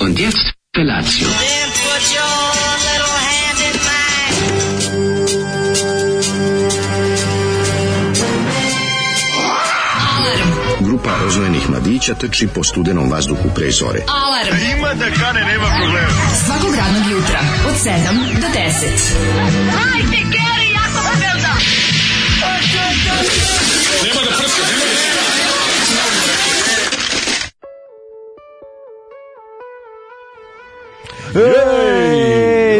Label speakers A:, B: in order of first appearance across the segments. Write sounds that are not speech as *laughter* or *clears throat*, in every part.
A: Und jetzt Felatio.
B: Then put your little hand in mine.
C: Grupa rozvojenih mladića trči po studenom vazduhu pre zore.
D: Alarm. Ima da kane, nema problema. Svakog radnog jutra, od 7 do 10.
E: Ej!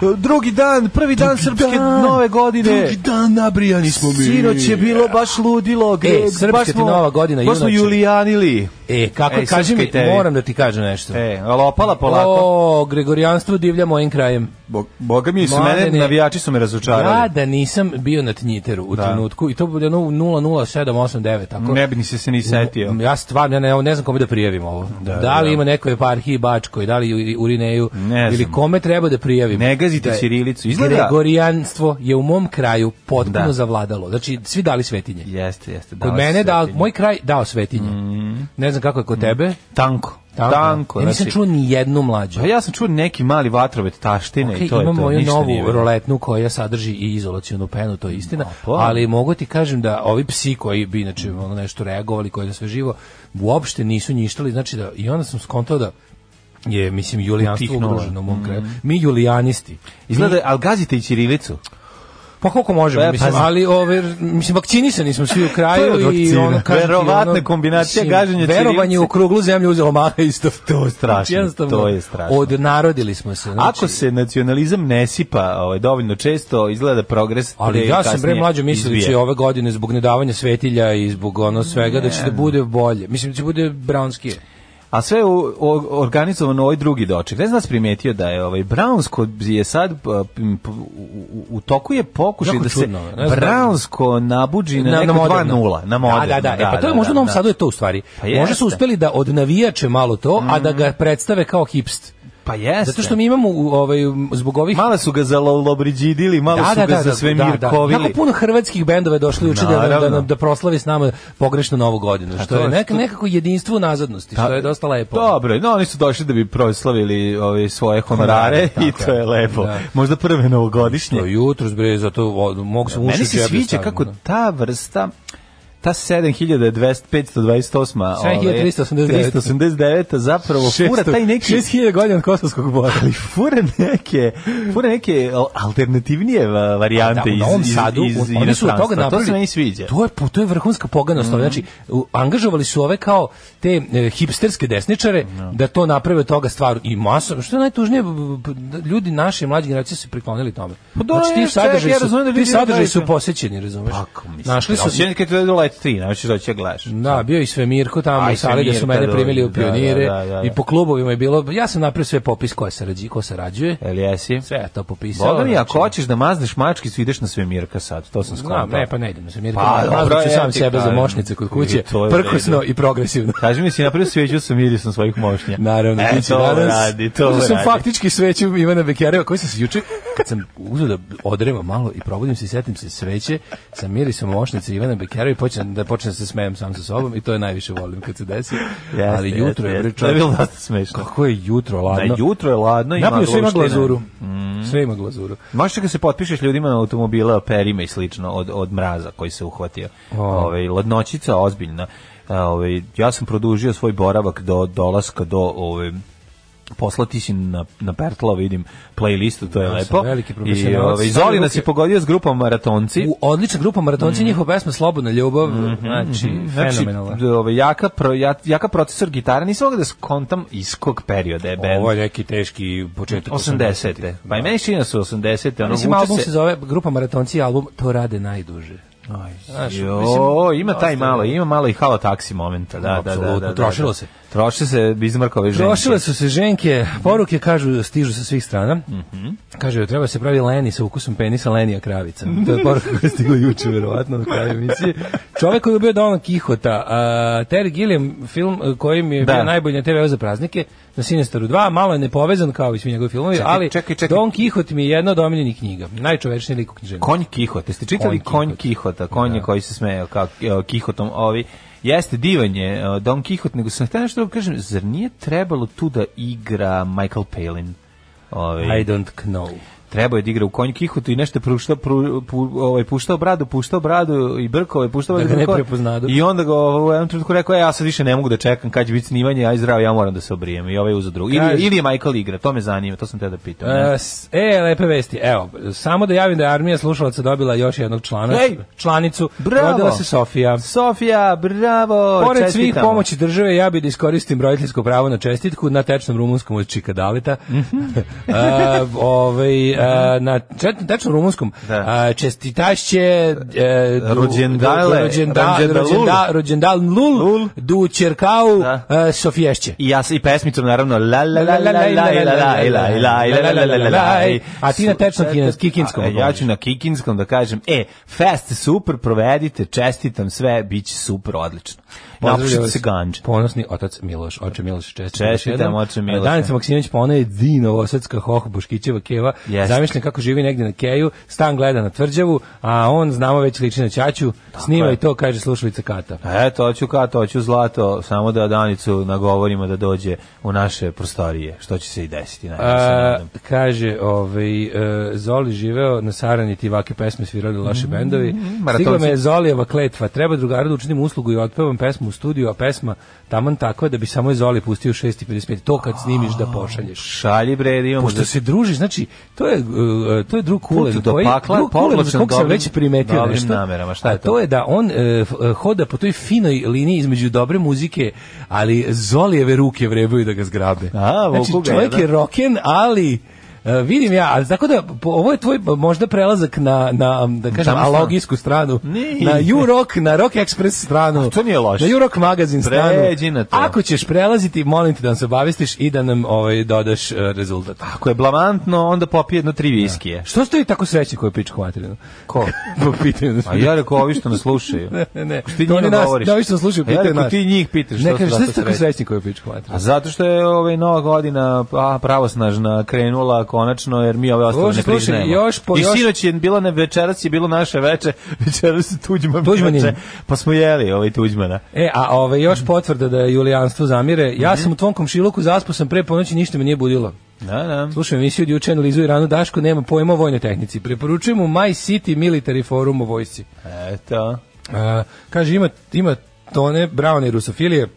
E: Dru- *laughs* Drugi dan, prvi dan srpske nove godine.
F: Drugi dan nabrijani smo mi.
E: Sinoć je bilo baš ludilo. gde-
G: srpska
E: baš
G: ti
E: smo-
G: Nova godina,
E: Baš smo
G: junače.
E: julijanili.
G: E, kako,
E: Ej,
G: kaži mi,
E: srpska i tebi.
G: moram da ti kažem nešto.
E: E, ali opala polako.
G: O, Gregorijanstvo divlja mojim krajem.
E: Bo- Boga mi su
G: Mladene.
E: mene, navijači su me razočarali.
G: Ja da nisam bio na Tnjiteru u
E: Da.
G: trenutku i to bude ono 00789, tako.
E: Ne bi ni se se ni setio.
G: Ja stvarno ja ne, ne znam kome da prijavim ovo. Da, li ima neko eparhiji Bačkoj, da li u- u Urineju,
E: Ne
G: ili
E: znam.
G: kome treba da prijavim.
E: Ne gazite
G: Da je-
E: ćirilicu. Izgleda-
G: Gregorijanstvo je u mom kraju potpuno
E: Da.
G: zavladalo. Znači, svi dali svetinje.
E: Jeste, jeste.
G: Kod
E: dao
G: mene
E: se
G: da,
E: setiti.
G: moj kraj dao svetinje.
E: Mm.
G: Ne znam kako je kod tebe.
E: Tanko.
G: Tanko.
E: Tanko.
G: ja nisam
E: znači-
G: čuo ni jednu mlađu.
E: Pa ja sam čuo neki mali vatrovet taštine i
G: Ok,
E: to je to.
G: imam moju
E: ništa nije
G: novu
E: bilo.
G: roletnu koja sadrži i izolacionu penu, to je istina,
E: pa.
G: ali mogu ti kažem da ovi psi koji bi inače ono nešto reagovali, koji je na sve živo, uopšte nisu njištali, znači da, i onda sam skontao da je, mislim, julijanstvo
E: Utihnula.
G: ugroženo u mom kraju. Mi julijanisti.
E: Mm. Izgleda, ali gazite i ćirilicu.
G: Pa koliko možemo,
E: Pa,
G: mislim,
E: pazi.
G: ali ove, mislim, vakcinisani smo svi u
E: To je
G: kraju
E: od
G: i
E: vakcina.
G: ono kažem ti,
E: Verovatna
G: ono,
E: kombinacija
G: mislim,
E: gaženja
G: Verovanje
E: ćirilice.
G: u kruglu zemlju uzeo maha isto. Znači,
E: To je strašno,
G: Jednostavno,
E: to je strašno.
G: Odnarodili smo se. znači-
E: Ako se nacionalizam ne sipa ovaj, dovoljno često, izgleda da progres. pre
G: Ali
E: ili
G: ja sam bre
E: kasnije
G: mlađo mislio da će
E: izbije.
G: ove godine zbog nedavanja svetilja i zbog ono svega da će da bude bolje. Mislim da će bude brownski.
E: A sve je u- o- organizovano ovaj drugi doček. Ne znam da si primetio da je ovaj Brownsko je sad p- p- u- u, u toku je pokušaj
G: Jako
E: da se
G: čudno, ne znam.
E: Brownsko nabuđi na, neko 2:0, na moderno.
G: Da, da, da. E, pa to je možda u Novom Sadu je to u stvari.
E: Pa
G: možda
E: jeste.
G: su uspeli da odnavijače malo to, a da ga predstave kao hipst.
E: Pa jeste.
G: Zato što mi imamo u- ovaj, zbog ovih
E: Malo su ga za lobriđidili, malo su ga za sve mirkovili.
G: Jako puno hrvatskih bendova je došli juče da, da,
E: Naravno.
G: da, da proslavi s nama pogrešnu novu godinu, što
E: to
G: je
E: je
G: nek,
E: što-
G: nekako jedinstvo u nazadnosti, što je dosta lepo.
E: Dobro, no oni su došli da bi proslavili ove svoje honorare
G: Honorare,
E: *laughs* i
G: tako
E: to
G: je.
E: je lepo.
G: Da.
E: Možda prve novogodišnje.
G: To jutro zbre, zato o, mogu se uši
E: Meni
G: u
E: se
G: džepe
E: sviđa
G: stavim,
E: kako
G: da.
E: ta vrsta ta 7228
G: ovaj, 7389.
E: 389 zapravo fura taj neki
G: 6000 godina od kosovskog bora.
E: ali fura neke fura neke al- alternativnije va- varijante
G: u
E: iz
G: Novom
E: iz,
G: Sadu,
E: iz,
G: on- oni su od toga
E: inostranstva.
G: napravili.
E: to se meni sviđa Mm.
G: To je, po- to je vrhunska poganost. Znači, u- angažovali su ove kao te e, hipsterske desničare da to naprave od toga stvar i masa. Što je najtužnije, b- b- b- ljudi naše mlađe generacije su se priklonili tome.
E: Pa dobro,
G: znači, ti
E: ne, čekaj,
G: sadržaji
E: ja
G: su,
E: razumem da
G: ti
E: ljudi Pa,
G: sadržaji
E: gledaju
G: su
E: to.
G: posećeni, razumeš? Našli su... Mm.
E: Osim kad je let 3, znači da će gledaš.
G: Da, bio i sve Mirko tamo
E: A,
G: u
E: i
G: sali da su
E: Svemirko,
G: mene
E: da,
G: primili u
E: da,
G: pionire
E: da, da, da.
G: i po klubovima je bilo, ja sam napravio sve popis ko je sarađi, ko sarađuje,
E: Jel jesi?
G: sve ja to popisao.
E: Boga mi,
G: znači.
E: E. ako hoćeš da mazneš mačkicu, ideš na Svemirka sad, to sam skontao.
G: Znam, ne, pa ne idem na Svemirka.
E: Pa,
G: Pa,
E: dobro,
G: ću
E: ja
G: sam
E: ti
G: sebe za
E: kažem.
G: moćnice kod kuće,
E: I to je
G: prkosno
E: u
G: i progresivno.
E: *laughs* Kaži mi si napravio sveću sa mirisom svojih mošnja.
G: Naravno,
E: e,
G: biće
E: to
G: danas.
E: radi, to
G: Uzeo
E: radi.
G: sam faktički sveću Ivana Bekereva, koji sam se juče, kad sam uzeo da odrevam malo i probudim se i setim se sveće, sa mirisom mošnice Ivana Bekereva i počnem da počnem da se smejem sam sa sobom i to je najviše volim kad se desi.
E: Jeste,
G: Ali jutro
E: jeste,
G: je, bre,
E: jeste. To je
G: čovječe,
E: bilo dosta smešno.
G: Kako je jutro ladno.
E: Da, jutro je ladno, ima Mm.
G: Napravio sve ima
E: gluštine.
G: glazuru. Sve ima glazuru.
E: Možeš da se potpišeš ljudima na automobile, perima i slično od, od mraza koji se uhvatio. Ove, ladnoćica ozbiljna. Ove, ja sam produžio svoj boravak do dolaska do ove, poslati si na, na Pertla, vidim playlistu, to je
G: Ja sam
E: lepo.
G: veliki
E: I
G: profesionalac.
E: ove, Zoli nas je pogodio s grupom Maratonci.
G: U odlična grupa maratonci,
E: Mm.
G: njihova pesma Slobodna ljubav,
E: Mm-hmm.
G: znači, fenomenalna.
E: d- ove, jaka, pro, ja- jaka procesor gitara, nisam mogao da skontam iz kog perioda je band.
G: Ovo je neki teški početak
E: 80. Pa i meni čini da su 80. Ono,
G: Mislim,
E: vuče
G: album se zove Grupa Maratonci, album To rade najduže. Znaš,
E: Jo,
G: mislim,
E: ima taj
G: dosta,
E: malo,
G: da.
E: ima malo i halo taksi momenta, da, da, da, da,
G: Apsolutno,
E: da, da.
G: trošilo se.
E: Troše se Bizmarkove ženke.
G: Trošile su se ženke, poruke kažu stižu sa svih strana. Kaže, treba se pravi leni sa ukusom penisa lenija kravica. To je poruka koja je stigla juče, verovatno, na kraju emisije. Čovek koji je bio Dona Kihota, a, Terry Gilliam, film a, koji mi je
E: Da.
G: bio najbolji na TV za praznike, na Sinistaru 2, malo je nepovezan kao i svi njegovi filmovi,
E: Čekaj,
G: ali
E: čekaj, čekaj.
G: Don Kihot mi je jedna od omiljenih knjiga. Najčovečniji lik u knjiženju.
E: Konj Kihot, jeste čitali
G: Konj
E: Konj
G: Kihot.
E: Kihota, konj je koji se smejao kao e, Kihotom, ovi Jeste, divan je uh, Don Quixote, nego sam htio nešto drugo kažem, zar nije trebalo tu da igra Michael Palin? Ove,
G: I don't know.
E: trebao je da igra u konju Kihutu i nešto puštao, pru, pu, ovaj, puštao bradu, puštao bradu i brkao je, puštao
G: Da ga ne
E: brkao.
G: prepoznadu.
E: I onda ga ovaj, u jednom trenutku rekao, e, ja sad više ne mogu da čekam kad će biti snimanje, aj zdravo, ja moram da se obrijem. I ovaj uza drugu. Ili,
G: Kaže-
E: ili je Michael igra, to me zanima, to sam te da pitao.
G: E, s- E, lepe vesti. Evo, samo da javim da je armija slušalaca dobila još jednog člana,
E: Ej!
G: članicu.
E: Bravo!
G: Rodila se Sofija.
E: Sofija, bravo,
G: Pored
E: čestitamo.
G: svih pomoći države, ja bih da iskoristim roditeljsko pravo na čestitku na tečnom rumunskom od Čikadaleta.
E: Mhm.
G: *laughs* a, ovaj, a, na čet- tečnom rumunskom
E: Da.
G: a, čestitašće e, du-
E: Rođendale,
G: rođenda-
E: Rođendalul.
G: rođenda- rođendal lul,
E: Lul.
G: du čerkau
E: Da.
G: e, Sofiješće.
E: I ja s- i pesmicom naravno la la la la la la la la la la la la la la la
G: A ti na tečnom kines- kikinskom
E: A, e, Ja
G: govoriš.
E: ću na kikinskom da kažem, e, fest super, provedite, čestitam sve, bit će super, odlično. Napušite
G: Pozdravljam
E: se
G: vas,
E: ganđe.
G: Ponosni otac Miloš, oče Miloš, čestitam. još
E: Čestitam,
G: jednom.
E: oče Miloše.
G: Danica Maksimović, pa ona je Dino, osetska hoh, Boškićeva keva.
E: Jeste.
G: Zamišljam kako živi negdje na keju, stan gleda na tvrđavu, a on, znamo već, liči na ćaću, snima
E: je.
G: i to, kaže slušalica Kata.
E: E, to ću ka, to ću zlato, samo da Danicu nagovorimo da dođe u naše prostorije, što će se i desiti. najbolje se
G: A,
E: nadam.
G: kaže, ovaj, e, Zoli živeo na Sarani, ti vake pesme svirali loše bendovi. Stigla
E: Mm, maratonci.
G: me je Zolijeva kletva. Treba drugaru da učinim uslugu i otpevam pesmu u studiju, a pesma taman tako da bi samo je Zoli pustio u 6.55. To kad snimiš da pošalješ.
E: Šalji bre, da imamo
G: Pošto
E: za-
G: se družiš, znači, to je, uh, to je drug Kulen,
E: do
G: koji,
E: pakla,
G: drug Kulen,
E: povlačen
G: kog sam
E: dobrim-
G: već primetio
E: dobrim
G: nešto.
E: namerama, šta je
G: a
E: to?
G: to je da on e, f- e, hoda po toj finoj liniji između dobre muzike, ali Zolijeve ruke vrebaju da ga zgrabe.
E: A, vuku
G: znači,
E: ga,
G: čovjek
E: da.
G: je roken, ali... e, vidim ja, ali tako da po- ovo je tvoj možda prelazak na, na da kažem,
E: Tamo sam.
G: alogijsku stranu,
E: Nije.
G: na U-Rock, na Rock Express stranu,
E: A to nije loše.
G: na U-Rock magazin stranu.
E: Pređi na to.
G: Ako ćeš prelaziti, molim te da nas obavestiš i da nam ovaj, dodaš e, rezultat.
E: Ako je blamantno, onda popije jedno tri viskije.
G: Što ste vi tako srećni koji pičku materinu?
E: Ko?
G: *laughs* Po pitanju.
E: A ja rekao, ovi što nas slušaju.
G: *laughs* ne, ne.
E: ti
G: To
E: njima
G: oni nas,
E: govoriš.
G: Da, vi što slušaju,
E: A ja
G: pitaju
E: rekao,
G: nas.
E: ti njih pitaš što
G: Ne,
E: su
G: kaže,
E: zato
G: što ste tako
E: srećni.
G: srećni koji pičku
E: A
G: materinu?
E: zato što je ovaj nova godina a, pravosnažna krenula konačno jer mi ove ostale
G: Bože,
E: ne
G: slušaj,
E: priznajemo.
G: još po-
E: I
G: još-
E: sinoć je bilo na večeras je bilo naše veče, *laughs* večeras je Tuđman
G: Tuđmanin.
E: veče, pa smo jeli ovaj Tuđmana.
G: E, a ove,
E: Mhm.
G: još potvrda da je julijanstvo zamire. Ja sam u tvom komšiluku zaspao sam pre ponoći, ništa me nije budilo.
E: Da, da.
G: Slušam emisiju od juče, analizu i ranu Daško, nema pojma o vojnoj tehnici. Preporučujem mu My City Military Forum o vojsci.
E: Eto.
G: E, kaže, ima, ima tone braune i rusofilije,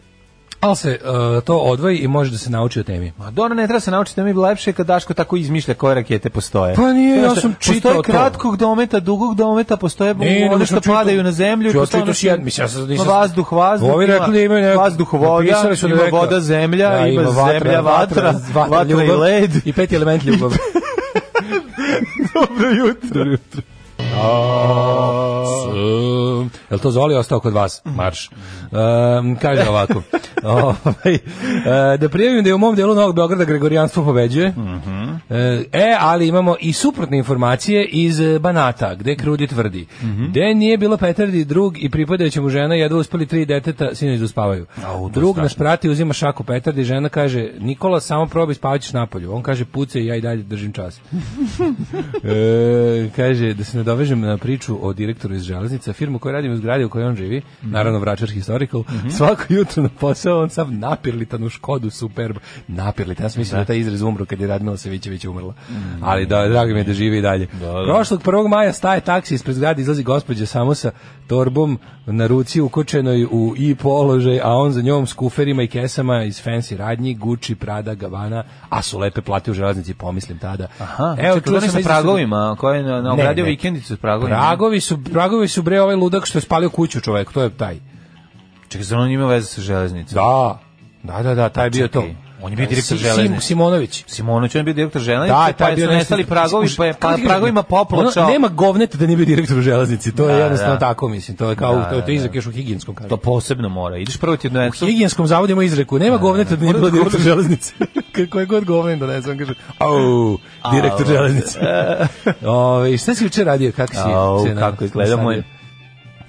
G: ali se e, to odvoji i može da se nauči o temi.
E: Ma dobro, ne treba se naučiti, da mi je lepše kad Daško tako izmišlja koje rakete postoje.
G: Pa nije,
E: Znaš
G: ja
E: šta,
G: sam čitao to.
E: Postoje kratkog dometa, dugog dometa, postoje
G: nego
E: ono
G: sam
E: što
G: čitao-
E: padaju na zemlju. i
G: Ja
E: postoje ono
G: čitao
E: što-
G: si jedan, mislim, ja sad nisam...
E: Ma vazduh, vazduh,
G: Ovi
E: ima
G: rekli da imaju neko...
E: vazduh, voda,
G: napisali su da
E: ima
G: neka-
E: voda, zemlja, ima zemlja, vatra, vatra i
G: ljubav
E: led.
G: I peti element
E: *laughs*
G: ljubav. *laughs*
E: Dobro jutro. Dobro jutro.
G: Je li to Zoli ostao kod vas? Marš. Um, kaže
E: *laughs*
G: ovako. ovaj, e, da prijavim da je u mom delu Novog Beograda Gregorijanstvo pobeđuje.
E: Mhm.
G: E, ali imamo i suprotne informacije iz e, Banata, gde Krudi tvrdi.
E: Mhm.
G: Gde nije bilo Petardi drug i pripadajući mu žena, jedva uspeli tri deteta, sinoć da spavaju.
E: Au, to je
G: drug
E: strašno.
G: naš prati, uzima šaku Petardi, žena kaže, Nikola, samo probaj spavaćeš napolju. On kaže, puce i ja i dalje držim čas. E, kaže, da se nadovežem na priču o direktoru iz železnica, firmu koju radim u zgradi u kojoj on živi, naravno Vračar Historical, svako jutro na posao on sam napirlitan u Škodu Superb. Napirlitan, ja sam mislio da, je taj izraz umro kad je Radmila Savićević umrla. Ali da, drago mi je da živi i dalje. Prošlog 1. maja staje taksi ispred zgrade, izlazi gospođa samo sa torbom na ruci ukočenoj u i položaj, a on za njom s kuferima i kesama iz fancy radnji, Gucci, Prada, Gavana, a su lepe plate u železnici, pomislim tada.
E: Aha, Evo, čuo sam sa
G: izraz-
E: pragovima, koji je na- na ogradio
G: ne.
E: vikendicu s pragovima.
G: Pragovi su, pragovi su bre ovaj ludak što je spalio kuću čovek, to je taj.
E: Čekaj, zar on ima veze sa železnicom?
G: Da, da, da, da taj je bio to.
E: Čekaj, on je bio direktor
G: Si-
E: železnice.
G: Sim- Simonović.
E: Simonović, on je bio direktor železnice,
G: Da,
E: pa
G: taj je
E: je
G: bio
E: su nestali
G: nešto-
E: pragovi, pa je
G: Kako
E: pa,
G: ti kažem,
E: pragovima popločao.
G: ono, nema govneta da nije bio direktor u železnici, to je
E: Da,
G: jednostavno
E: da.
G: tako, mislim, to je kao,
E: Da,
G: to je
E: da,
G: to je izrek još u higijenskoj
E: To posebno mora. Ideš prvo ti jedno
G: U higijenskom zavodu ima izreku, nema govneta da nije
E: Ono
G: bio
E: da
G: direktor
E: govne-
G: železnice. *laughs* Kako je god govnen donese, on kaže, au, direktor
E: Au. *laughs*
G: železnice. Ove, šta si juče radio, kako si?
E: Au,
G: se na-
E: kako izgleda
G: nastavio?
E: moj...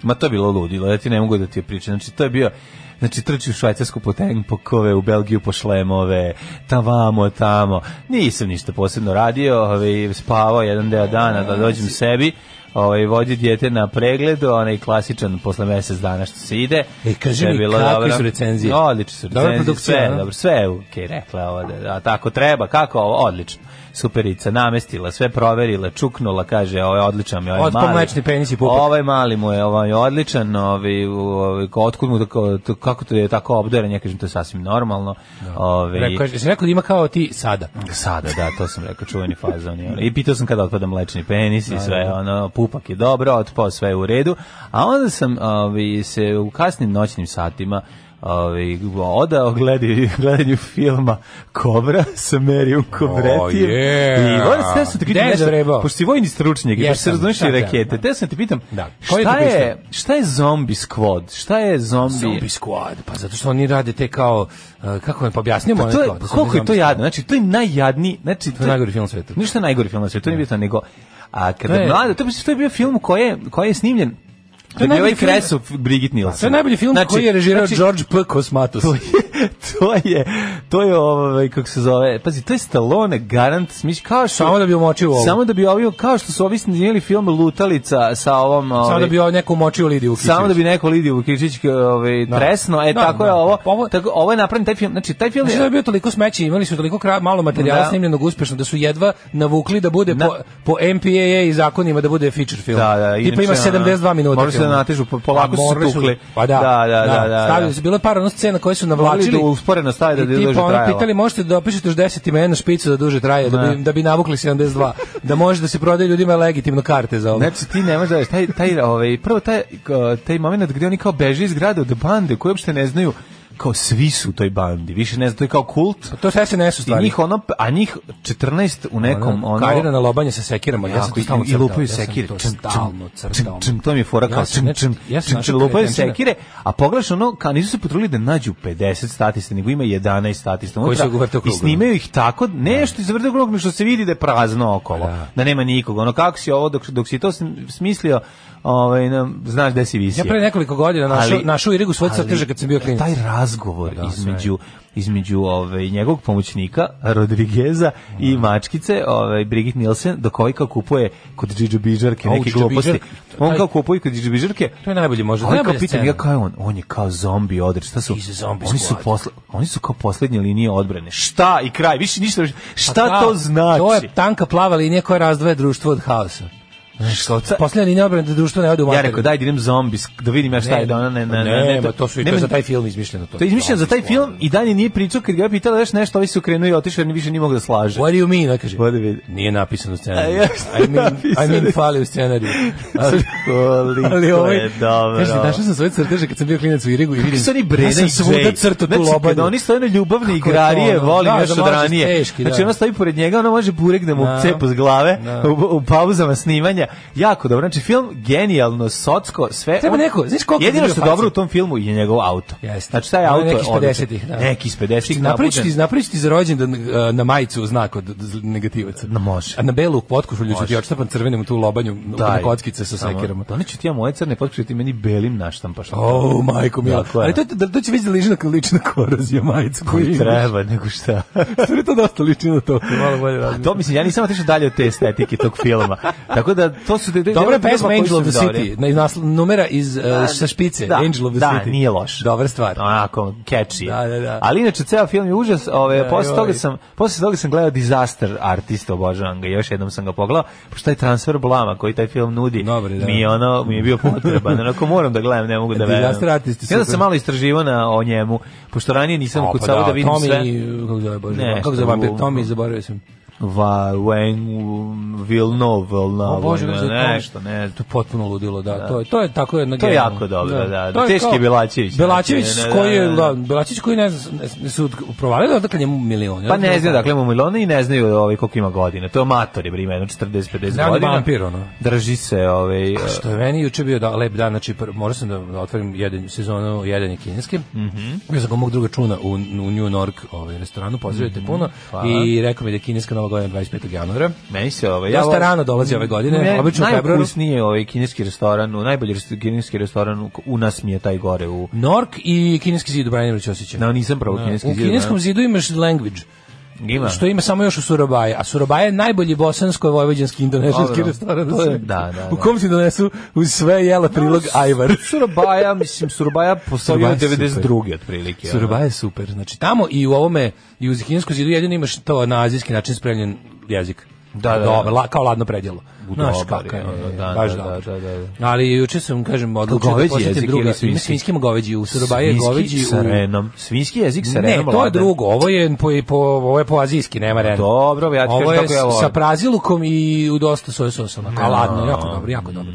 E: Ma to je bilo ludilo, ja ti ne mogu da ti je pričam. Znači, to je bio... Znači, trči u Švajcarsku po tenkokove, u Belgiju po šlemove, tavamo, tamo. Nisam ništa posebno radio, ovaj, spavao jedan deo dana da dođem sebi. ovaj, vodi djete na pregled, onaj klasičan posle mesec dana što se ide.
G: E, kaži
E: To je
G: mi,
E: bilo
G: kakve
E: dobro.
G: su recenzije?
E: Odlične su
G: Dobra
E: recenzije.
G: produkcija,
E: sve,
G: a?
E: dobro, sve je okej, rekla je ovo, da, a tako treba, kako ovo, odlično. Superica namestila, sve proverila, čuknula, kaže, ovo je odličan, ovo je
G: Otpao
E: mali.
G: mlečni penis i pupak.
E: Ovaj mali mu je, ovaj je odličan, ovaj, ovaj, otkud mu, tako- to- kako to je tako obdaren, ja kažem, to je sasvim normalno. Ovaj,
G: Rekao, je- si rekao da ima kao ti sada.
E: Sada, da, to sam rekao, čuveni fazon. je ono. I pitao sam kada otpada mlečni penis i sve, ono, pupak je dobro, otpao sve je u redu. A onda sam ovi, se u kasnim noćnim satima ovi, odao gledaju, gledanju filma Kobra sa Merijom Kobretijem.
G: O, je.
E: I volim se, te sam te
G: Gde
E: pitam
G: je
E: nešto,
G: zavrebao?
E: pošto si vojni stručnjak, i baš se
G: Jesam,
E: razumiješ i
G: sad ja.
E: rakete, te sam ti pitam,
G: Da. Koji je
E: šta,
G: to bio
E: je, šta je zombi squad? Šta je zombi?
G: Zombie Squad, pa zato što oni rade te kao, uh, kako vam pobjasnimo?
E: Pa to je, koliko je to jadno? Znači, to je najjadniji, znači,
G: To je najgori film na svetu.
E: Ništa je najgori film na svetu, to nije bitno, nego... A kada
G: To je-
E: je mlada, to, je- to je bio film koji je, koji je snimljen To je bio
G: najbolji
E: ovaj
G: film-
E: Kresu Brigit Nielsen.
G: To je najbolji film koji je režirao George P. Kosmatos.
E: To je, *laughs* to je, to je ovaj, kako se zove, pazi, to je Stallone, garant, smiš, kao što...
G: Samo da bi umočio ovo.
E: Samo da bi ovio, kao što su ovi snimili film Lutalica sa ovom... Ovaj,
G: Samo da bi ovo neko umočio Lidiju Ukićević.
E: Samo da bi neko Lidiju Vukičić ovaj,
G: Da.
E: tresno, e,
G: Da,
E: tako je
G: da.
E: ovo,
G: Ovo-
E: tako, ovo je napravljen taj film, znači taj film
G: Znači,
E: je...
G: to je bio toliko smeće, imali su toliko kra, malo materijala
E: Da.
G: snimljenog uspešno da su jedva navukli da bude
E: Na-
G: po, po MPAA i zakonima da bude feature film.
E: Da, da,
G: Tipa
E: inače, ono,
G: ima 72 minuta.
E: morali su da
G: filma.
E: natežu, po- polako
G: Pa
E: su se
G: morali
E: tukli.
G: Pa da,
E: Da, da, da, da,
G: Stavili
E: da.
G: su, bilo je par ono scena koje su
E: Morali
G: navlačili.
E: da usporeno stave da
G: I
E: duže
G: tipa, ono,
E: trajalo.
G: pitali možete da opišete još 10 imena na špicu da duže traje, da bi, da bi navukli 72. da može da se prodaje ljudima legitimno karte za ovo.
E: Znači ti ne možeš da veruješ, taj taj ovaj prvo taj k- taj momenat gdje oni kao beže iz grada od bande koje uopšte ne znaju kao svi su u toj bandi, više ne znaju, to je kao kult.
G: to se SNS u
E: I
G: stvari.
E: njih ono, a njih 14 u nekom ono,
G: Karira na lobanje sa sekirama, ja sam to
E: i-
G: stalno
E: i
G: crtao.
E: lupaju
G: ja sam
E: sekire.
G: to
E: Čim,
G: stalno
E: čim,
G: crtao.
E: čim, čim, to mi je fora
G: Ja
E: kao
G: sam,
E: čim,
G: znači,
E: čim,
G: ja sam
E: čim,
G: našao
E: čim, lupaju
G: kretenčine.
E: sekire, a pogledaš ono, kao nisu se potrudili da nađu 50 statista, nego ima 11 statista.
G: Koji su
E: unutra
G: u vrtu
E: I
G: kruga.
E: snimaju ih tako, nešto iz vrtog kruga, što se vidi da je prazno okolo,
G: Da.
E: da, nema nikog. Ono, kako si ovo, dok, dok si to sm- smislio, ovaj, na, znaš gde si visio.
G: Ja pre nekoliko godina našao
E: Ali-
G: našao Irigu svoj
E: ali
G: crteže kad sam bio klinac.
E: Taj razgovor
G: Pa Da,
E: između između ovaj njegovog pomoćnika Rodrigueza i mačkice, ovaj Brigit Nielsen, dok ovaj kao kupuje kod Džidžo Bižarke
G: A, u
E: neke
G: Džidžo
E: gluposti.
G: Bižarki,
E: On
G: taj-
E: kao kupuje kod Džidžo Bižarke.
G: To je najbolje možda.
E: Ovaj kao
G: najbolja
E: pitam
G: scena.
E: ja kao je on, on je kao zombi odred, šta su?
G: He's a zombie
E: Oni su
G: squad.
E: posle, oni su kao poslednje linije odbrane. Šta i kraj, više ništa. više. Šta
G: Pa da,
E: to znači?
G: To je tanka plava linija koja razdvaja društvo od haosa.
E: Što ta-
G: Posljednja linija obrane da društvo ne ode u
E: Ja
G: materiju.
E: rekao daj da idem zombi, da vidim ja šta je da ona ne ne
G: ne,
E: ne.
G: ma to su i to
E: nema-
G: je za taj film izmišljeno to.
E: To je izmišljeno za taj film i dalje nije pričao kad ga je pitala još nešto, ovi su krenuli i otišli, jer ni više ni mogu da slaže.
G: What do you mean? Kaže,
E: What do
G: *laughs*
E: you-
G: nije napisano u
E: A,
G: scenariju.
E: jeste
G: I mean, I mean
E: napisano.
G: fali u scenariju. Ali-
E: Koliko
G: Ali ovaj,
E: je dobro.
G: kaže, našao sam svoje crteže kad sam bio klinac u Irigu i vidim,
E: Su oni Brena
G: ja
E: i
G: sam
E: Jay.
G: svuda crtu tu
E: Znači,
G: lobanju.
E: kada oni stoje na ljubavne
G: Kako je
E: igrarije,
G: to ono?
E: volim
G: Da,
E: još
G: da
E: od
G: može
E: ranije.
G: teški, da.
E: Znači, ona stoji pored njega, ona može burek da mu
G: Da.
E: cepa s glave
G: Da.
E: u, u pauzama snimanja. Jako dobro. Znači, film genijalno, socko, sve.
G: Treba
E: On-
G: neko, znaš koliko
E: Jedino
G: je
E: što
G: bio
E: je dobro u
G: faca?
E: tom filmu je njegov auto.
G: Jeste.
E: Znači, taj
G: Ono
E: auto je
G: neki iz
E: odličan.
G: 50-ih, da.
E: Neki iz 50-ih.
G: Napravići Znači, ti,
E: napuđen.
G: napravići ti za rođendan e, na majicu znak od z- negativaca.
E: Na, može.
G: A na belu potkušu ću ti
E: Može.
G: odštapan crvenim u tu lobanju na
E: Daj.
G: kockice sa
E: Samo,
G: sekirama.
E: Doneću ti ja moje crne potkuše, ti meni belim naštampaš.
G: O, Oh, majko mila.
E: Tako je.
G: Ali to, to, to će već da liči na lična korozija majicu koju
E: Koji
G: imaš.
E: treba, nego šta.
G: *laughs* Sve to dosta liči na to. Pa, Malo bolje
E: A
G: razmišljam.
E: to mislim, ja nisam otišao dalje od te estetike tog filma. Tako da, to su... de- de-
G: Dobra je
E: de- de-
G: pesma
E: koji
G: Angel
E: su
G: of the
E: dobri.
G: City, na, iz nasl- numera iz, e, sa špice,
E: Da,
G: Angel of the
E: da,
G: City.
E: nije loš.
G: Dobra stvar.
E: Onako, catchy. je.
G: Da, da, da.
E: Ali inače, ceo film je užas. Ove,
G: Da,
E: posle,
G: joj.
E: toga sam, posle toga sam gledao Disaster Artist, obožavam ga, još jednom sam ga pogledao, pošto taj transfer blama koji taj film nudi,
G: Dobar je, da.
E: mi, je ono, mi je bio
G: *laughs*
E: potreban. Onako moram da gledam, ne mogu da verujem.
G: Disaster Artist je
E: Ja da
G: super.
E: sam malo istraživao na, o njemu, pošto ranije nisam
G: A, pa
E: kucao da,
G: da,
E: vidim
G: Tommy,
E: sve.
G: kako zove, bože,
E: Ne,
G: kako
E: šta
G: zove vampir,
E: u-
G: Tommy, zaboravio sam.
E: Va, Wen, um, Vilnov,
G: O bože, kako se zove, Tommy.
E: nešto, ne,
G: To je potpuno ludilo, da, to je to je tako jedno
E: To je
G: genijalno.
E: jako dobro, da,
G: To
E: da. Teški
G: kao-
E: je Belačević,
G: Belačević
E: znači, ne,
G: koji je,
E: da, da, da.
G: da, Belačević koji ne znam, ne- su provalili odakle njemu milioni.
E: Pa ne znaju, dakle, mu Milone i ne znaju ovaj, koliko ima godina. To je mator, je brima, jedno 40-50
G: Znam,
E: godina.
G: vampir, ono.
E: Drži se, ovaj...
G: Što je meni juče bio da, lep dan, znači pr- morao sam da da otvorim jedan, sezonu jedan je kineski.
E: Mhm.
G: Mm Ja sam ga mog druga čuna u, u New York ovaj, restoranu,
E: Mhm,
G: pozdravite puno. I rekao mi da je kineska nova godina 25. januara.
E: Meni se ovaj...
G: Dosta
E: volim-
G: rano dolazi ove godine,
E: Meni-
G: obično u februaru.
E: Najukusniji ovaj kineski restoran, u- najbolji rest- kineski restoran u- u nas mi je taj gore u...
G: Nork i kineski zid u Branimiru Ćosiću.
E: No, nisam pravo kineski
G: u
E: zid,
G: kineskom
E: da.
G: zidu imaš language.
E: Ima.
G: što ima samo još u Surabaje. A Surabaje je najbolji bosansko-vojvođanski indonežanski
E: Dobro.
G: restoran na
E: To je-
G: svetu.
E: da, da,
G: U
E: da.
G: kom ti donesu uz sve jela prilog
E: *laughs*
G: *laughs* ajvar.
E: Surabaja, mislim, Surabaja postoji
G: Surabaja
E: od
G: je super.
E: 92. otprilike. ono.
G: Surabaja je super. Znači tamo i u ovome i u Zikinskom zidu jedino imaš to na azijski način spremljen jezik.
E: Da, da, da.
G: Dobar, la, kao ladno predjelo. Znaš
E: dobar
G: kako je,
E: je, ono, da,
G: baš
E: da,
G: dobro.
E: da, da,
G: Ali juče sam, kažem, odlučio da
E: goveđi
G: posjetim
E: jezik
G: druga.
E: ili
G: Ima
E: svinjski?
G: svinjski ima goveđi, u Surabaji je goveđi.
E: Svinjski sa
G: u-
E: renom. Svinjski jezik sa
G: Ne,
E: renom.
G: to je
E: ladan.
G: drugo, ovo je po, po, ovo je po azijski, nema rena.
E: Dobro, ja ti
G: Ovo
E: kažem
G: je
E: kako ja volim.
G: sa prazilukom i u dosta soja sosom, a ladno, jako dobro, jako dobro.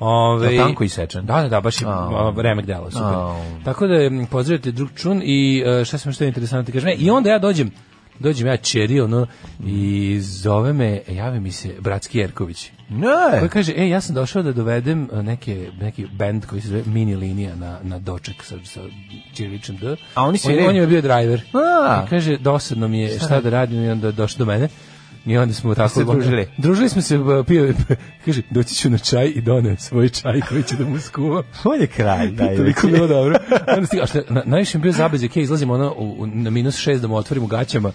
G: Ove,
E: A Mm. tanko isečen?
G: Da, da, da, baš je oh. remek delo, super.
E: Au.
G: Tako da m, pozdravite drug čun i e, šta sam što je interesantno ti kažem. E, I onda ja dođem, dođem ja čeri, ono, i zove me, jave mi se Bratski Jerković. Koji
E: Ne.
G: kaže, e, ja sam došao da dovedem e, neke, neki band koji se zove Mini Linija na, na doček sa, sa Čiriličem D.
E: A oni
G: on,
E: sviraju?
G: on je bio driver.
E: A.
G: I kaže, dosadno mi je šta da radim i onda došao do mene. I onda smo tako...
E: se družili?
G: Družili smo se, e, pio, *laughs* kaže, doći ću na čaj i done svoj čaj koji će da mu skuvam.
E: On je
G: *laughs*
E: *laughs* kralj, da je.
G: Toliko bilo dobro. *laughs* Onda stiga, a šta, na, najviše mi je bio zabezak, ja izlazim ono u, u- na minus šest da mu otvorim u gaćama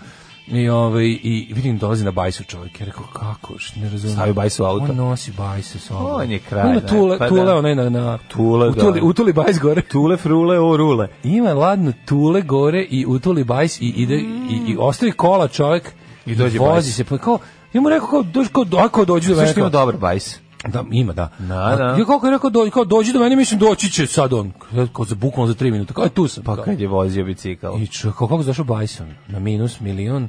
G: i, ovaj, i vidim dolazi na bajsu čovjek. Ja rekao, kako, š- ne razumijem.
E: Stavi bajsu u auto.
G: On nosi bajsu s sobom.
E: On je kralj,
G: Ima
E: da,
G: tule,
E: pa
G: tule
E: da.
G: onaj na... na
E: Tule,
G: utuli,
E: da.
G: Utuli bajs gore.
E: Tule, frule, o rule.
G: Ima ladno tule gore i utuli bajs i, ide, i, i ostavi kola čovjek
E: Mm. I dođe
G: vozi
E: bajs.
G: se. Pa kao, ja mu rekao, kao, dođi, kao, ako dođi do mene.
E: Sve što
G: kao-
E: ima dobar bajs.
G: da, ima, da.
E: Da, da.
G: A, Ja kako je rekao, dođi, kao, dođi do mene, mislim, doći će sad on. Ja Kao za bukvalno za tri minuta. Kao, e, tu sam.
E: Pa
G: Kao,
E: kad je vozio bicikl.
G: I čo, kao, kako je došao Bison? Na minus milion.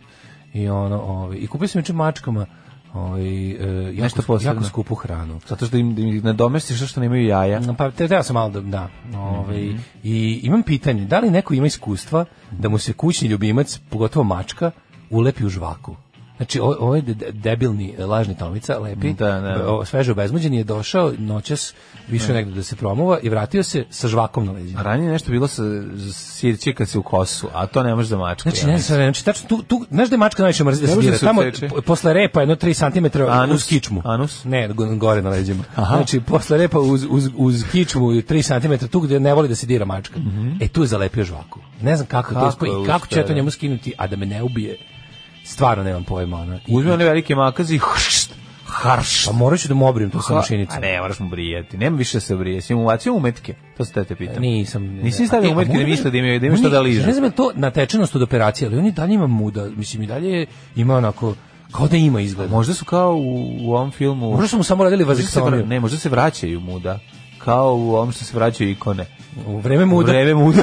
G: I ono, ovaj, i kupio sam juče mačkama ovaj, e,
E: Nešto
G: jako,
E: posebno.
G: jako skupu hranu.
E: Zato što im, im nadomestiš zato što nemaju jaja.
G: Pa te, teo sam malo da, da ovaj,
E: Mhm.
G: i imam pitanje, da li neko ima iskustva da mu se kućni ljubimac, pogotovo mačka, ulepi u žvaku? Znači, o- ovaj de- de- debilni e, lažni tomica, lepi,
E: Da, da.
G: o- sveže obezmuđen je došao noćas više negde da se promuva i vratio se sa žvakom na leđima.
E: A Pa Ranije je nešto bilo sa s- sirće kad se u kosu, a to ne možeš za mačku.
G: Znači,
E: ja
G: ne
E: mislim.
G: znam, znači, tačno, tu, tu, znaš da je mačka najviše mrzi da se
E: može da
G: dira?
E: se
G: Tamo,
E: odseče.
G: po- posle repa, jedno 3 cm uz
E: Anus,
G: kičmu.
E: anus.
G: Ne, go- gore na leđima. Znači, posle repa uz, uz, uz kičmu 3 cm, tu gde ne voli da se dira mačka. E, tu je zalepio žvaku. Ne znam kako, je to
E: Mhm. Kako
G: uspeo i
E: je
G: kako ću ja to
E: uspeo,
G: njemu skinuti, a da me ne ubije. Stvarno nemam pojma. Ono. I-
E: Uzmi one velike makaze i hršt, harš.
G: Pa morat ću da mu obrim to sa mašinicom.
E: A ne, moraš mu brijati. Nema više da se brije. Si mu uvacio umetke. To se te te pitam.
G: Nisam.
E: Nisi stavio
G: A, e,
E: umetke da
G: muda-
E: misle da imaju, da imaju
G: on
E: šta
G: je-
E: da liže.
G: Ne znam je li to natečenost od operacije, ali on i dalje ima muda. Mislim, i dalje ima onako, kao da ima izgled.
E: Možda su kao u, u ovom filmu...
G: Možda su mu samo radili ono,
E: možda se, vra-
G: vazektomiju.
E: ne, možda se vraćaju muda. Kao u ovom što se vraćaju ikone.
G: U vreme
E: U
G: muda.
E: vreme muda.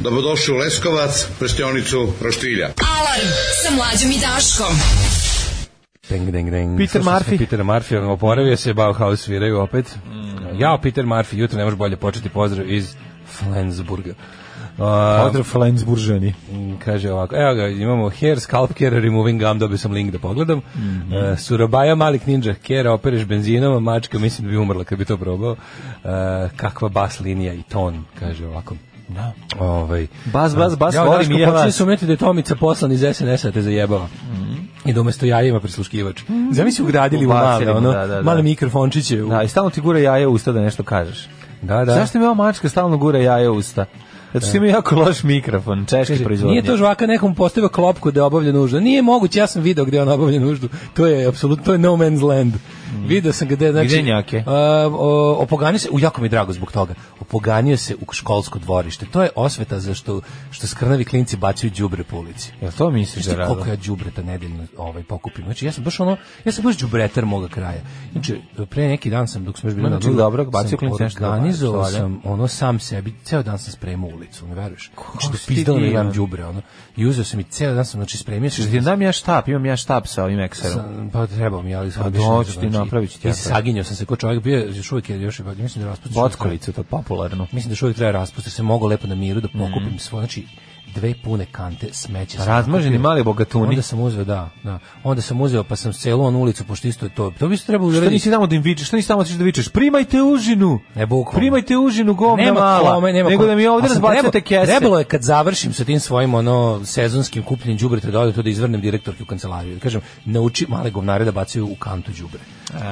A: Dobrodošli u Leskovac, prštionicu Roštilja.
D: Alarm sa mlađom i Daškom.
G: Deng, deng, deng.
E: Peter
G: Slušao sam
E: Murphy.
G: Peter Murphy, on oporavio se, Bauhaus sviraju opet.
E: Mm.
G: Jao, Peter Murphy, jutro ne može bolje početi pozdrav iz Flensburga. A,
E: Flensburžani.
G: m, kaže ovako, evo ga, imamo hair, scalp care, removing gum, dobio sam link da pogledam.
E: Mhm.
G: E, Surabaja, malik ninja, care, opereš benzinom, a mačka, mislim da bi umrla kad bi to probao. E, kakva bas linija i ton, kaže ovako. Da. Ovaj,
E: Bas, bas, bas,
G: ja,
E: volim i ja
G: počeli
E: vas.
G: su umeti da je Tomica poslan iz SNS-a te zajebava. I da umesto jaja ima prisluškivač. Zamisli ugradili u male,
E: Ubacili mu,
G: ono,
E: da, da, da.
G: male mikrofončiće. u-
E: Da, i stalno ti gura jaje u usta da nešto kažeš.
G: da, da.
E: Zašto mi ova mačka stalno gura jaje u usta? Zato što ima jako loš mikrofon, češki
G: Kaže,
E: proizvodnje.
G: Nije to žvaka nekom postavio klopku da obavlja nuždu. Nije moguće, ja sam video gde on obavlja nuždu. To je apsolutno to je no man's land. Video sam gde znači
E: Gde njake?
G: a, o, opoganio se, u jako mi je drago zbog toga. Opoganio se u školsko dvorište. To je osveta za što što skrnavi klinci bacaju đubre po ulici.
E: Jel to misliš da
G: Znaš ti
E: rado?
G: koliko ja đubreta nedeljno ovaj pokupim. Znači ja sam baš ono, ja sam baš đubretar moga kraja. Znači pre neki dan sam dok smo još bili
E: Ma,
G: na
E: znači,
G: Dunavu,
E: dobro, bacio
G: sam
E: klinci nešto da baciš,
G: Organizovao
E: valjda.
G: sam ono sam sebi, ceo dan sam spremao ulicu, ne veruješ. Što
E: si ti
G: pizdalo ne
E: divan.
G: gledam đubre ono. I uzeo sam i ceo dan sam znači spremio sam.
E: Ti nam ja štap, imam ja štap sa ovim ekserom.
G: Sam- Pa treba mi, ali sad
E: Pa
G: više
E: doći
G: ne
E: ti,
G: znači.
E: napravit ću ti
G: I
E: ja to.
G: saginjao sam se kao čovjek bio, još uvijek je još mislim da raspustiš.
E: Bockolicu, to popularno.
G: Mislim da još uvijek treba raspustiti, se mogu lepo na miru da
E: Mhm.
G: pokupim svoje, znači dve pune kante smeća. sam
E: Razmaženi
G: pokupio.
E: mali bogatuni.
G: Onda sam uzeo, da, da. Onda sam uzeo pa sam celu onu ulicu, pošto isto je to. To bi se trebalo
E: Šta
G: uraditi.
E: nisi tamo da im vičeš? Šta nisi tamo otišao da vičeš? Primajte užinu!
G: Ne, bukvalno.
E: Primajte užinu, govna mala!
G: kome,
E: Nego
G: kome.
E: da mi ovdje
G: A sam
E: razbacate
G: trebao-
E: kese.
G: Trebalo je kad završim sa tim svojim ono sezonskim kupljenjem đubreta da odem to da izvrnem direktorki u kancelariju. Da kažem, nauči male govnare da bacaju u kantu đubre.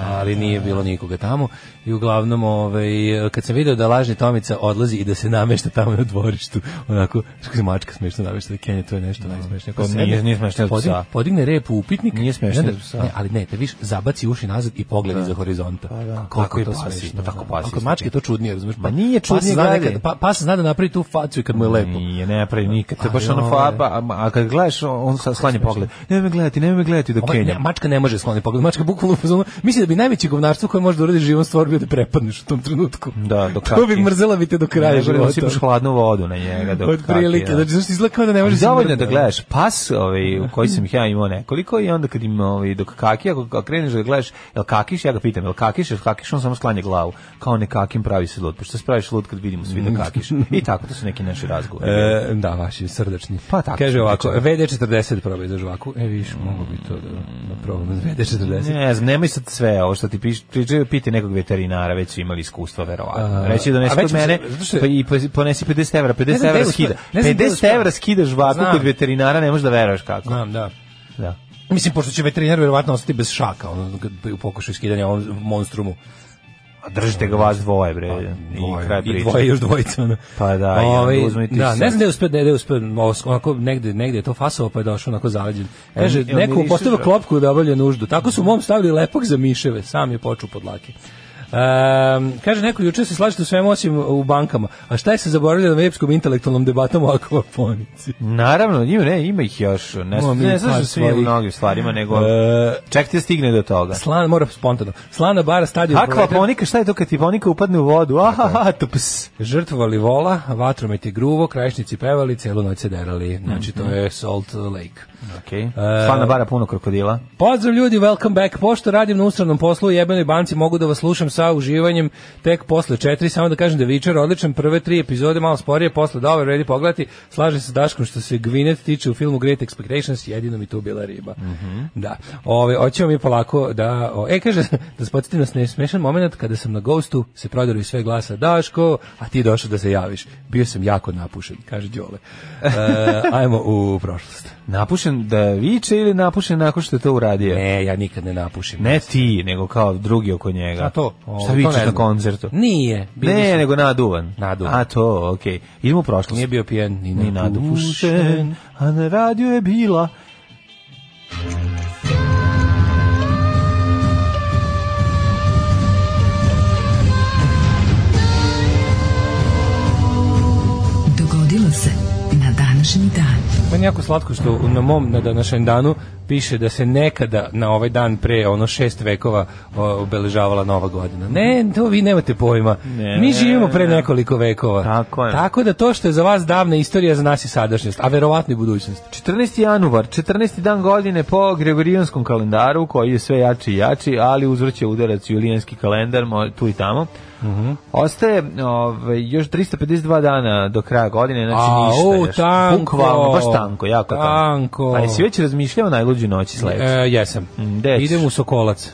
G: ali nije bilo nikoga tamo i uglavnom ovaj, kad sam video da lažni Tomica odlazi i da se namešta tamo na dvorištu onako, što se mačka smešno namešta da Kenja, to je nešto najsmešnije Ko
E: To
G: sede,
E: nije- nije smešno od
G: podig-
E: psa.
G: podigne rep u upitnik
E: Nije smešno
G: i onda-
E: od psa.
G: ne, ali ne, te viš, zabaci uši nazad i pogledi za horizonta
E: Pa da.
G: koliko
E: Tako
G: je
E: je
G: to
E: pasi,
G: smešno
E: pa tako
G: da.
E: pasi
G: A kod
E: isto.
G: mačke je to čudnije, razumiješ
E: Ma nije čudnije
G: zna
E: dalje.
G: nekad- pa, pas zna da napravi tu facu i kad mu je lepo
E: Nije, ne pravi nikad. To je baš
G: Ali
E: ono
G: ovo je-
E: faba, a, a kad gledaš, on sa- slanje pogled. Nemoj me gledati, nemoj me gledati do
G: Ovaj, ne,
E: Kenja.
G: mačka ne može skloniti pogled. Mačka bukvalno u fazonu- Mislim da bi najveće govnarstvo koje može da uradi živom stvoru bio da prepadneš u tom trenutku.
E: Da, do
G: To bi
E: kaki.
G: mrzela bi te do kraja
E: Ne,
G: života.
E: da sipaš hladnu vodu na njega. Dok
G: Od prilike,
E: kaki,
G: znači, znači izgleda kao da ne može se
E: Dovoljno
G: mrdne.
E: da gledaš pas, ovaj, u koji sam ih ja imao nekoliko i onda kad im, ovaj, dok kaki, ako ako kreneš da gledaš, jel kakiš, ja ga pitam, jel kakiš, jel kakiš, on samo sklanje glavu, kao ne kakim pravi se lud, pošto se praviš lud kad vidimo svi da
G: *laughs*
E: kakiš, i tako, to su neki naši razgovori.
G: E, da, vaši srdačni.
E: Pa tako.
G: Kaže ovako,
E: Znači.
G: VD40 probaj za žvaku. E, viš, mogu bi to da, da probam. VD40.
E: Ne znam, nemoj sad sve ovo što ti piš, pričaju, piti nekog veterinara, već su imali iskustva, verovatno.
G: A,
E: Reći da
G: a
E: donesi
G: već
E: kod
G: mi se-
E: mene,
G: zato što je-
E: pa i pa- ponesi 50 evra, 50
G: znam gde
E: evra
G: je gospod-
E: skida.
G: ne znam gde je
E: 50 evra
G: gospod-
E: skidaš žvaku
G: Znam.
E: kod veterinara, ne možeš da veruješ kako.
G: Znam, da.
E: Da.
G: Mislim, pošto će veterinar vjerovatno ostati bez šaka ono, kad- u pokušaju skidanja ovom monstrumu.
E: A držite ga vas dvoje, bre. I kraj
G: Ovaj, I
E: priče.
G: dvoje još dvojica. ono.
E: Pa da, i onda
G: Ovaj,
E: uzmi ti
G: da,
E: sad.
G: ne znam da je uspeo, da je uspeo, os- onako negde, negde je to fasovo pa je došao onako zaleđen. Kaže,
E: E,
G: neko
E: miriše
G: postavio
E: žrak.
G: klopku da obavlja nuždu. Tako su mom stavili lepog za miševe, sam je počeo pod lake. Ehm, kaže neko juče se slažete u svemu osim u bankama. A šta je se zaboravljalo na epskom intelektualnom debatom o akvaponici?
E: Naravno, ima, ne, ima ih još. Ne,
G: Ima mi
E: ne
G: par
E: znaš svi
G: svojih.
E: u mnogim stvarima, nego...
G: E,
E: Čekajte da stigne do toga.
G: Slana, mora spontano. Slana bara stadion proletar,
E: Akvaponika, šta je to kad ti ponika upadne u vodu? Ahaha, to ps.
G: žrtvovali vola, vatromet je gruvo, krajišnici pevali, celu noć se derali. Znači, to je Salt Lake.
E: Okej. Slana E, bara puno krokodila.
G: Pozdrav ljudi, welcome back. Pošto radim na ustranom poslu u jebenoj banci, mogu da vas slušam sa uživanjem tek posle četiri. Samo da kažem da je Vičer odličan, prve tri epizode malo sporije, posle dobar, vredi pogledati. Slažem se s Daškom što se Gvinet tiče u filmu Great Expectations, jedino mi tu bila riba.
E: Mhm.
G: Da. Ove, hoćemo mi polako da... O, e, kaže, *laughs* da spodsjetim nas na smešan moment kada sam na Ghostu, se prodaru i sve glasa Daško, a ti došao da se javiš. Bio sam jako napušen, kaže
E: *laughs*
G: Đole. E, ajmo u prošlost.
E: Napušen da viče ili napušen nakon što je to uradio?
G: Ne, ja nikad ne napušim.
E: Ne ti, nego kao drugi oko njega.
G: A to? O,
E: Šta
G: to ne
E: vičeš na
G: znam.
E: koncertu?
G: Nije. Bili
E: Ne,
G: smo-
E: nego naduvan.
G: Naduvan.
E: A to, okej. Idemo u prošlost.
G: Nije bio pijen ni,
E: ni nadušen,
G: napušen.
E: a na radiju je bila.
D: Dogodilo se na današnji dan.
G: Meni je jako slatko što u- na mom na današnjem danu piše da se nekada na ovaj dan pre ono šest vekova o, obeležavala nova godina. Ne, to vi nemate pojma.
E: Ne,
G: Mi živimo pre
E: ne.
G: nekoliko vekova.
E: Tako je.
G: Tako da to što je za vas davna istorija, za nas je sadašnjost, a verovatno i budućnost.
E: 14. januar, 14. dan godine po Gregorijanskom kalendaru, koji je sve jači i jači, ali uzvrće udarac julijanski kalendar, mo- tu i tamo.
G: Mhm.
E: Ostaje ovaj, još 352 dana do kraja godine, znači
G: A,
E: ništa.
G: u,
E: još.
G: tanko.
E: Bukvalno, baš tanko, jako tanko.
G: Tanko.
E: A jesi već razmišljao o najluđoj noći sledeće?
G: E, jesam.
E: Mm, gde ćeš?
G: Idem u Sokolac.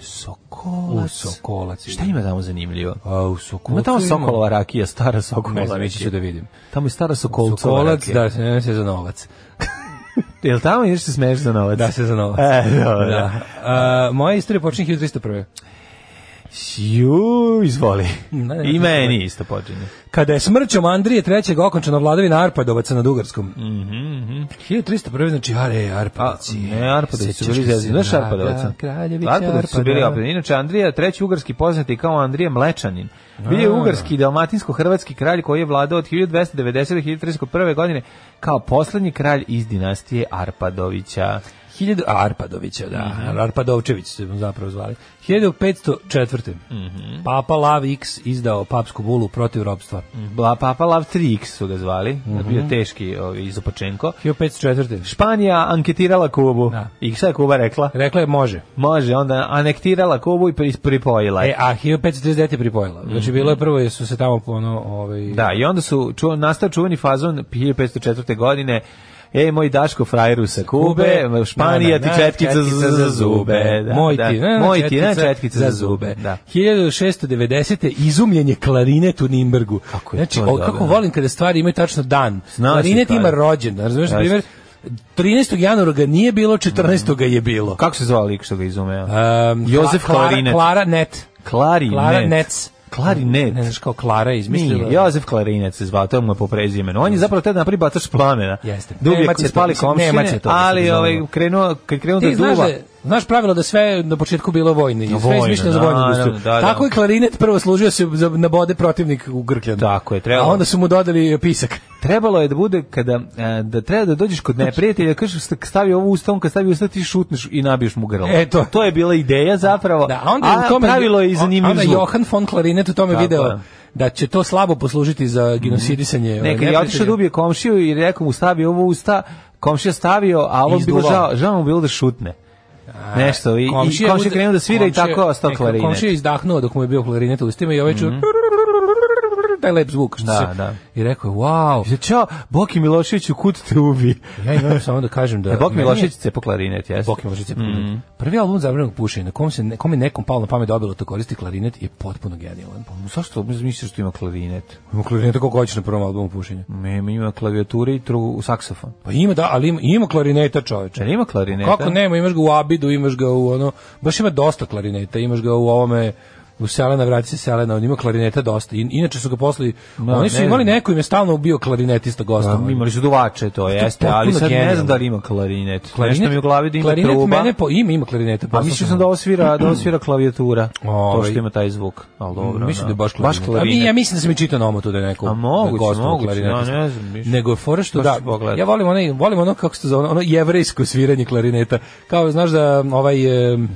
E: Sokolac.
G: U Sokolac.
E: Šta ima tamo zanimljivo?
G: A, u Sokolac.
E: Ima tamo
G: ima-
E: Sokolova rakija, stara
G: Ne
E: Sokolova
G: znam, ići ću da
E: rakija.
G: vidim.
E: Tamo je stara Sokolcova
G: Sokolac,
E: rakija.
G: da, se ne se za novac.
E: Jel tamo ideš se smeješ za novac?
G: Da se za novac.
E: E, dobro. Mm,
G: Da. A, moja istorija počinje 1301.
E: Ju, izvoli.
G: *laughs* Ne, ne,
E: I
G: ne,
E: meni isto počinje.
G: Kada je smrćom Andrije III. okončana vladavina Arpadovaca na Dugarskom. Mm -hmm. 1301. znači, are, Arpadovci.
E: Mhm, Ne, Arpadović su
G: Sećaš
E: bili
G: li se
E: zezani. Znaš
G: Draga
E: Arpadovica?
G: Kraljevića
E: Arpadović su bili
G: Arpada?
E: Arpadović. Inače, Andrija, treći ugarski poznati kao Andrija Mlečanin. Bio je ugarski i dalmatinsko-hrvatski kralj koji je vladao od 1290. do 1301. godine kao poslednji kralj iz dinastije Arpadovića.
G: Hiljadu, a, Arpadovića, da.
E: Mhm.
G: Arpadovčević se zapravo zvali. 1504.
E: Mhm.
G: Papa Lav X izdao papsku bulu protiv robstva.
E: Bla, Papa Lav 3x su ga zvali.
G: Mhm.
E: Bio teški ovaj, izopačenko.
G: 1504.
E: Španija anketirala Kubu.
G: Da.
E: I šta je Kuba rekla?
G: Rekla je može.
E: Može, onda anektirala Kubu i pri- pripojila je.
G: E, a 1539 je pripojila. Znači, bilo je prvo, jer su se tamo, ono, ovaj...
E: Mhm. Da, i onda su ču, nastao čuveni fazon 1504. godine Ej, moj Daško frajeru sa Kube, Španija
G: Na, na,
E: ti četkica
G: na,
E: za, za zube. Da,
G: moj
E: da.
G: ti, na, na,
E: moj ti, ne, četkica za zube. Da.
G: 1690. izumljen je klarinet u Nimbergu.
E: Kako je
G: znači,
E: to
G: o,
E: dobro.
G: kako volim kada stvari imaju tačno dan.
E: Zna se
G: klarinet
E: kada.
G: ima rođen, razumiješ, na
E: Jeste.
G: primjer, 13. januara ga nije bilo, 14. ga je bilo.
E: Kako se zvala lik što ga ono? izumeo?
G: Um,
E: Jozef
G: Kla-
E: Klarinet.
G: Klara- Klara Net.
E: Klarinet.
G: Klara Nec.
E: Klarinet.
G: Ne znaš kao Klara je izmislila.
E: Nije, Jozef Klarinet se zvao, to mu je po prezimenu. On je zapravo tada napravi batač plamena.
G: Jeste.
E: Dublje
G: Nemac je to,
E: spali
G: mislim,
E: komšine,
G: Nemac je to, mislim,
E: ali
G: zove.
E: ovaj, krenuo, kad krenuo da
G: Ti
E: duva...
G: znaš, da, znaš pravilo da sve na početku bilo vojno, i sve
E: Vojno,
G: izmišljeno za vojnu
E: da,
G: industriju.
E: da, da, da.
G: Tako je klarinet prvo služio se za, na bode protivnik u Grkljanu.
E: Tako je,
G: A
E: trebalo.
G: onda su mu dodali pisak.
E: Trebalo je da bude kada e, da treba da dođeš
G: Znači-
E: kod neprijatelja, da kažeš sta- stavi ovo u usta, on kad stavi u usta ti šutneš i nabiješ mu grlo.
G: E, to.
E: je bila ideja zapravo.
G: Da, a onda je u tome,
E: Pa, pravilo je i zanimljiv
G: onda je
E: zvuk.
G: Johan von Klarinet u tome
E: Tako
G: video
E: je.
G: da će to slabo poslužiti za genosidisanje. ovaj,
E: Ne, kad je otišao da
G: neprijatelja.
E: ubije komšiju i rekao mu stavi ovo u usta, komšija stavio, a ovo bilo
G: Izduvao.
E: žao, žao mu bilo da šutne. Nešto, i, komšija, i
G: je
E: komšija
G: uz-
E: krenuo da svira i
G: komšija-
E: tako je ostao
G: neka-
E: klarinet. Mhm.
G: Komšija je izdahnuo dok mu je bio klarinet u ustima i ovaj čuo *laughs* taj lep zvuk. što
E: Da,
G: se-
E: da.
G: I rekao je,
E: *laughs*
G: wow,
E: Kaže, Ćao, Boki Miloševiću, kud te ubi?
G: ja imam samo da kažem da...
E: E, Boki
G: meni je-
E: Milošević cepo klarinet, jesi?
G: Boki Milošević je
E: Mhm.
G: problem. Prvi album zabranjenog pušenja, na kom, se, ne- kom je nekom palo na pamet dobilo to koristi klarinet, je potpuno genijalan.
E: Zašto misliš što ima klarinet?
G: Ima klarinet koliko hoćeš na prvom albumu pušenja.
E: Ne, ima klavijature i tru, saksofon.
G: Pa ima, da, ali ima, ima klarineta čoveče.
E: Čer ima klarineta?
G: Kako nema, imaš ga u abidu, imaš ga u ono, baš ima dosta klarineta, imaš ga u ovome, u Selena, vrati se Selena, on ima klarineta dosta. In, inače su ga posli,
E: Da,
G: oni su
E: ne
G: imali
E: znam.
G: neko im je stalno bio klarinetista
E: Pa,
G: gostom.
E: imali su duvače, to jeste,
G: potpuno
E: ali sad ne
G: genijalno.
E: znam da li ima klarinet. Nešto mi u glavi da ima
G: klarinet
E: truba.
G: mene po ime ima klarineta.
E: Pa mislio sam da ovo svira, da ovo svira klavijatura. to
G: Ovaj.
E: što ima taj zvuk. Al dobro.
G: Mm, Mislim da je baš
E: Baš
G: klarinet. A mi-
E: klarinet.
G: ja mislim da sam i čitao na omotu da je neko
E: A moguće,
G: da je gostovao
E: moguće,
G: klarinetista.
E: ja ne znam, mislim.
G: Nego je fora što
E: Baš
G: da,
E: ću pogledati.
G: ja volim onaj, volim ono kako se zove, ono jevrejsko sviranje klarineta. Kao znaš da ovaj em,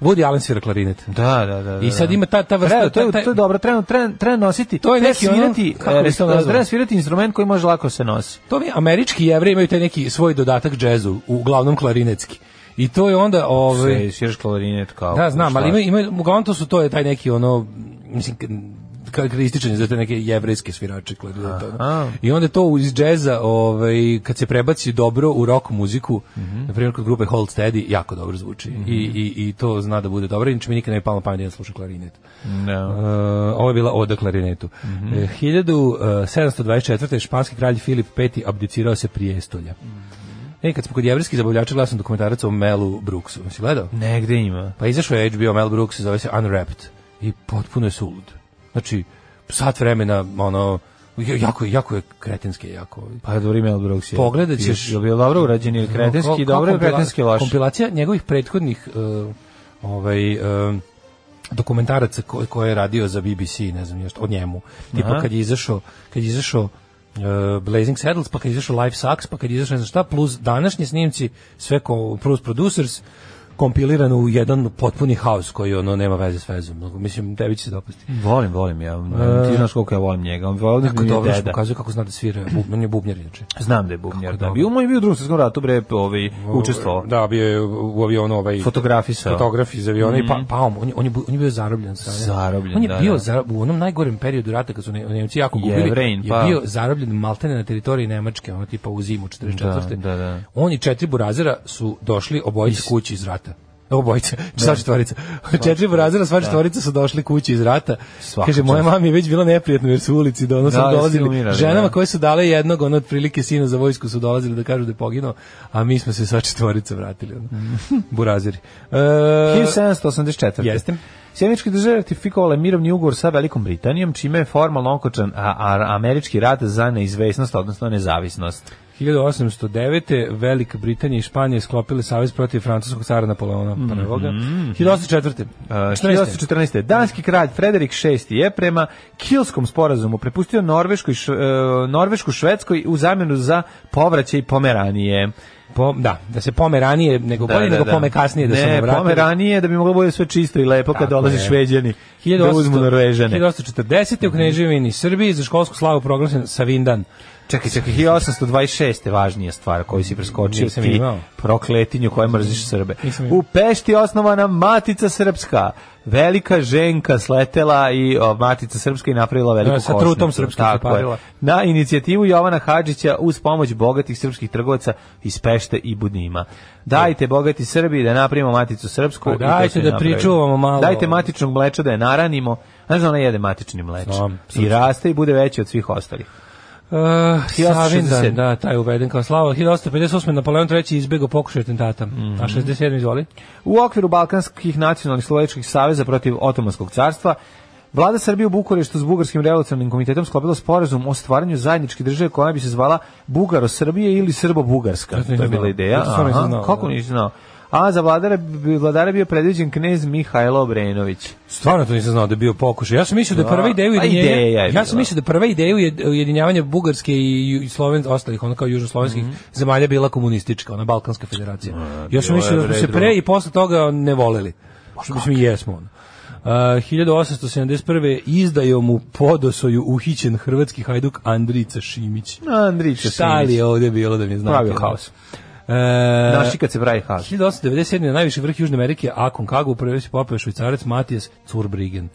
G: Woody Allen svira klarinet.
E: Da, da, da. da.
G: I sad ima ta ta vrsta
E: Treba, to, je,
G: taj-
E: to je dobro, treba, treba, treba nositi,
G: To je
E: treba
G: neki ono-
E: svirati,
G: kako bi se to
E: e,
G: nazvalo?
E: treba svirati instrument koji može lako se nosi.
G: To mi američki jevreji imaju taj neki svoj dodatak džezu, uglavnom klarinetski. I to je onda ovaj
E: Sve, sviraš klarinet kao...
G: da znam,
E: Pa, šta?
G: ali ima ima uglavnom to su to je taj neki ono mislim k- karakterističan za te neke jevrejske svirače klarineta.
E: Aha.
G: I onda to iz džeza, ovaj kad se prebaci dobro u rock muziku,
E: Mhm.
G: na primjer kod grupe Hold Steady, jako dobro zvuči. I, i, i to zna da bude dobro, inače mi nikad ne bi palo na pamet da ja slušam klarinet.
E: Da.
G: Uh, ovo je bila oda klarinetu. Mm
E: Mhm.
G: -hmm. 1724. španski kralj Filip V abdicirao se prijestolja.
E: Mhm.
G: E, kad smo kod jevrejskih zabavljača, gledao sam dokumentarac o Melu Brooksu. Si gledao?
E: Negde ima.
G: Pa izašao je HBO Mel Brooks, zove se Unwrapped. I potpuno je sulud. Znači, sat vremena, ono, jako, je- jako je kretenski, jako.
E: Pa dobro ime Elbrooks je.
G: Pogledat ćeš-
E: Je li bio dobro urađen ili
G: Kao-
E: kretenski,
G: kao
E: dobro je
G: kompila-
E: kretenski loš.
G: Kompilacija njegovih prethodnih uh, ovaj uh, dokumentaraca ko, koje je radio za BBC, ne znam nešto, o njemu. Tipa
E: Aha.
G: kad je izašao, kad je izašao uh, Blazing Saddles, pa kad je izašao Life Sucks, pa kad je izašao ne znam šta, plus današnji snimci, sve ko, plus producers, kompilirano u jedan potpuni haos koji ono nema veze s vezom. Mislim, tebi će se dopasti.
E: Volim, volim ja. Ti znaš koliko ja volim njega. On volim
G: E. Kako
E: mi je
G: dobro što
E: deda.
G: pokazuje kako zna da svira, bub, on je bubnjar inače.
E: Znam da je bubnjar. Da.
G: dobro.
E: Bio moj je bio u drugom svetskom ratu bre, ovaj učestvovao.
G: Da, bio je u avionu ovaj
E: Fotografisao. Mhm.
G: Fotograf iz aviona i pa pao mu. on je on je bu- on je bio zarobljen od strane-
E: Zarobljen,
G: On je
E: da,
G: bio
E: da.
G: za, u onom najgorem periodu rata kad su Ne- Nemci jako gubili.
E: Jevrein,
G: je
E: pa.
G: bio zarobljen maltene na teritoriji Nemačke, ono tipa u zimu 44.
E: Da, da, da.
G: On i četiri burazera su došli obojica kući iz rata. *laughs* Obojica, sva četvorica. Četiri burazera, sva četvorica su došli kući iz rata.
E: Svaka
G: Kaže, moja
E: čast.
G: mama je već bilo neprijatno jer su u ulici do
E: Da,
G: da, ono,
E: jer su
G: dolazili
E: umirali,
G: ženama
E: da.
G: koje su dale jednog ono otprilike sina za vojsku su dolazili da kažu da je poginuo, a mi smo se sva četvorica vratili ono.
E: Mm.
G: Burazeri. E,
E: 1784.
G: Jeste.
E: Sjemičke države ratifikovala mirovni ugovor sa Velikom Britanijom, čime je formalno okočan a, a, američki rat za neizvesnost, odnosno nezavisnost.
G: E, 1809. Velika Britanija i Španija sklopile savez protiv francuskog cara Napoleona
E: Mhm.
G: prvoga. 1804.
E: Uh,
G: 14.
E: 1914. Danski kralj Frederik VI je prema Kilskom sporazumu prepustio Norvešku, i Š- e, Norvešku Švedskoj u zamjenu za povraćaj Pomeranije.
G: Po, da, da se pome ranije, nego bolje nego pome kasnije da
E: ne,
G: se ne vrati.
E: pome ranije da bi moglo bude sve čisto i lepo kad
G: Tako
E: dolaze
G: je.
E: Šveđani da
G: 1800
E: uzmu Norvežane.
G: 1840. u Kneževini Srbiji za školsku slavu proglašen Savindan.
E: Čekaj, čekaj, 1826. je važnija stvar koju si preskočio
G: Nisam
E: ti
G: imao.
E: prokletinju koja mrziš Srbe.
G: Nisam imao.
E: U Pešti osnovana Matica Srpska. Velika ženka sletela i o, Matica Srpska i napravila veliku
G: Da, sa
E: košnicu.
G: trutom srpskim se
E: Tako je.
G: parila.
E: Na inicijativu Jovana Hadžića uz pomoć bogatih srpskih trgovaca iz Pešte i Budnima. Dajte bogati Srbi da napravimo Maticu Srpsku.
G: Pa
E: i to
G: dajte
E: ste
G: da
E: napravili.
G: pričuvamo malo.
E: Dajte matičnog mleča da je naranimo. Znaš da ona jede matični mleč.
G: Znam,
E: I raste i bude veći od svih ostalih.
G: Uh,
E: 1867.
G: Savindan, da, taj je uveden kao slava. 1858. Napoleon III. izbegao pokušaj atentata. A 67. izvoli?
E: U okviru Balkanskih nacionalnih slovačkih saveza protiv Otomanskog carstva, Vlada Srbije u Bukureštu s Bugarskim revolucionarnim komitetom sklopila sporazum o stvaranju zajedničke države koja bi se zvala Bugaro-Srbije ili Srbo-Bugarska.
G: nisam
E: To je bila
G: znao.
E: ideja.
G: To stvarno nisam
E: Aha,
G: znao,
E: Kako
G: da.
E: nisi znao? A za vladara, vladara bio predviđen knez Mihajlo Obrenović.
G: Stvarno to nisam znao da je bio pokušaj. Ja sam mislio da
E: Da,
G: je prva ideja
E: a
G: ujedinjenja.
E: ideja je
G: ja sam
E: bila.
G: mislio da je prva ideja ujed- ujedinjavanja Bugarske i ju- i Sloven ostalih, ono kao južnoslovenskih zemalja bila komunistička, ona Balkanska federacija. ja sam
E: bilo
G: mislio
E: je
G: da smo se
E: bre
G: pre i posle toga ne voleli. Što mislim i jesmo. Ono. Uh, 1871. izdajom u Podosoju uhićen hrvatski hajduk Andrica Šimić.
E: Andrić
G: Šta li je ovdje bilo da mi znam?
E: Pravio haos.
G: E,
E: Naši kad se pravi haos.
G: 1897. na najviši vrh Južne Amerike, Akon Kagu, u prvoj se popeo švajcarac Matijas Curbrigen.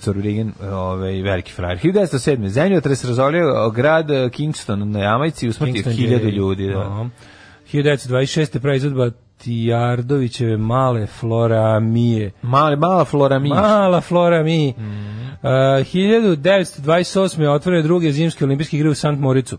E: Corbrigen, ovaj veliki frajer. 1907. Zemljotres razolio grad eh, Kingston na Jamajci i usmrtio
G: Kingston
E: hiljadu
G: Jerry.
E: ljudi. Da.
G: Aha. 1926. pravi izvedba Tijardovićeve male flora mije.
E: Mala, mala flora mi.
G: Mala flora mi. Uh, 1928. otvore druge zimske olimpijske igre u Sant Moricu.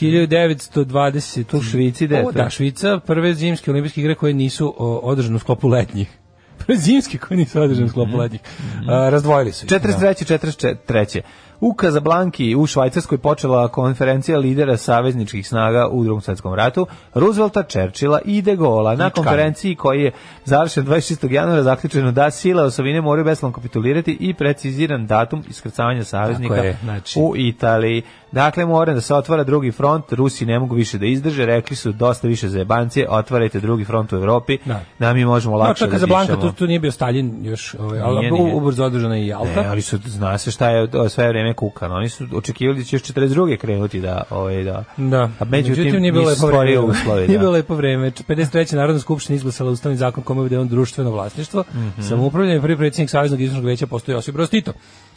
G: 1920.
E: u Švici, da je
G: Mhm. O,
E: to?
G: Da, Švica, prve zimske olimpijske igre koje nisu o, održane u sklopu letnjih. *laughs* Prve zimske koje nisu održane u sklopu letnjih. A, razdvojili su ih.
E: 43. 43. U Kazablanki u Švajcarskoj počela konferencija lidera savezničkih snaga u drugom svjetskom ratu, Roosevelta, Čerčila i De Gaulla. Na konferenciji koji je završen 26. januara zaključeno da sile osovine moraju beslovno kapitulirati i preciziran datum iskrcavanja saveznika
G: Tako je, znači-
E: u Italiji. Dakle, moram da se otvara drugi front, Rusi ne mogu više da izdrže, rekli su dosta više za jebancije, otvarajte drugi front u Evropi,
G: Da.
E: da mi možemo
G: Da,
E: lakše
G: to je
E: da
G: Kazablanka,
E: dišemo.
G: tu, tu nije bio Stalin još, ovaj, ali
E: Nije,
G: u-
E: nije.
G: ubrzo održana je i Jalta.
E: Ne, ali su, zna se šta je o, sve vreme kukan. Oni su očekivali da će još 42. krenuti da... Ovaj, da.
G: Da.
E: A međutim,
G: nije bilo
E: nisu
G: lepo vreme.
E: stvorio uslove.
G: *laughs* Nije
E: Da.
G: bilo lepo vreme. 53. Narodna skupština izglasala ustavni zakon kome je uvedeno društveno vlasništvo. Mm
E: Mhm.
G: Samoupravljanje prvi predsjednik Saveznog izvršnog veća postoji Josip Broz Tito.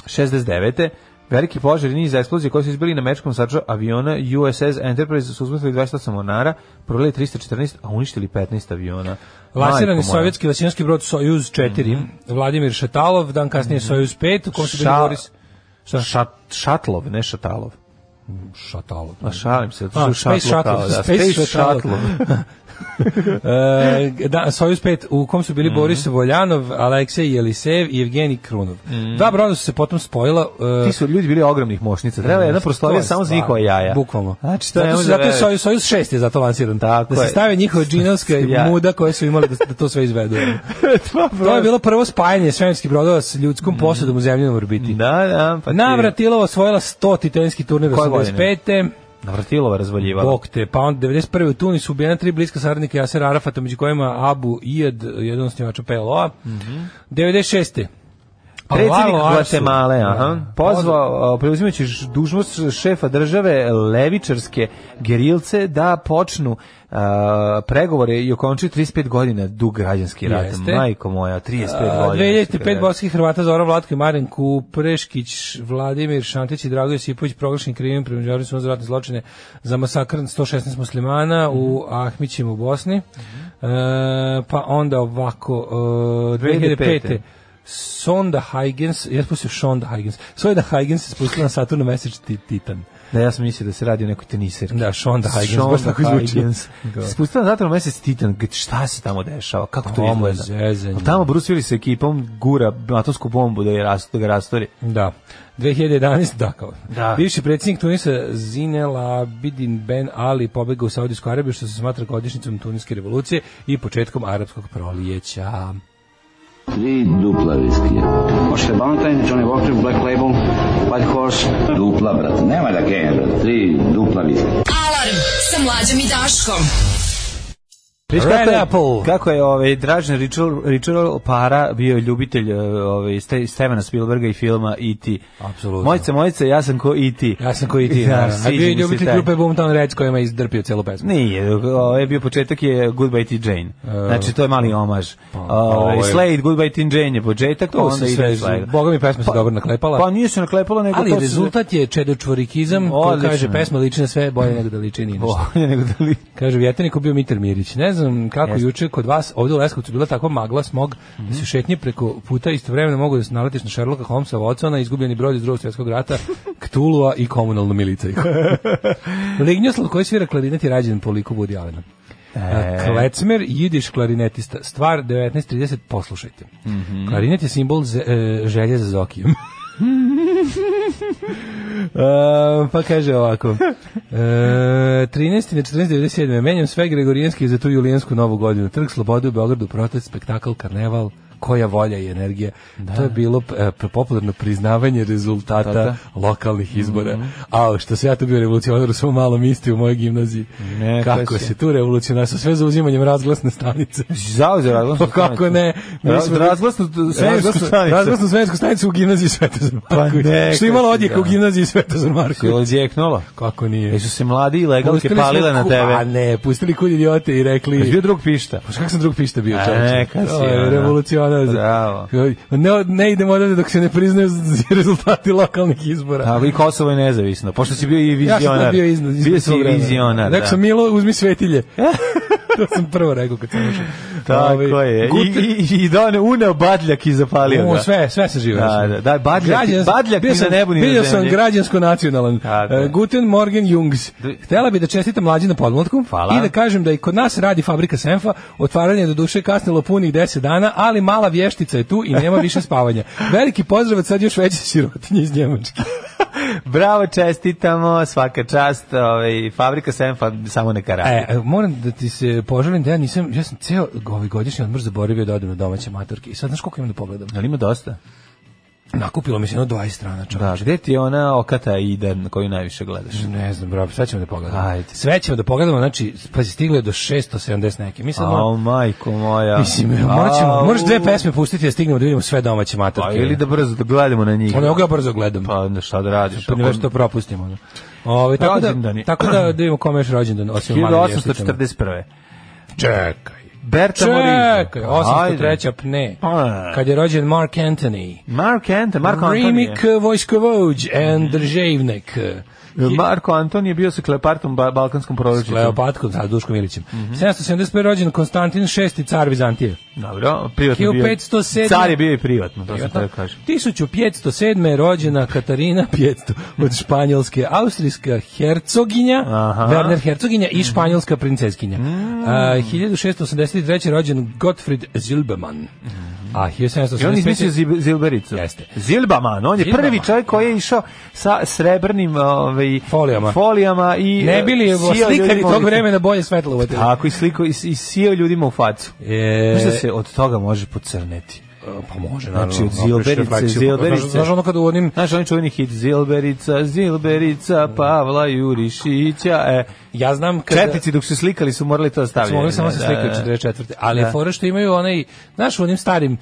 E: 69. Veliki požar i niz eksplozije koji su izbili na mečkom saču aviona USS Enterprise su uzmetili 28 onara, prodali 314, a uništili 15 aviona.
G: Lasirani
E: Majko moja. Mhm.
G: sovjetski lasiranski brod Sojuz 4, Vladimir Šetalov, dan kasnije Sojuz 5, u kom su bili
E: Ša-
G: Boris... Šta?
E: Šat, šatlov, ne šatalov.
G: Šatalov.
E: A šalim se,
G: A,
E: to su
G: Space
E: šatlov.
G: Shuttle,
E: kao, Da,
G: Space
E: space
G: Shuttle.
E: šatlov.
G: *laughs* E, da, Sojuz 5, u kom su bili
E: Mhm.
G: Boris Voljanov, Aleksej Jelisejev i Evgenij Krunov. Dva broda su se potom spojila... e,
E: Mhm. Ti su ljudi bili ogromnih mošnica. Treba je jedna prostorija
G: To je
E: samo za
G: stvarno,
E: njihova jaja.
G: Bukvalno.
E: Znači, to je
G: zato, su- zato je Sojuz, Sojuz 6 je zato lansiran.
E: Tako
G: da se
E: je.
G: stave njihove džinovske
E: *laughs* Ja.
G: muda koje su imali da, da to sve izvedu.
E: *laughs*
G: to je bilo prvo spajanje svemirskih brodova s ljudskom posadom u zemljenom orbiti.
E: Mm. Da, da, pa ti-
G: Navratilova osvojila 100 titenski turnir
E: Koje godine?
G: 85.
E: Navratilova razvaljivala.
G: Bog te, pa onda 91. u Tunisu ubijena tri bliska saradnika Jasera Arafata, među kojima Abu Iyad, jedan od snimača PLO-a.
E: Mhm.
G: 96.
E: Predsjednik
G: Alvaro Pa Arsu.
E: Guatemala, aha,
G: Da.
E: pozvao, a, preuzimajući ž- dužnost šefa države, levičarske gerilce da počnu a, pregovore i okončuju 35 godina dug građanski rat.
G: Jeste.
E: Majko moja, 35
G: A,
E: godina.
G: 2005 bosanskih Hrvata Zoran Vlatko i Marin Kupreškić, Vladimir Šantić i Drago Josipović proglašeni krivim pri međunarodnim sudu za ratne zločine za masakr 116 muslimana u Ahmićima u Bosni. E, pa onda ovako, e, 2005.
E: 2005.
G: Sonda Huygens, ja sam pustio Sonda Huygens, Sonda Huygens se spustila na Saturn Message ti, Titan.
E: Da, ja sam mislio da se radi o nekoj teniserki.
G: Da, Shonda Huygens, baš tako zvuči. Da.
E: Spustila na zatvoru mesec Titan, g- šta se tamo dešava, kako to
G: Ovo je
E: izgleda?
G: zezanje.
E: Tamo Bruce Willis sa ekipom gura atomsku bombu da, je rast, da ga rastori.
G: Da. 2011, da, kao.
E: Da.
G: Bivši predsjednik Tunisa Zinel Abidin Ben Ali pobegao u Saudijsku Arabiju, što se smatra godišnjicom Tuniske revolucije i početkom arapskog prolijeća.
H: Tri dupla viskija. Možete Valentine, Johnny Walker, Black Label, White Horse. Dupla, brate, nema da gajem, brate. Tri dupla viskija.
D: Alarm sa mlađom i Daškom.
E: Viš
G: Red
E: kako je,
G: Apple.
E: Kako je ovaj Dražen Richard Richard Para bio ljubitelj eh, ovaj Ste- Stevena Spielberga i filma E E.T.
G: Apsolutno.
E: Mojice, mojice, ja sam ko E E.T.
G: Ja sam koji
E: *laughs*
G: ti,
E: Ja,
G: naravno. A
E: sviđa
G: bio je
E: mi se
G: ljubitelj
E: taj.
G: grupe Boomtown Reds kojima je izdrpio celu pesmu.
E: Nije, ovo je bio početak je Goodbye T. Jane.
G: Eh.
E: Znači, to je mali omaž. Ovaj,
G: ovo je-
E: Slade, Goodbye T. Jane je početak,
G: Pa, To
E: to
G: se
E: onda
G: sve,
E: ide Slade.
G: boga mi pesma se dobro naklepala.
E: Pa nije se naklepalo, nego
G: ali
E: to se- *laughs*
G: rezultat je čedočvorikizam, koji
E: Odlično.
G: kaže pesma liči na sve, bolje nego da liči ni na šta.
E: Bolje Pa, nego da li...
G: Kaže, vjeternik bio Mitar Mirić. Ne znam kako
E: Jeste.
G: juče kod vas ovde u Leskovcu bila takva magla smog da se šetnje preko puta istovremeno mogu da se naletiš na Sherlocka Holmesa, Watsona, izgubljeni brod iz drugog svjetskog rata, Ktulua i komunalnu milicaju. Lignjoslav koji svira klarinet je rađen po liku Woody Allena. E. Klecmer, jidiš klarinetista. Stvar 1930, poslušajte.
E: Mhm.
G: Klarinet je simbol ze- e, želje za
E: *laughs*
G: zokijom. E, pa kaže ovako. E, 13. na 14. 97. Menjam sve Gregorijanske za tu julijansku novu godinu. Trg Slobode u Beogradu, protest, spektakl, karneval, koja volja i energija. To je bilo e, popularno priznavanje rezultata
E: Da, Mhm.
G: lokalnih izbora. A što se ja tu bio revolucionar u svom malom isti u mojoj gimnaziji.
E: Ne,
G: kako
E: to si.
G: se tu revolucionar sa sve zauzimanjem razglasne stanice.
E: Zauzeo *laughs* razglasnu
G: Pa kako ne? Mi
E: Ra-
G: smo- Pa,
E: razglasnu svemirsku
G: Razglasnu-
E: stanicu.
G: Razglasnu svemirsku stanicu u gimnaziji Svetozar
E: Pa
G: Marković.
E: ne,
G: što je imala
E: kako si
G: odjeka
E: ga.
G: u gimnaziji Svetozar
E: Je
G: Marković.
E: li odjeknula?
G: Kako nije?
E: Jesu se mladi i legalke
G: Pustili
E: palile
G: smo
E: na
G: ku- A
E: tebe?
G: ne, pustili kud idiote i
E: Jesi bio
G: rekli...
E: drug pišta?
G: Pa kak sam drug pišta bio
E: A,
G: čovječe?
E: neka si,
G: Ovo je
E: ono.
G: Revolucionar.
E: Bravo.
G: Ne, ne idemo odavde dok se ne priznaju z- rezultati lokalnih izbora.
E: Tako i Kosovo je nezavisno, pošto si bio i
G: Ja sam
E: vizionar.
G: tad bio iznad. iznad
E: Bio si
G: svog
E: i
G: vremena.
E: vizionar, da.
G: Rekao sam Milo, uzmi
E: *laughs*
G: svetilje. to sam prvo rekao kad sam ušao.
E: Tako
G: Ovaj,
E: je. I,
G: Gut-
E: i, i doneo, uneo badljak i zapalio
G: O,
E: ga.
G: sve, sve se žive.
E: Da,
G: sve.
E: da, da, badljak-
G: Građans-
E: badljak
G: bio
E: ni na
G: sam-
E: nebu, ni na
G: Bio sam
E: zemlji.
G: građansko nacionalan.
E: Da, da.
G: E, Guten Morgen Jungs.
E: Da.
G: Htela bi da čestitam mlađi na podmlatku
E: Hvala.
G: i da kažem da i kod nas radi fabrika Senfa. Otvaranje je do duše kasnilo punih 10 dana, ali mala vještica je tu i nema više spavanja. Veliki pozdrav od sad još veće sirotinje iz Njemačke.
E: Bravo, čestitamo, svaka čast. Ovaj, fabrika Senfa samo neka radi.
G: E, e, moram da ti se poželim da ja nisam, ja sam ceo ovaj godišnji odmor zaboravio da odem na domaće maturke. I sad znaš koliko imam da pogledam?
E: Ali ima dosta.
G: Nakupilo mi se jedno 20 strana čovječe.
E: Da, gde ti je ona okata i den koju najviše gledaš?
G: Ne znam, bravo, sve ćemo da pogledamo.
E: Ajde.
G: Sve ćemo da pogledamo, znači, pazi, stiglo je do 670 neke. Mi sad
E: Au,
G: moramo,
E: majko moja.
G: mislim, morat ćemo,
E: Au.
G: moraš dve pesme pustiti da stignemo da vidimo sve domaće
E: Pa,
G: matorke.
E: ili da brzo da gledamo na njih.
G: Ono, evo ga ja brzo gledam.
E: Pa onda šta da radiš?
G: Pa ne već to propustimo. Ono. Ove, tako, da,
E: Rođendani.
G: tako da, da vidimo kome je još rođendan, osim Mali Vješticama.
E: 1841.
G: Čekaj.
E: Berta Morillo.
G: Čekaj, 803. pne.
E: Ajde.
G: Kad je rođen Mark Antony.
E: Pa. Mark Mhm. Anton, Marko Antonije.
G: Rimik vojskovođ and državnik.
E: Marko Anton je bio sa Klepartom ba Balkanskom proročicom.
G: Leopatkom, sad Duškom Ilićem.
E: Mhm.
G: 775. rođen Konstantin VI, car Vizantije.
E: Dobro, privatno bio.
G: 1507.
E: Car je bio i privatno, to sam
G: Privatno.
E: tako kažem.
G: 1507. je rođena Katarina Pjetsto od Španjolske, austrijska hercoginja,
E: Aha. Mhm.
G: Werner hercoginja i španjolska princeskinja. A, 1683. je rođen Gottfried Zilberman. A
E: Mhm. I on izmislio
G: 1785.
E: Zib- Zilbericu.
G: Jeste.
E: Zilbaman, on je
G: Zilbaman.
E: prvi čovjek koji je išao sa srebrnim ovaj,
G: Folijama.
E: folijama i
G: Ne bili
E: e, sijao
G: slikali
E: ljudima u
G: tog
E: lice.
G: vremena bolje svetlo uvatili.
E: Tako, i sliko, i, i sijao ljudima u facu.
G: E,
E: Znaš da se od toga može pocrneti?
G: pa može,
E: Znači,
G: naravno,
E: od
G: napraviš
E: Zilberice,
G: refrakciju.
E: Zilberice.
G: Znaš- Znaš ono kad u onim
E: pa Znaš, onaj čuveni hit Zilberica, Zilberica, Pavla Jurišića, e,
G: Ja znam kada...
E: Četnici dok su slikali su morali to
G: Su
E: stavljati. E,
G: mogli samo se slikaju 44. Ali je fora što imaju onaj, znaš, u onim starim e,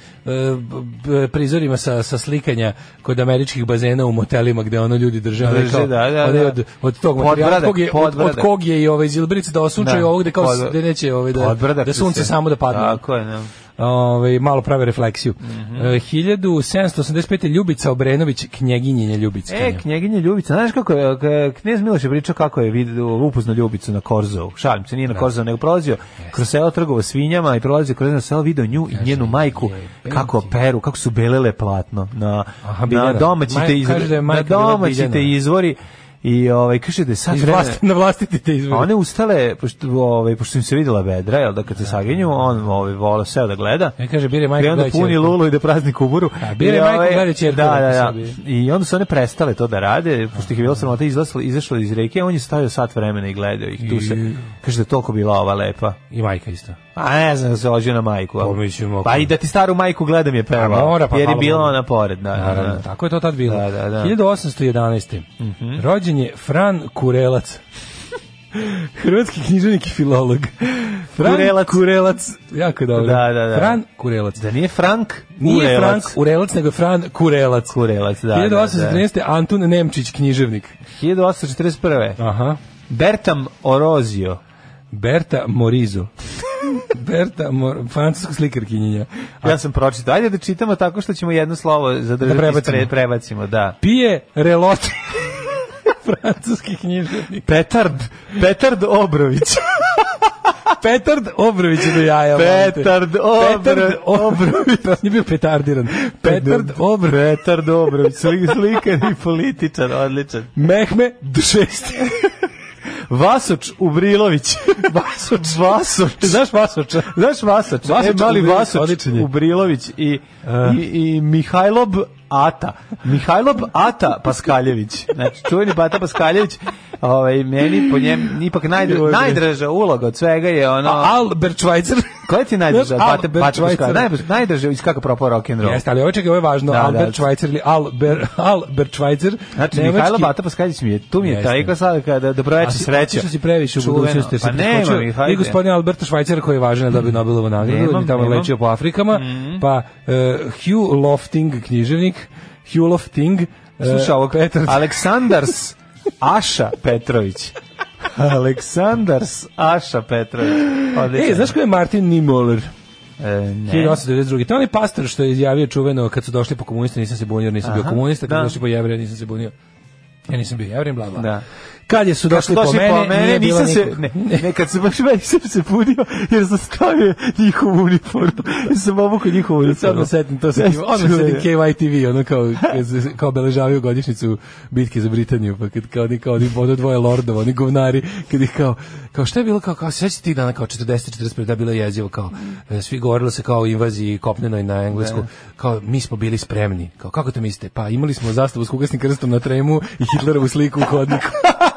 G: b- prizorima sa, sa slikanja kod američkih bazena u motelima gde ono ljudi drže, onaj
E: Drže,
G: kao-
E: da, da,
G: onaj
E: da.
G: od, od tog
E: Podbradak,
G: materijala, od kog je, od, od
E: podbradak.
G: kog je i ovaj zilbric da osučaju
E: Da,
G: ovog gde kao
E: podbra-
G: da neće ovaj, da,
E: Podbradak
G: da
E: se
G: sunce
E: sve.
G: samo da padne.
E: Tako je, da.
G: Ovaj, malo prave refleksiju.
E: Mhm.
G: E, 1785. Ljubica Obrenović, knjeginjenja Ljubicka.
E: E, knjeginja Ljubica, znaš kako je, k- knez Miloš je pričao kako je vidio, upoznao Ljubicu na Korzovu, šalim se, nije na Korzovu, nego prolazio kroz selo trgovo svinjama i prolazio kroz jedno selo, video nju i njenu majku, kako peru, kako su belele platno na,
G: Aha,
E: na
G: Biljana.
E: domaći
G: Maj-
E: te
G: kaže da
E: izvori.
G: je
E: na
G: majka bila
E: domaći te
G: Biljana.
E: izvori i ovaj, kaže da je sad
G: Iz
E: vreme-
G: vlasti, na vlastitite
E: A
G: izvore.
E: one ustale, pošto, ovaj, pošto im se videla vedra, jel da kad se saginju, on ovaj, volao seo da gleda.
G: E, kaže, bire majko,
E: I onda
G: gledaj
E: puni
G: ćerku.
E: lulu i da prazni kuburu.
G: A, bire
E: I,
G: majko,
E: ovaj,
G: gledaj ćerku,
E: Da, da,
G: rekao
E: da.
G: sebi.
E: I onda su one prestale to da rade, pošto ih je bilo sramota, izašla, izašla iz reke, a on je stavio sat vremena i gledao ih tu se. Kaže da je toliko bila ova lepa.
G: I majka isto.
E: A ne znam da se ođe na majku. ali-
G: Pa, mislim, ako-
E: pa i da ti staru majku gledam je peva.
G: A mora, pa
E: jer je
G: malo
E: bila
G: mora.
E: ona pored. Da, da,
G: Naravno,
E: da.
G: tako je to tad bilo.
E: Da, da, da. Mhm.
G: 1811. Rođen je Fran
E: *laughs*
G: Kurelac. Hrvatski književnik i filolog. Fran
E: Kurelac.
G: Kurelac. Jako dobro.
E: Da, da, da.
G: Fran Kurelac.
E: Da nije Frank
G: Nije
E: Urelac.
G: Frank Urelac, nego je Fran Kurelac.
E: Kurelac, da. da, da.
G: 1813. Antun Nemčić, književnik.
E: 1841.
G: Aha.
E: Bertam Orozio.
G: Berta
E: *laughs*
G: Morizo. Berta Mor... francuska slikarkinjenja.
E: Ja sam pročitao. Ajde da čitamo tako što ćemo jedno slovo zadržati
G: Pa- Da prebacimo.
E: ispred, prebacimo, da.
G: Pije
E: *laughs*
G: reloti. francuski književnik.
E: Petard, Petard Obrović.
G: *laughs* Petard Obrović do jaja. molim te.
E: Petard Obro-
G: Petard Obrović. *laughs* On je bio petardiran. Petard Obrović.
E: Petar
G: *laughs*
E: Dobrović, slik- slikan i političar, odličan.
G: Mehme
E: *laughs*
G: D6.
E: Vasoč Ubrilović.
G: *laughs* Vasoč.
E: Vasoč.
G: Znaš Vasoča?
E: Znaš Vasoč?
G: Vasoč
E: e, mali
G: Ubrilović,
E: Vasoč
G: odličan je. Eh.
E: Ubrilović i, i, i Mihajlob Ata. Mihajlob Ata Paskaljević. Znači, čuveni Bata Paskaljević. Ovaj, meni po njem ipak najdra, najdraža uloga od svega je ono...
G: A Albert Schweitzer.
E: Koja ti je najdraža?
G: Znaš,
E: Bate,
G: Albert
E: bate
G: Schweitzer.
E: Paskaljević. Najdraža, najdraža iz kako propao rock'n'roll.
G: Jeste, ali ovo čega je važno,
E: Da, da.
G: Albert Schweitzer ili Albert, Albert Schweitzer,
E: Znači,
G: nemački-
E: Mihajlo Bata Paskaljević mi je, tu mi je
G: Jeste.
E: taj kada, kada dobro
G: A
E: veče
G: si-
E: sreća.
G: Znači, otišao si previše u
E: Čuveno.
G: budućnosti, jer si
E: Pa nema,
G: preskočio
E: Mihajlo.
G: I gospodin Alberta Švajcara koji je važan da bi Nobelovu nagradu, on
E: Nemam,
G: je tamo
E: nemam. Mhm.
G: lečio po Afrikama, pa eh, Hugh Lofting, književnik, Hugh Lofting, eh,
E: Slušaj ovog
G: Petar,
E: Aleksandars Aša Petrović. Aleksandars Aša Petrović. Odličan.
G: E, znaš ko je Martin Niemöller?
E: E, ne.
G: 1892. To je onaj pastor što je izjavio čuveno kad su došli po komunista, nisam se bunio, jer nisam bio
E: Aha,
G: komunista, kad
E: da.
G: su došli po jevrija, nisam se bunio. Ja nisam bio jevrim, bla, bla.
E: Da.
G: Kad je su
E: Kad su
G: došli, po, mene, nije bilo
E: nisam se,
G: nikog.
E: ne, ne, kad se baš meni sam se punio, jer sam stavio njihovu uniformu. Ja sam obukao njihovu
G: se
E: uniformu.
G: odmah setim, to se,
E: Ja
G: odmah
E: čujem.
G: Ono. setim KYTV, ono kao, kad se- kao obeležavaju godišnjicu bitke za Britaniju, pa kad kao oni, kao oni, ono dvoje lordova, oni govnari, kad ih kao, kao šta je bilo, kao, kao, sveći tih dana, kao 40-45, da je bilo jezivo, kao, e, svi govorilo se kao o invaziji kopnenoj na Englesku, kao, mi smo bili spremni, kao, kako to mislite, pa imali smo zastavu s kugasnim krstom na tremu i Hitlerovu sliku u hodniku.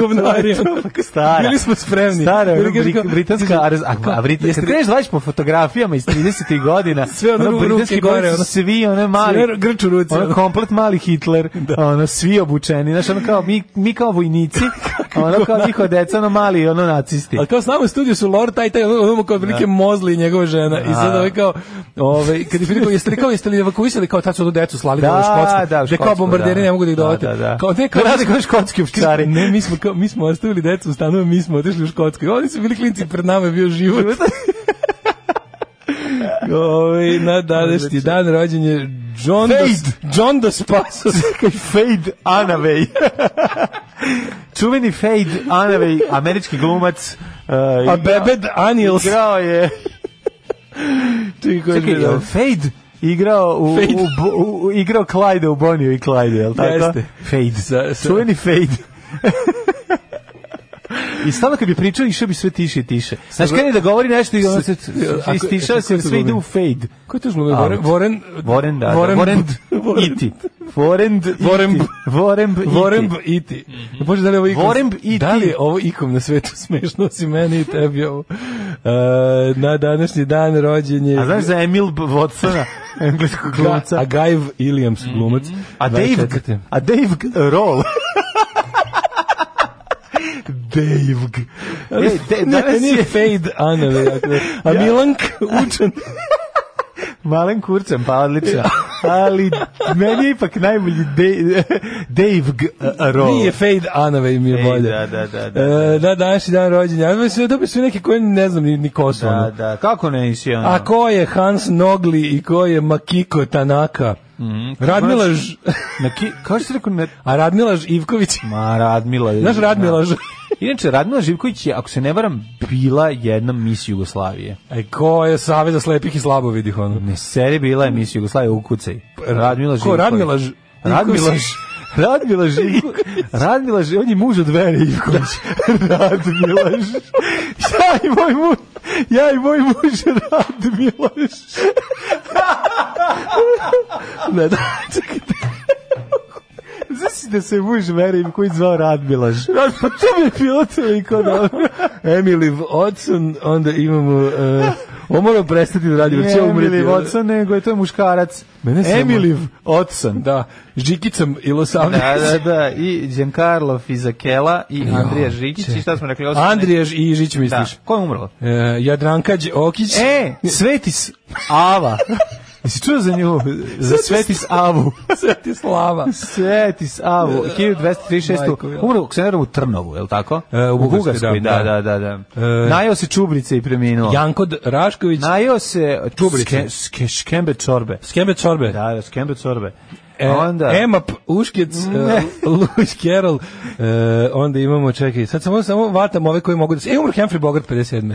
G: govnari,
E: To je tako stara.
G: Bili smo spremni.
E: Stara,
G: Ili
E: ono,
G: kaže kao-
E: bri- britanska, a, a, a Brit,
G: Jeste-
E: kad kreneš da vadiš po fotografijama iz 30. godina,
G: *laughs* Sve ono ru- ruke
E: britanski
G: gore,
E: bojci su
G: ono.
E: svi one mali,
G: Sve grč u ruci,
E: ono
G: ono.
E: komplet mali
G: *laughs*
E: Hitler, ono, svi obučeni, znaš, ono kao, mi, mi kao
G: *laughs*
E: vojnici, ono kao njihova deca, ono mali, ono nacisti.
G: Ali kao s nama u studiju su Lord taj i taj, ono mu kao otprilike mozli i njegova žena. I sad ovaj kao, ovaj, kad je pitao, jeste li kao, jeste li evakuisali, kao tad su ono decu slali da, u Škotsku.
E: da, u
G: gde kao
E: Škotsku,
G: bombarderi
E: da.
G: ne mogu da ih
E: Da,
G: dovate.
E: da, da.
G: Kao, ne, kao,
E: Da rade kao škotski ovčari.
G: Ne, mi smo, kao, mi smo ostavili decu u stanu, mi smo otišli u Škotsku. I Oni su bili klinci, pred nama je bio život. *laughs* Ovaj, na današnji dan rođen je John
E: Fade.
G: Dos, John Dos
E: *laughs*
G: Passos.
E: Kaj Fade Anavej. *laughs* Čuveni Fade Anavej, američki glumac. Uh,
G: A Bebed Anils.
E: Igrao je... Čekaj,
G: je
E: je Fade igrao u,
G: Fade.
E: u, Bo- u, u- igrao Clyde u Boniju i Clyde, je li tako?
G: Jeste.
E: Fade.
G: Sa- sa-
E: Čuveni
G: *laughs*
E: Fade. I stalno kad bi pričao, išao bi sve tiše i tiše. Znaš, kada je da govori nešto i ono se...
G: Ako-
E: Istišao se,
G: kako se
E: sve ide
G: zove?
E: u Fade.
G: Ko je to žlumio? Voren,
E: Out.
G: Voren,
E: Voren, da. da.
G: Voren,
E: Voren, *laughs*
G: Voren-
E: iti. Voren, iti. Voren,
G: Voren-
E: iti. Mhm.
G: Voremb iti. Bože, da li je ovo ikom?
E: Voremb iti.
G: Da li je ovo ikom na svetu *laughs* smešno osim meni i tebi ovo? E, na današnji dan rođen je...
E: A znaš za Emil B-
G: *laughs*
E: Watsona, engleskog
G: Ga-
E: glumca? Mhm.
G: A Gaiv Williams glumac.
E: A Dave,
G: 24..
E: a Dave G- Roll. Dave. G. E, de,
G: Ne,
E: danas
G: nije
E: je
G: Fade Anove.
E: *laughs*
G: dakle. A
E: Ja.
G: Milank Učan.
E: malen kurcem, pa odlično. Ali meni je ipak najbolji Dave, Dave G- Roll.
G: Nije Fade Anove mi je
E: Ej,
G: bolje.
E: da, da, da, da.
G: E, na današnji dan rođen je. Ja mislim da bi su neke koje ne znam ni, ni ko su. ono.
E: Da, da, kako ne nisi ono?
G: A ko je Hans Nogli i ko je Makiko Tanaka?
E: Mhm.
G: Radmila Ž...
E: Mm, Na ki, kao što si rekao, na,
G: A Radmila Ž- Ivković.
E: ma Radmila. je-
G: Znaš Radmila Ž...
E: *laughs* Inače, Radmila Živković je, ako se ne varam, bila jedna mis Jugoslavije.
G: E, ko je Savez za slepih i slabovidih, ono?
E: Ne, seri bila je mis Jugoslavije ukucaj. Radmila
G: Ko,
E: Živković.
G: Radmila Ž...
E: Radmila
G: Ivković?
E: Ž... Radmila Živković. Radmila Ž... On je muž od Vere Ivković. Radmila Ž... Ja i moj muž... Ja i moj muž Radmila Ž... Ne, da, čekajte. Znači da se muž Vere Ivković zvao Radmila Ž.
G: Pa to bi je bilo toliko dobro. Emily Watson, onda imamo... e, ovo moram prestati da radim, jer će
E: Nije
G: umreti.
E: Emily Watson, nego je to muškarac.
G: Mene samo-
E: Emily Watson.
G: Da, Žikicam i Los Angeles.
E: Da, da, da, i Giancarlo Fizakela i Andrija Žikić, i šta smo rekli? Osim-
G: Andrijež i Žić,
E: da.
G: misliš?
E: Ko je umrlo?
G: E, Jadranka Đokić.
E: E, Svetis
G: *laughs*
E: Ava. Jesi čuo za nju? Za Svetis Avu.
G: Svetislava.
E: Svetis Avu. 1236.
G: Majko, ja.
E: Umro u Kseneru u Trnovu, je li tako?
G: E, u Bugarskoj,
E: da,
G: da,
E: da, da. da.
G: E,
E: Najeo se čubrice i preminuo.
G: Janko D- Rašković.
E: Najeo se
G: Čubrice.
E: Ske, ske, škembe čorbe.
G: Skembe Čorbe.
E: Da, da, škembe čorbe.
G: E,
E: Onda-
G: Emap, Uškec, *laughs* uh, Lewis Carroll, uh, onda imamo, čekaj, sad samo, samo vatam ove koji mogu da se... E, umro Humphrey Bogart 57.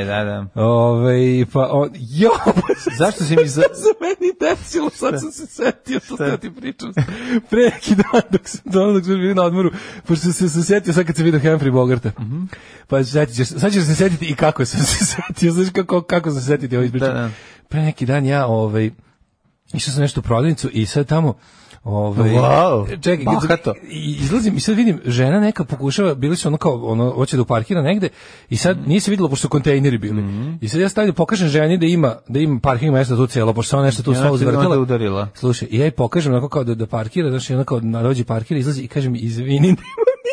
E: E, da, da.
G: Ove, pa on, jo, pa se
E: *laughs* Zašto si mi za...
G: *laughs* za meni desilo, sad sam se setio, to da ti pričam. *laughs* Pre neki dan, dok sam, ono, dok smo bili na odmoru, pošto sam se, se setio sad kad sam vidio Humphrey Bogarta.
E: Mhm.
G: Pa setit ćeš, sad ćeš se setiti i kako sam se *laughs* setio, znaš kako, kako sam se setio, ti ovo ispričam.
E: Da, da.
G: Pre neki dan ja, ovaj, išao sam nešto u prodavnicu i sad tamo, Ovaj,
E: Wow,
G: čekaj,
E: bahato.
G: i izlazim i sad vidim žena neka pokušava bili su ono kao ono hoće da parkira negde i sad
E: Mhm.
G: nije se videlo pošto su kontejneri bili. I sad ja stavljam pokažem ženi da ima da ima parking mesta tu celo pošto se ona nešto tu
E: I znači ona
G: sva
E: ti onda
G: uzvrtela.
E: udarila.
G: Slušaj, i ja i pokažem onako kao da, da parkira, znači ona kao na dođe parkira, izlazi i
E: *laughs*
G: kažem izvini, nema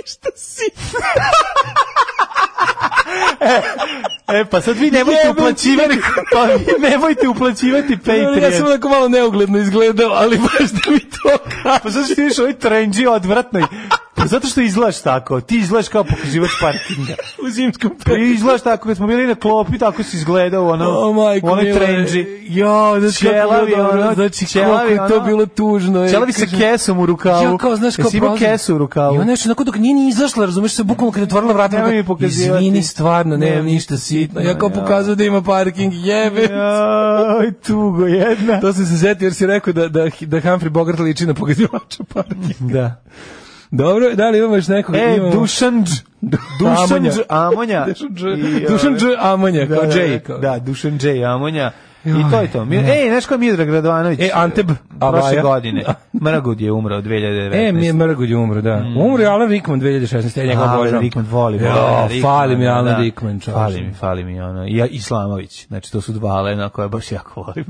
G: ništa si.
E: E, pa sad vi nemojte
G: Jebem ti
E: uplaćivati, *laughs* pa vi nemojte uplaćivati
G: Ja sam onako malo neugledno izgledao, ali baš da mi to
E: Pa
G: kaže.
E: zato što ti vidiš ovaj trenđi odvratnoj. Pa zato što izgledaš tako. Ti izgledaš kao pokazivač parkinga.
G: U zimskom
E: Pa izgledaš tako, kad smo bili na klopi, tako si izgledao u ono,
G: O,
E: u
G: majko,
E: onoj
G: mila,
E: trenđi.
G: Jo, znači,
E: Ćelavi,
G: ćelavi,
E: ono,
G: ono, znači,
E: ćelavi,
G: ćelavi, je to
E: ono,
G: bilo tužno.
E: Čelavi sa kesom u rukavu.
G: Ja kao, znaš, kao
E: Jesi imao
G: prolazim.
E: kesu u rukavu?
G: I ona nešto onako dok nije ni izašla, razumeš se, bukvalno kad je otvorila vrata.
E: Nemoj
G: onako,
E: mi pokazivati.
G: Izvini, stvarno, nemam
E: Nemam
G: ništa sitno. Ja kao
E: Ja.
G: pokazao da ima parking, jebe.
E: Aj, tugo jedna.
G: To sam se zetio jer si rekao da, da, da Humphrey Bogart liči na pokazivača parking.
E: *laughs* Da.
G: Dobro, da li imamo još nekog?
E: E,
G: imamo... *laughs*
E: Dušanđ. Dušanđ Amonja.
G: Amonja. *laughs* Dušan Dž.
E: I,
G: Dušan
E: ove,
G: Dž. Amonja, kao J.
E: Da,
G: kao.
E: da, Dušan J. Amonja. I
G: Joj,
E: to je to. Mi,
G: ne.
E: ej, znaš ko je Miodrag Radovanović?
G: E, Anteb
E: Prošle
G: Avaja.
E: godine. Mrgud je umrao 2019.
G: E, mi je Mrgulj umro, da. Umro je Alan Rickman 2016. Ja njega
E: Mm. Alan
G: obožavam.
E: Rickman voli. voli Alan
G: Jo,
E: Rickman,
G: fali mi
E: da,
G: Alan
E: da.
G: Rickman, čovječe.
E: Fali mi, fali mi ono. I ja Islamović. Znači to su dva Alena koje baš jako volim.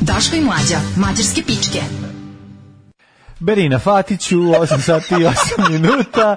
D: Daško i mlađa, mađarske pičke.
E: Berina Fatiću, 8 sati i
G: *laughs*
E: 8 minuta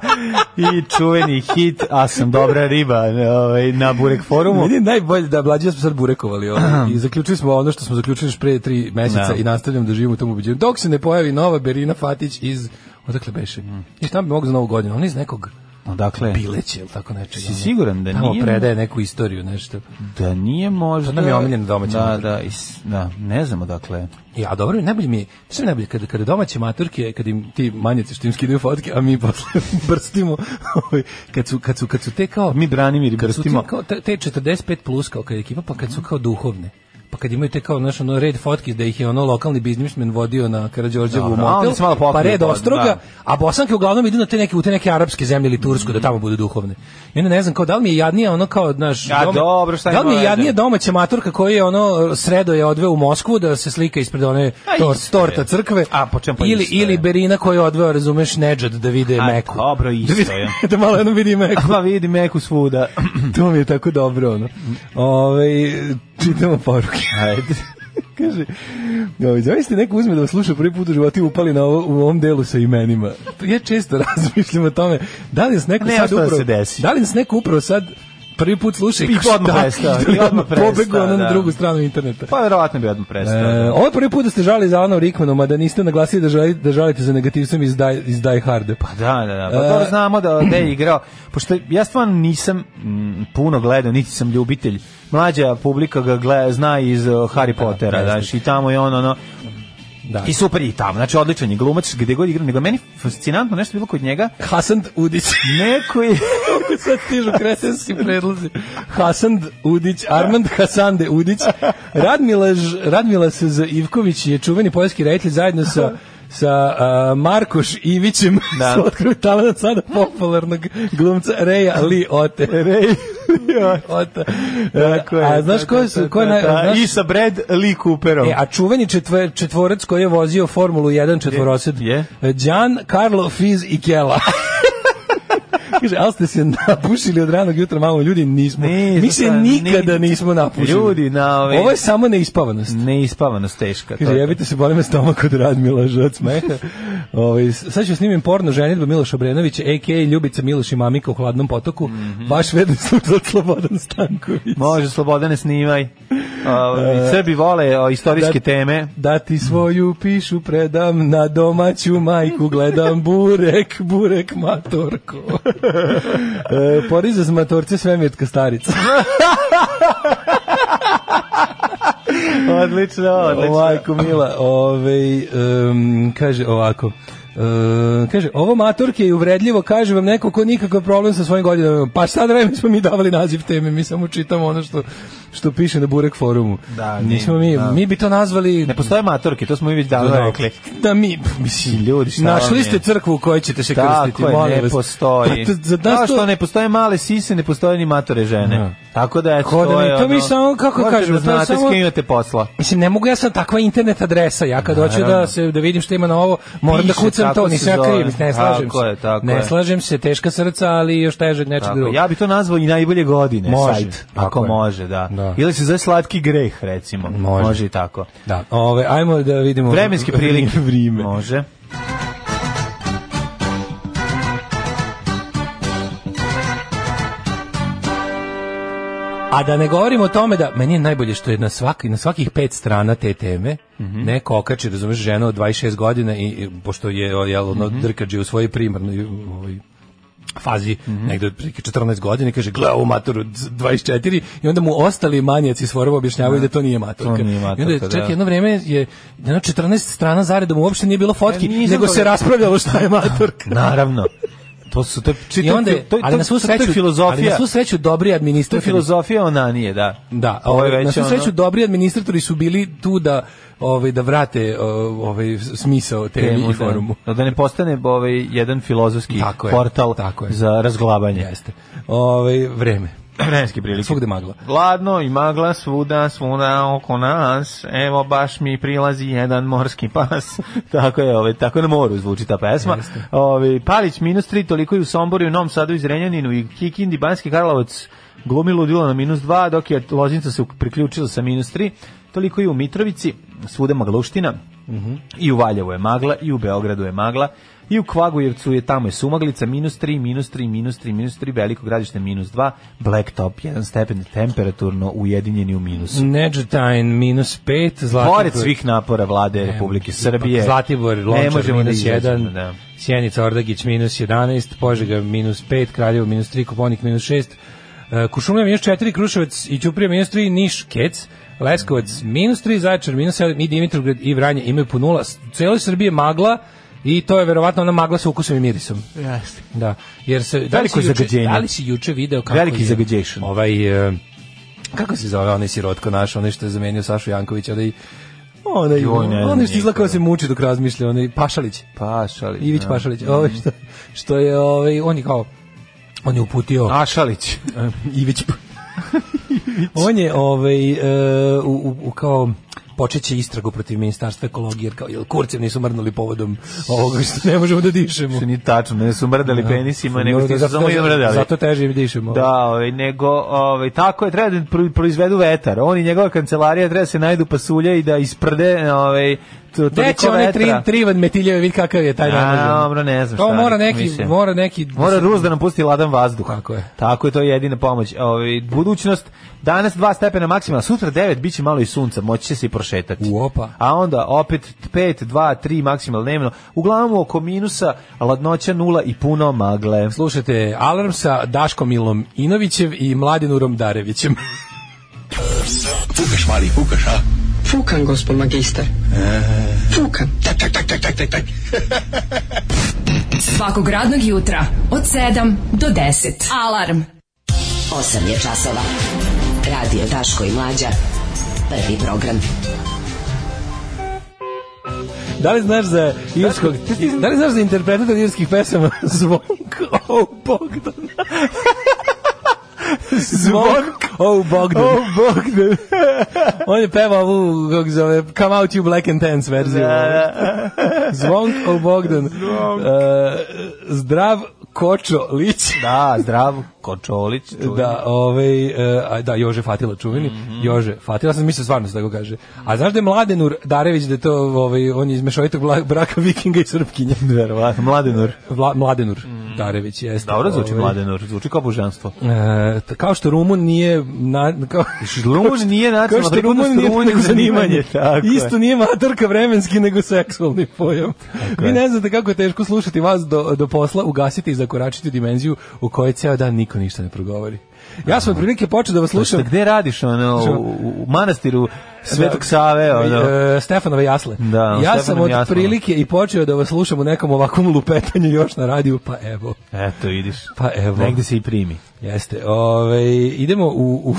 E: i čuveni hit A sam dobra riba ovaj, na Burek forumu.
G: Meni je najbolje da mlađe smo sad burekovali ovo. I zaključili smo ono što smo zaključili još pre tri meseca
E: Da.
G: i nastavljamo da živimo u tom ubeđenju. Dok se ne pojavi nova Berina Fatić iz odakle beše.
E: Mm.
G: I šta bi mogao za novu godinu? On iz nekog
E: Dakle,
G: pileće ili tako nečega.
E: Si
G: ono.
E: siguran da
G: Tamo
E: nije?
G: predaje neku istoriju, nešto.
E: da nije možda...
G: To nam je omiljena domaća
E: Da,
G: maturka.
E: da, is, da, ne znamo dakle.
G: Ja, E, dobro, najbolje mi je, sve najbolje, kada, kada domaće maturke, kada im ti manjaci što im skidaju fotke, a mi posle *laughs* brstimo, ovaj, kad, su, kad, su, kad su te kao...
E: Pa Mi Branimir i
G: kad su ti
E: Brstimo.
G: kao te, te 45 plus kao kad je ekipa, pa kad su kao duhovne. Pa kad imaju te kao naš ono red fotki da ih je ono lokalni biznismen vodio na Karađorđevu
E: Dobro, a
G: motel,
E: onda se malo pokrije,
G: pa red
E: pa,
G: ostroga,
E: da.
G: a bosanke uglavnom idu na te neke u te neke arapske zemlje ili tursku da tamo budu duhovne. I onda ne znam kao da li mi je jadnije ono kao naš
E: A dobro, šta
G: Da li
E: ima
G: mi je
E: veze?
G: jadnije domaća maturka koji je ono sredo je odveo u Moskvu da se slika ispred one
E: A
G: tor,
E: isto je.
G: torta crkve
E: A, po čem pa
G: ili
E: isto je.
G: ili Berina koji je odveo razumeš Nedžad da vide
E: A,
G: Meku.
E: dobro, isto
G: *laughs* Da vide-
E: je.
G: da malo jednom
E: *laughs*
G: vidi Meku.
E: *laughs* Pa vidi meku
G: *clears throat*
E: svuda.
G: To mi je tako dobro, ono. Ove, čitamo poruke.
E: Ajde.
G: *laughs* Kaže, ovaj, zavisite neko uzme da vas sluša prvi put u životu i upali na ovo, u ovom delu sa imenima. Ja često *laughs* razmišljam o tome, da li nas neko
E: Ne,
G: sad
E: što da
G: upravo,
E: se desi.
G: da li nas neko upravo sad prvi put sluša
E: I
G: kao,
E: odmah
G: šta? *laughs*
E: prestao, i
G: I
E: odmah prestao,
G: pobegu ono
E: da.
G: na drugu stranu interneta.
E: Pa verovatno bi odmah prestao.
G: E, ovo je prvi put da ste žali za Alanom Rickmanom, a da niste naglasili da, žali, da žalite za negativcem iz Die, iz Die Harde. Pa
E: Da, da, da. Pa dobro znamo da da je igrao. Pošto ja stvarno nisam mm, puno gledao, niti sam ljubitelj. Mlađa publika ga gleda, zna iz uh, Harry Pottera, da,
G: jeste.
E: i tamo je on ono
G: Da.
E: I super je i tamo. Znači odličan je glumac gde god igra, nego meni fascinantno nešto bilo kod njega.
G: Hasan Udić.
E: Neko je
G: Kako sad stižu kretenski predlozi. Hasan Udić, Armand Hasande Udić, Radmilaž, Radmila S.Z. Ivković je čuveni poljski reditelj zajedno sa sa a, Markoš Ivićem
E: Da.
G: da. *laughs* su otkrili talenat sada popularnog glumca Reja Li Ote. Rej Ote.
E: *laughs* Tako je.
G: a znaš ko su, ko je naj-
E: Da,
G: znaš-
E: i sa Brad Lee Cooperom.
G: E, a čuveni četvor, četvorac koji je vozio Formulu 1 četvorosed? e,
E: Je.
G: Gian, Carlo, Fiz i Kela. *laughs* Kaže, ali ste se napušili od ranog jutra, malo ljudi, nismo.
E: Nismo
G: Mi se
E: sad,
G: nikada
E: ni-
G: nismo napušili.
E: Ljudi, na ove-
G: Ovo je samo neispavanost.
E: Neispavanost teška. to
G: Kaže,
E: je to.
G: jebite se, boli me stomak od Radmila
E: *laughs*
G: od smeha. Ovaj, s- sad ću snimim porno ženitba Miloša Obrenovića, a.k.a. Ljubica Miloš i
E: Mhm.
G: *laughs* Mamika u hladnom potoku, vaš vedni slučaj Slobodan Stanković.
E: Može, Slobodane, snimaj. Ovaj, Srbi vole o, istorijske
G: E, Da-
E: teme.
G: Da ti svoju pišu predam, na domaću majku gledam, burek, burek matorko. E, poriza s matorce svemirtka starica.
E: Odlično,
G: Majko Mila, ovaj, em, kaže ovako, E, kaže, ovo matorke je uvredljivo, kaže vam neko ko nikakav problem sa svojim godinama. Pa šta da vreme smo mi davali naziv teme, mi samo čitamo ono što, što piše na Burek forumu.
E: Da,
G: Nismo
E: nije,
G: mi,
E: da.
G: mi bi to nazvali...
E: Ne postoje matorke, to smo mi već davno
G: Da,
E: rekli.
G: Da mi, mislim,
E: ljudi, šta vam
G: našli
E: je?
G: ste crkvu u kojoj ćete se krstiti,
E: Tako je,
G: molim
E: ne
G: vas.
E: postoji.
G: Pa to- za
E: Kao
G: nas
E: što
G: to,
E: ne postoje male sise, ne postoje ni matore žene.
G: Da.
E: Tako da, eto,
G: Ko da
E: to
G: mi-
E: je
G: to mi
E: ono-
G: samo, kako
E: Morate
G: kažem,
E: da
G: to je
E: znate
G: samo-
E: s kim imate posla.
G: Mislim, ne mogu ja sam takva internet adresa, ja kad hoću da, se, da vidim što ima na ovo, moram da
E: Piše,
G: kucam
E: tako
G: to,
E: se
G: nisam ja
E: zove.
G: kriv, ne slažem
E: Tako
G: se.
E: je, tako
G: ne
E: je.
G: slažem se, teška srca, ali još teže od nečeg
E: Tako,
G: drugog.
E: ja bi to nazvao i najbolje godine
G: Može,
E: sajt,
G: tako
E: ako
G: je.
E: može, da.
G: Da.
E: Ili se zove slatki greh, recimo.
G: Može.
E: može i tako.
G: Da, ove, ajmo da vidimo
E: Vremenske
G: *laughs*
E: prilike.
G: Vrime.
E: Može.
G: A da ne govorim o tome da meni je najbolje što je na svaki na svakih pet strana te teme
E: Mhm.
G: neko okači, razumeš, žena od 26 godina i, i pošto je o, jel, ono,
E: Mhm.
G: drkađe u svojoj primarnoj u, ovoj, fazi
E: Mhm.
G: negde od prilike 14 godina i kaže gle ovu maturu d- 24 i onda mu ostali manjaci svorova objašnjavaju da to nije maturka.
E: To nije
G: I onda
E: maturka,
G: čak
E: da.
G: jedno vreme je jedno 14 strana zaredom uopšte nije bilo fotki,
E: E, nisam
G: nego
E: to-
G: se raspravljalo šta
E: *laughs*
G: je maturka.
E: Naravno. To su to je čitav-
G: I onda, je-
E: to je-
G: ali
E: to-
G: na svu
E: to je
G: sreću, ali na
E: filozofija.
G: svu sreću dobri
E: To je
G: administratori
E: filozofija Onanije, da.
G: Da,
E: Ovo je
G: ovaj, na
E: već
G: svu
E: ono-
G: sreću dobri administratori su bili tu da ovaj da vrate o, ovaj smisao temi
E: temu,
G: i forumu.
E: Da, da ne postane ovaj jedan filozofski
G: Tako je,
E: portal
G: tako je.
E: za razglabanje.
G: Jeste. Ovaj vreme.
E: Vremenske prilike.
G: Svugde magla.
E: Gladno i magla svuda, svuda oko nas. Evo baš mi prilazi jedan morski pas. *laughs* tako je, ovaj, tako na moru zvuči ta pesma. Ovaj, Palić minus 3, toliko i u Somboru, i u Novom Sadu, i Zrenjaninu, i Kikindi, Banski Karlovac, glumi ludilo na minus 2, dok je Loznica se priključila sa minus 3. Toliko i u Mitrovici, svuda magluština,
G: Mhm.
E: i u Valjevu je magla, i u Beogradu je magla, i u Kvagujevcu je tamo je sumaglica, minus 3, minus 3, minus 3, minus 3, veliko gradište minus 2, blacktop 1 stepen temperaturno ujedinjeni u minusu.
G: Nedžetajn minus 5, Mm, Zlatibor.
E: Pored svih napora vlade Republike Srbije,
G: Zlatibor,
E: ne
G: Lončar
E: možemo da
G: minus
E: izađemo,
G: 1,
E: da.
G: Sjenica, Ordagić minus 11, Požega minus 5, Kraljevo minus 3, Koponik minus 6, e, Kušumlja minus 4, Kruševac i Ćuprija minus 3, Niš, Kec, Leskovac minus 3, Zaječar minus 7 i Dimitrovgrad i Vranje imaju po nula. S- U cijeloj Srbiji je magla i to je verovatno ona magla sa ukusom i mirisom.
E: Jeste.
G: Da, jer se da li,
E: Veliko
G: si juče,
E: zagađenje.
G: da li si juče video kako
E: Veliki
G: je
E: zagađation.
G: Ovaj e, kako se zove onaj sirotko naš, onaj što je zamenio Sašu Jankovića, onaj onaj,
E: Joj, ne znam
G: onaj što izgleda kao
E: nikoga.
G: se muči dok razmišlja, onaj Pašalić.
E: Pašalić.
G: Ivić
E: da.
G: Pašalić, ovaj što, što je ovaj on je kao on je uputio
E: Ašalić.
G: Ivić.
E: *laughs*
G: on je ovaj e, u, u, u kao počeće istragu protiv ministarstva ekologije jer kao jel kurcev nisu mrnuli povodom ovoga što ne možemo da dišemo.
E: Što Znači, nije tačno, ne su mrdali penisima, nego ti su
G: Zato-
E: samo i mrdali.
G: Zato teže im dišemo.
E: Da, ovaj, nego ovaj, tako je, treba da pro- proizvedu vetar. On i njegova kancelarija treba da se najdu pasulja i da isprde ovaj, to,
G: Gde
E: toliko
G: će onaj tri,
E: vetra.
G: trivan metiljeve, vidi kakav je taj
E: A,
G: naložen.
E: dobro, ne znam
G: To
E: šta
G: mora
E: nek
G: neki,
E: mislim.
G: mora neki... *laughs*
E: Mora Rus da nam pusti ladan vazduh.
G: Tako je.
E: Tako je, to je jedina pomoć. Ovaj, budućnost, danas 2 stepena maksima, sutra 9, bit će malo i sunca, moći će se i prošetati.
G: Uopa.
E: A onda opet 5, 2, 3 maksimal dnevno. Uglavnom oko minusa, ladnoća nula i puno magle.
G: Slušajte, alarm sa Daškom Ilom Inovićev i Mladinurom Darevićem. *laughs*
I: Fukan, gospod magister. Fukan.
D: Svakog radnog jutra od 7 do 10. Alarm.
J: 8 je časova. Radio Daško i Mlađa. Prvi program.
G: Da li znaš za irskog... Da li znaš za interpretator irskih pesama *laughs* Zvonko O
E: *laughs*
G: Bogdan? Zvonko O Bogdan. *laughs*
E: O, Bog da.
G: On je pevao ovu, kako se zove, Come Out You Black and Tense verziju. e. Zvonko O Bogdan. E, zdrav Kočo Lić.
E: Da, zdrav, Kočolić. čuveni. Mhm.
G: Da, ovaj, e, a, da, Jože Fatila čuveni, Jože Fatila, sam mislio stvarno se tako kaže. A znaš da je Mladenur Darević, da je to, ovaj, on je iz mešovitog bla- braka vikinga i srpkinja?
E: Verovatno, Mladenur.
G: Vla, Mladenur. Tarević jeste.
E: Mhm. Dobro zvuči
G: ovaj,
E: Mladenor, zvuči kao božanstvo.
G: E, t- kao što Rumun nije na, kao,
E: Rumun nije nacionalna
G: kao što Rumun
E: pripadnost,
G: nije
E: Rumun je
G: nego zanimanje,
E: zanimanje, tako je.
G: isto nije matorka vremenski nego seksualni pojam vi ne znate kako je teško slušati vas do, do posla ugasiti i zakoračiti u dimenziju u kojoj ceo dan niko ništa ne progovori ja sam otprilike počeo da vas
E: Slušaj,
G: slušam
E: gde radiš ono,
G: Slušam.
E: u, u- u manastiru Svetog Save, ono,
G: E, Stefanove jasle.
E: Da,
G: ja
E: Stefanom
G: sam od
E: jaslama.
G: prilike i počeo da vas slušam u nekom ovakvom lupetanju još na radiju, pa evo.
E: eto, vidiš,
G: Pa evo.
E: negde se i primi.
G: Jeste. Ove, idemo u, *laughs* u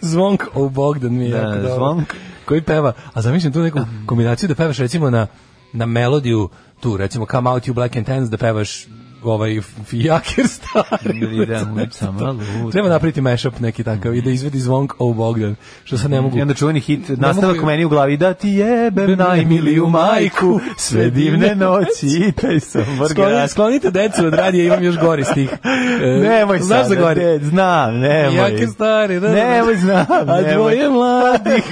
G: zvonk, o Bogdan mi je
E: Da,
G: jako dobro.
E: Zvonk.
G: Koji peva, a zamišljam tu neku kombinaciju da pevaš recimo na, na melodiju tu, recimo Come Out You Black and Tans, da pevaš ovaj Fijaker *laughs* stari.
E: Idem, samo lutam.
G: Treba napraviti mashup neki takav i da izvedi zvonk o Bogdan, što sad ne mogu.
E: I onda čuveni hit,
G: mogu
E: nastavak
G: ju-
E: meni u glavi, da ti jebem najmiliju majku, sve
G: *laughs*
E: divne noći, i taj sam
G: Skloni,
E: vrgač.
G: sklonite decu od radija, imam još gori
E: *laughs*
G: stih. E,
E: Nemoj
G: znaš
E: sada,
G: za gori?
E: ded, znam, nemoj.
G: Jake stari, da, da, da.
E: *laughs* Nemoj, znam,
G: A
E: nemoj.
G: dvoje mladih.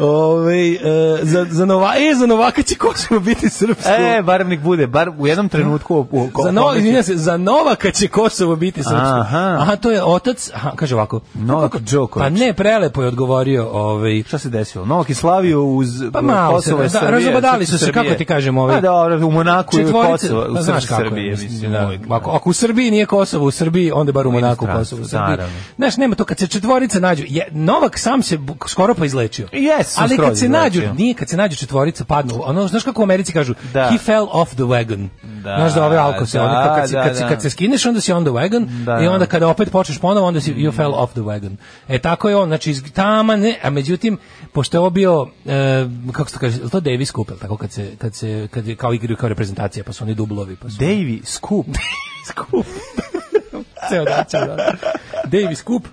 G: Ove,
E: Ovaj,
G: e, za, za, nova, e, za Novaka će Kosovo biti srpsko.
E: *laughs* E, barem nek bude, bar u jednom trenutku u, u,
G: za, no,
E: kome će-
G: izvinjam se, za Novaka će Kosovo biti srpsko.
E: Aha.
G: Aha, to je otac, aha, kaže ovako.
E: Novak
G: Kako-
E: Đoković.
G: Pa ne, prelepo je odgovorio. Ovaj,
E: Šta se desilo? Novak je slavio uz
G: Pa malo se,
E: Kosovo i
G: da,
E: Srbije.
G: razobadali su se,
E: Srbije.
G: kako ti kažem, ovaj-
E: Pa dobro, u Monaku je
G: Četvorice,
E: Kosovo, u
G: pa
E: Srbiji,
G: znaš kako je,
E: Srbije, mislim. ovaj,
G: da.
E: uvijek,
G: Ako, ako u Srbiji nije Kosovo, u Srbiji, onda bar u Monaku
E: inostranstvu,
G: Kosovo, u Srbiji.
E: naravno.
G: Znaš, nema to, kad se četvorice nađu, je, Novak sam se bu- skoro pa izlečio.
E: Jes, sam
G: Ali
E: skroz
G: kad se znači, ono. nađu,
E: izlečio.
G: nije, kad se nađu četvorica, padnu, ono, znaš kako u Americi kažu,
E: Da.
G: he fell off the wagon.
E: Da,
G: znaš da ove alko se,
E: da,
G: one, kao kad, si-
E: da,
G: kad, si-
E: da.
G: kad se skineš, onda si on the wagon,
E: Da,
G: i onda
E: da.
G: kada opet počneš ponovo, onda si you fell off the wagon. E, tako je on, znači, iz, tama ne, a međutim, pošto je ovo bio, e, kako se to kaže, je li to Davis Cup, jel tako, kad se, kad se, kad je, kao igraju kao reprezentacija, pa su oni dublovi, pa su...
E: Davy
G: *laughs*
E: Skup.
G: Skup. *laughs* Ceo dan, ceo dan. Davy Skup.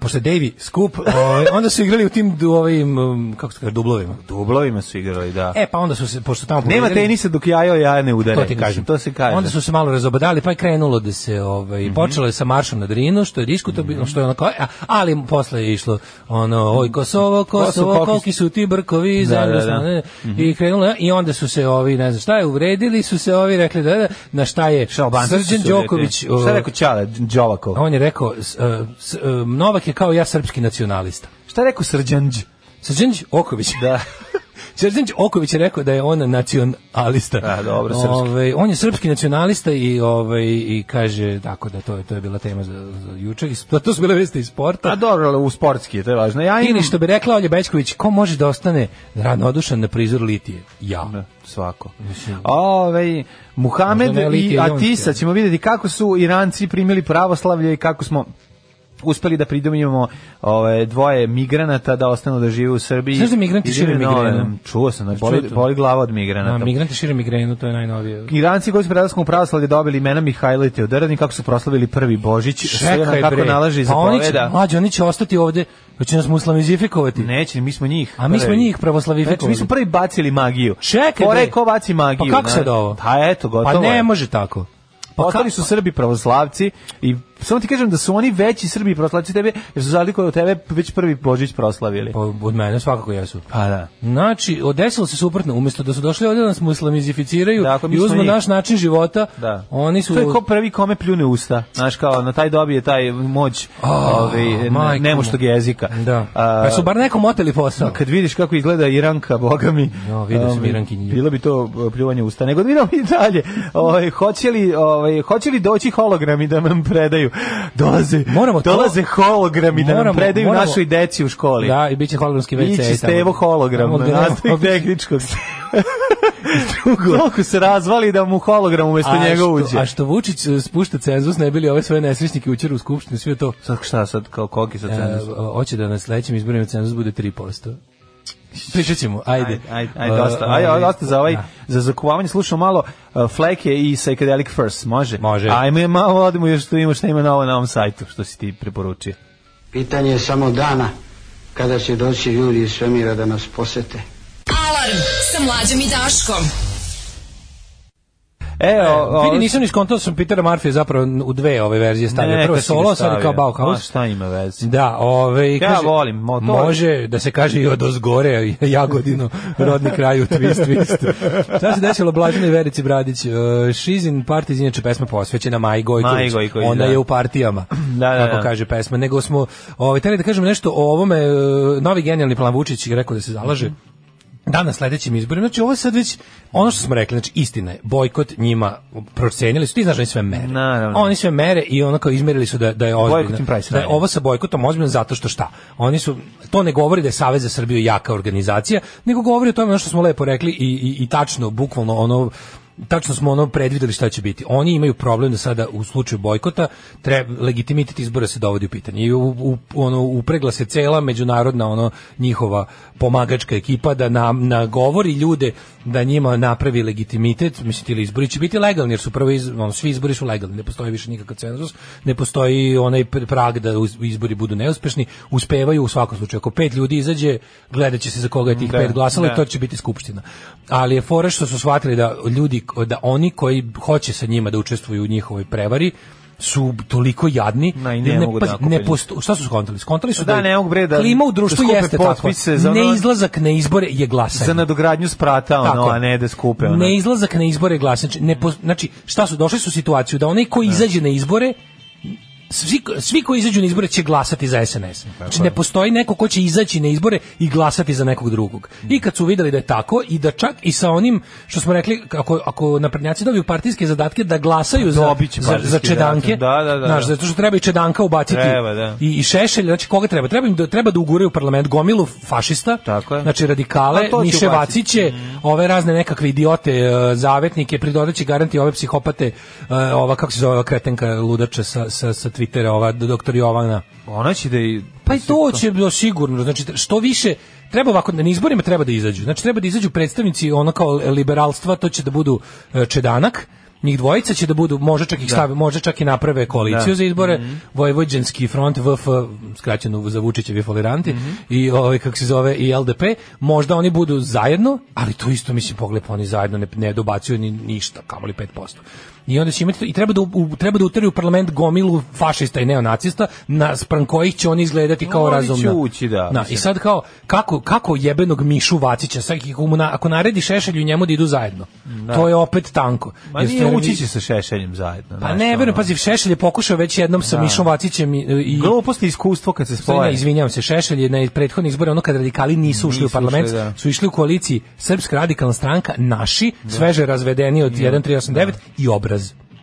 G: Pošto je Davy Skup, ovaj, onda su igrali u tim du, ovim, um, kako se kaže, dublovima.
E: Dublovima su igrali, da.
G: E, pa onda su se, pošto tamo...
E: Nema
G: pobedili-
E: tenisa dok jajo ja ne udare.
G: to ti
E: Mislim,
G: kažem.
E: To se kaže. Mhm.
G: Onda su se malo razobadali, pa je krenulo da se, ovaj, počelo je sa maršom na Drinu, što je diskutabilno, što je ono kao, a- ali posle je išlo ono, oj Kosovo, Kosovo,
E: Kosovo, koliki
G: koliki su ti brkovi,
E: Da,
G: da,
E: da, Mhm. da.
G: i krenulo, je, i onda su se ovi, ne znam šta je, uvredili su se ovi, rekli da, da na šta je
E: Albanci su
G: Srđan
E: se
G: Đoković,
E: uletili. Šta je rekao Ćale Đovakov?
G: A On je rekao, s- e, s- e, Novak je kao ja srpski nacionalista.
E: Šta je rekao Srđan Đ?
G: Srđan Oković. *laughs*
E: Da.
G: Srđan Oković je rekao da je on nacionalista.
E: A, dobro, srpski.
G: Ovaj, on je srpski nacionalista i ovaj i kaže tako da to je to je bila tema za, za juče i sp- to su bile vesti iz sporta.
E: A dobro, ali u sportski je, to je važno. Ja imam...
G: Ili što bi rekla Olja Bećković, ko može da ostane ravnodušan na prizor litije? Ja.
E: Da, svako. Ovaj Muhamed
G: Možda ne
E: i
G: Litije,
E: Atisa
G: Jonske.
E: ćemo vidjeti kako su Iranci primili pravoslavlje i kako smo uspeli da pridomimo ove dvoje migranata da ostanu da žive u Srbiji.
G: Znaš da migranti
E: I žive
G: šire
E: na
G: migrenu?
E: ovim- Čuo sam, znači,
G: Čuo
E: boli,
G: to?
E: boli glava od migranata. pa
G: A, migranti šire migrenu, to je najnovije.
E: Iranci koji su prelaskom u pravoslavlje dobili imena Mihajla i Teodoradin kako su proslavili prvi Božić, sve nam
G: Čekaj
E: kako
G: bre.
E: nalaže i
G: pa oni će,
E: zapoveda.
G: mlađi, oni će ostati ovde, hoće nas muslamizifikovati.
E: Neće, mi smo njih.
G: A mi smo
E: prvi.
G: njih pravoslavifikovali.
E: Znači, mi smo prvi bacili magiju.
G: Čekaj,
E: Fora je
G: bre.
E: ko baci magiju.
G: Pa kako
E: znaš.
G: sad ovo?
E: Pa eto, gotovo
G: Pa
E: je.
G: ne može tako.
E: Pa Ostali su Srbi pravoslavci i samo ti kažem da su oni veći Srbi pravoslavci od tebe, jer su za razliku od tebe već prvi Božić proslavili.
G: *laughs* Pa od mene svakako jesu.
E: Pa da.
G: Znači, odesilo se suprotno, umjesto da su došli ovdje da nas muslamizificiraju
E: Dakle, mi
G: i
E: smo
G: uzmu
E: njih.
G: naš način života,
E: Da.
G: oni su...
E: To je ko prvi kome pljune usta. Znaš kao, na taj dobije taj moć ovaj, ne-
G: majko
E: nemuštog
G: mu.
E: jezika.
G: Da.
E: A,
G: pa su bar nekom oteli
E: *laughs*
G: posao.
E: Pa kad vidiš kako izgleda Iranka, boga mi.
G: No, vidio sam
E: ovaj,
G: Irankinju.
E: Bilo bi to uh, pljuvanje usta. Nego da vidimo i dalje. Ovaj hoće li ovaj hoće li doći hologrami da nam predaju? Dolaze.
G: Moramo to-
E: dolaze hologrami da nam
G: Moramo-
E: predaju
G: moramo-
E: našoj deci u školi.
G: Da, i bit će hologramski WC.
E: Ići
G: tamo.
E: Stevo hologram
G: Tamo
E: na
G: gde nema-
E: nastavnik
G: Obično- *laughs*
E: tehničkog. *laughs* Drugo. Toliko se razvali da mu hologram umesto
G: A
E: njega
G: što-
E: uđe.
G: A što Vučić e, spušta cenzus, ne bili ove svoje nesrećnike učer u Skupštini, sve to.
E: Sad šta sad, kao koliki sad
G: E,
E: cenzus?
G: hoće da na sledećim izborima cenzus bude 3%. Pričat ćemo, ajde.
E: Ajde, ajde, ajde, dosta. Ajde, ajde, dosta za ovaj,
G: Da.
E: za zakuvavanje. Slušamo malo uh, Fleke i Psychedelic First, može?
G: Može.
E: Ajmo je malo, odemo još tu ima šta ima novo na ovom sajtu, što si ti preporučio.
K: Pitanje je samo dana kada će doći ljudi iz svemira da nas posete.
D: Alarm sa mlađom i Daškom.
E: E, o, o,
G: Vidi, nisam ni skontao da sam Peter Murphy zapravo u dve ove verzije stavio.
E: Neka
G: Prvo
E: si ga
G: solo, sad
E: stavio.
G: kao Bauhaus.
E: Ma, šta ima veze?
G: Da, ove, i
E: Ja
G: kaže,
E: volim, mo- to-
G: može da se kaže i od ozgore, Jagodino, rodni kraj u twist, twist. Šta se desilo Blaženoj Verici Bradić? Uh, Šizin partiz, inače pesma posvećena Maji Gojković.
E: Maji Gojković,
G: Ona
E: da.
G: je u partijama,
E: *clears throat* Da, da,
G: kako
E: da.
G: kaže pesma. Nego smo, ovaj, teli da kažem nešto o ovome, e, novi genijalni plan Vučić je rekao da se zalaže da na sledećim izborima, znači ovo je sad već ono što smo rekli, znači istina je, bojkot njima procenili su, ti znaš da oni sve mere.
E: Naravno.
G: Oni sve mere i ono kao izmerili su da, da je
E: Bojkot im
G: ozbiljno.
E: pravi
G: Da je
E: sranje.
G: ovo sa bojkotom ozbiljno zato što šta? Oni su to ne govori da je Savez za Srbiju jaka organizacija, nego govori o tome ono što smo lepo rekli i i, i tačno bukvalno ono tačno smo ono predvideli šta će biti. Oni imaju problem da sada u slučaju bojkota treba legitimitet izbora se dovodi u pitanje. I u, u, ono upregla se cela međunarodna ono njihova pomagačka ekipa da nam nagovori ljude da njima napravi legitimitet, mislim ti ili izbori će biti legalni jer su prvi iz, ono, svi izbori su legalni, ne postoji više nikakav cenzus, ne postoji onaj pr- prag da uz- izbori budu neuspešni, uspevaju u svakom slučaju. Ako pet ljudi izađe, gledat će se za koga je tih
E: Da,
G: pet glasalo
E: da.
G: i to će biti skupština. Ali je fora što su shvatili da ljudi, da oni koji hoće sa njima da učestvuju u njihovoj prevari, su toliko jadni
E: Ma i ne mogu da
G: pazi,
E: nakupe
G: ne
E: ljudi.
G: posto, šta su skontali? Skontali su
E: Da, ne mogu, bre, da-
G: klima u
E: da
G: društvu
E: skupe
G: jeste takva.
E: potpise za ono-
G: Neizlazak na izbore je glasanje.
E: Za nadogradnju sprata, ono,
G: Tako je.
E: a ne da skupe, ono.
G: Ne izlazak na izbore glasa. Znači, ne pos- znači, šta su, došli su u situaciju da onaj ko izađe na izbore, svi, svi koji izađu na izbore će glasati za SNS. Znači, ne postoji neko ko će izaći na izbore i glasati za nekog drugog. I kad su videli da je tako i da čak i sa onim što smo rekli, ako, ako naprednjaci dobiju partijske zadatke, da glasaju za,
E: Pa Dobit će
G: za, za
E: partijski
G: čedanke,
E: zadatak. Da, da, da,
G: znaš,
E: da.
G: zato što treba i čedanka ubaciti
E: Treba, da.
G: i, i šešelj, znači koga treba? Treba, im da, treba da uguraju u parlament gomilu fašista,
E: Tako je.
G: znači
E: Pa
G: radikale,
E: to će
G: Miše
E: ubaciti.
G: Vaciće, ove razne nekakve idiote, e, zavetnike, pridodaće garanti ove psihopate, e, ova kako se zove, ova kretenka ludača sa, sa, sa Twittera, ova doktor Jovana.
E: Ona Ono će da i...
G: Pa i to će bilo sigurno, znači što više treba ovako na izborima treba da izađu. Znači treba da izađu predstavnici ono kao liberalstva, to će da budu e, Čedanak, njih dvojica će da budu, možda čak ih stave, možda čak i naprave koaliciju
E: Da.
G: za izbore, Vojvođanski front VF, skraćeno za Vučićevi foliranti i ovaj kako se zove i LDP, možda oni budu zajedno, ali to isto mislim pogled pa oni zajedno ne, ne dobacuju ni ništa, kamoli 5%. I onda će imati i treba da u- u, treba da uteraju u parlament gomilu fašista i neonacista, na spram kojih će oni izgledati kao
E: Oni će
G: razumna.
E: ući, da,
G: Na, I
E: mislim.
G: sad kao, kako, kako jebenog Mišu Vacića, sad ako, mu na, ako naredi Šešelju i njemu da idu zajedno, to je opet tanko.
E: Ma
G: Jer
E: nije
G: stvarno-
E: ući će sa Šešeljem zajedno.
G: Pa
E: znaš,
G: ne,
E: ono.
G: verujem, pazi, Šešelj je pokušao već jednom sa
E: Da.
G: Mišom Vacićem i... i
E: Glupost i iskustvo kad se
G: Sorry,
E: spoje.
G: ne, izvinjavam se, Šešelj je na prethodnih izbora, ono kad radikali nisu ušli
E: Nisu
G: u parlament,
E: ušli, da.
G: su išli u koaliciji Srpska radikalna stranka, naši, sveže razvedeni od 1389 i obraz.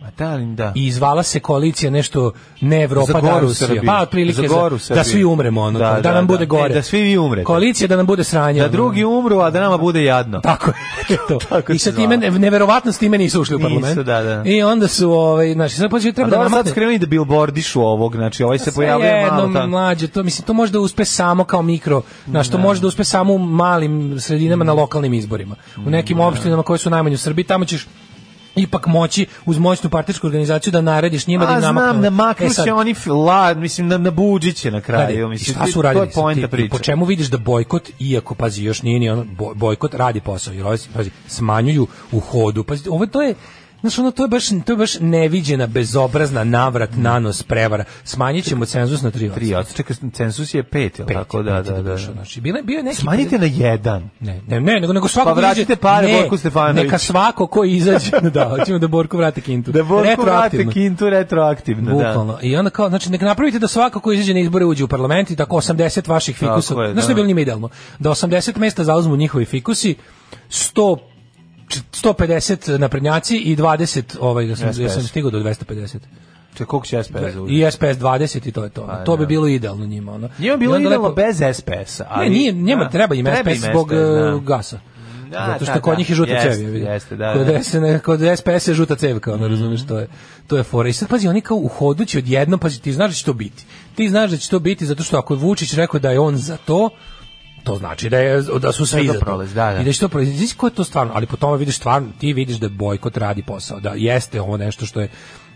E: Ma da, ali da.
G: I izvala se koalicija nešto ne
E: Za
G: Evropa da
E: goru
G: Rusija.
E: Srbiju.
G: Pa otprilike
E: Za
G: za-
E: goru Srbiju.
G: da svi umremo, ono,
E: Da,
G: da,
E: da,
G: nam
E: da.
G: bude gore.
E: E, da svi vi umrete.
G: Koalicija da nam bude sranje.
E: Da
G: ono.
E: drugi umru, a da nama bude jadno.
G: Tako
E: *laughs*
G: je. To.
E: Tako
G: I
E: se
G: sa time,
E: zvala.
G: neverovatno s time nisu ušli u
E: Nisu,
G: parlament.
E: da, da.
G: I onda su, ovaj, znači, sad pođe,
E: A
G: treba da
E: dobro, sad
G: namakne-
E: skrenuli da billboardišu ovog, znači ovaj se
G: Sve
E: pojavljuje
G: jedno,
E: malo tamo.
G: mlađe, to mislim to može da uspe samo kao mikro, na što može da uspe samo u malim sredinama
E: Mm.
G: na lokalnim izborima. U nekim opštinama koje su najmanje u Srbiji, tamo ćeš ipak moći uz moćnu partijsku organizaciju da narediš njima da
E: A
G: im namaknu.
E: znam, namaknu
G: E sad,
E: će oni, f- la, mislim, na, na buđiće na kraju.
G: Gledaj,
E: mislim,
G: šta
E: to
G: su
E: je
G: radili?
E: poenta
G: ti, po
E: priče.
G: čemu vidiš da bojkot, iako, pazi, još nije ni ono, boj- bojkot radi posao, jer ovo se, pazi, smanjuju u hodu. Pazi, ovo to je, Znaš, ono, to je baš, to je baš neviđena, bezobrazna, navrat, nanos, prevara. Smanjit ćemo cenzus na 3%.
E: Tri, a čekaj, cenzus je pet, jel
G: Pet,
E: tako? Da,
G: pet je
E: da, da.
G: došao, Znači, bila, bio je neki...
E: Smanjite na jedan.
G: Ne, ne, ne, nego, nego svako
E: Pa
G: ko izađe-
E: vratite pare
G: ne,
E: Borku Stefanoviću.
G: Neka svako ko izađe, *laughs* da, hoćemo da Borko vrati kintu.
E: Da Borko vrate
G: Retroaktivno.
E: kintu retroaktivno, da.
G: Bukvalno. I onda kao, znači, nek napravite da svako ko izađe na izbore uđe u parlament i tako 80 vaših
E: Tako
G: fikusa.
E: je,
G: Znaš što
E: da.
G: je bilo njima idealno? Da 80 mesta zauzmu njihovi fikusi, 100 150 naprednjaci i 20 ovaj ja sam, ja sam
E: SPS.
G: stigao do 250
E: Čekaj, koliko će SPS uzeti?
G: i SPS 20 i to je to.
E: Pa,
G: to bi
E: da.
G: bilo idealno njima ono.
E: Njima je
G: I
E: bilo
G: onda
E: idealno
G: lepo-
E: bez SPS-a. ali-
G: Ne, nije, njema
E: da.
G: treba im SPS zbog
E: SPS, da.
G: e, gasa.
E: Da,
G: Zato što
E: da,
G: kod
E: da.
G: njih je žuta
E: Jeste,
G: cev, je vidio.
E: jeste, da,
G: Kod,
E: da. Mhm.
G: SN, kod SPS je žuta cev, kao, ono, razumeš, to je, to je fora. I sad, pazi, oni kao u hodu će odjednom, pazi, ti znaš da će to biti. Ti znaš da će to biti, zato što ako je Vučić rekao da je on za to, to znači da, je, da su svi
E: Da to
G: za to.
E: prolazi, da, da.
G: I da će to prolazi. Znaš ko je to stvarno, ali po tome vidiš stvarno, ti vidiš da bojkot radi posao, da jeste ovo nešto što je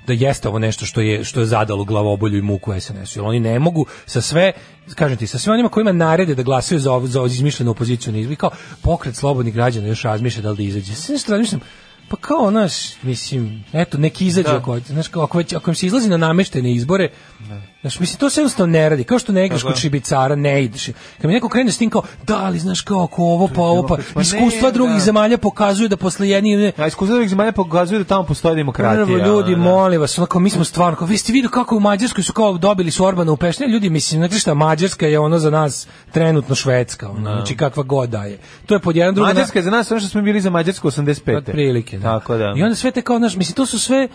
G: da jeste ovo nešto što je što je zadalo glavobolju i muku SNS-u. Jer oni ne mogu sa sve, kažem ti, sa sve onima kojima narede da glasaju za ovu, za ovu izmišljenu opoziciju na izbori, kao pokret slobodnih građana još razmišlja da li da izađe. Sve što razmišljam, Pa kao, znaš, mislim, eto, neki izađu
E: Da.
G: ako hoće. Znaš, kao, ako, već, ako im se izlazi na nameštene izbore, znaš, mislim, to se jednostavno ne radi. Kao što ne igraš
E: Tako je.
G: kod šibicara, ne ideš. Kad mi neko krene s tim kao, da, ali znaš, kao, ako ovo, pa ovo, pa,
E: demokratski. Pa ne,
G: iskustva drugih
E: da.
G: zemalja pokazuju da posle jednih...
E: A iskustvo ovih zemalja pokazuje da tamo postoji demokratija.
G: Prvo, ljudi,
E: ono, da.
G: molim vas, onako, mi smo stvarno, kao, vi ste vidio kako u Mađarskoj su kao dobili su Orbana u Pešnje, ljudi, mislim, znate šta, Mađarska je ono za nas trenutno Švedska, ono, znači kakva god da je. To je pod jedan drugo...
E: Mađarska je za nas ono što smo bili za Mađarsku 85.
G: Otprilike, da.
E: Tako da.
G: I onda sve te kao, znaš, mislim, to su sve,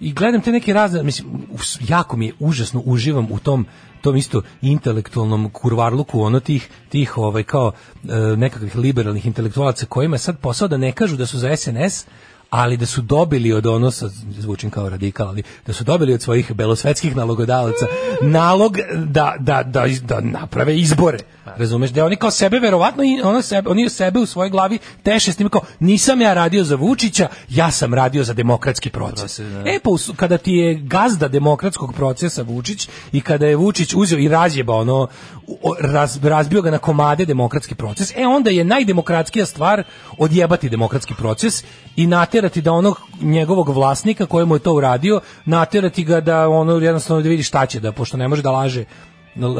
G: i gledam te neke razne, mislim, us- jako mi je užasno, uživam u tom tom isto intelektualnom kurvarluku ono tih tih ovaj kao e, nekakvih liberalnih intelektualaca kojima je sad posao da ne kažu da su za SNS ali da su dobili od ono sa, zvučim kao radikal, ali da su dobili od svojih belosvetskih nalogodavaca nalog da, da, da, iz- da naprave izbore. Razumeš? Da oni kao sebe verovatno i ono sebe, oni sebe u svojoj glavi teše s tim kao nisam ja radio za Vučića, ja sam radio za demokratski proces. E pa u su- kada ti je gazda demokratskog procesa Vučić i kada je Vučić uzeo i razjebao ono u- o- raz- razbio ga na komade demokratski proces, e onda je najdemokratskija stvar odjebati demokratski proces i naterati da onog njegovog vlasnika kojemu je to uradio, naterati ga da ono jednostavno da vidi šta će da pošto ne može da laže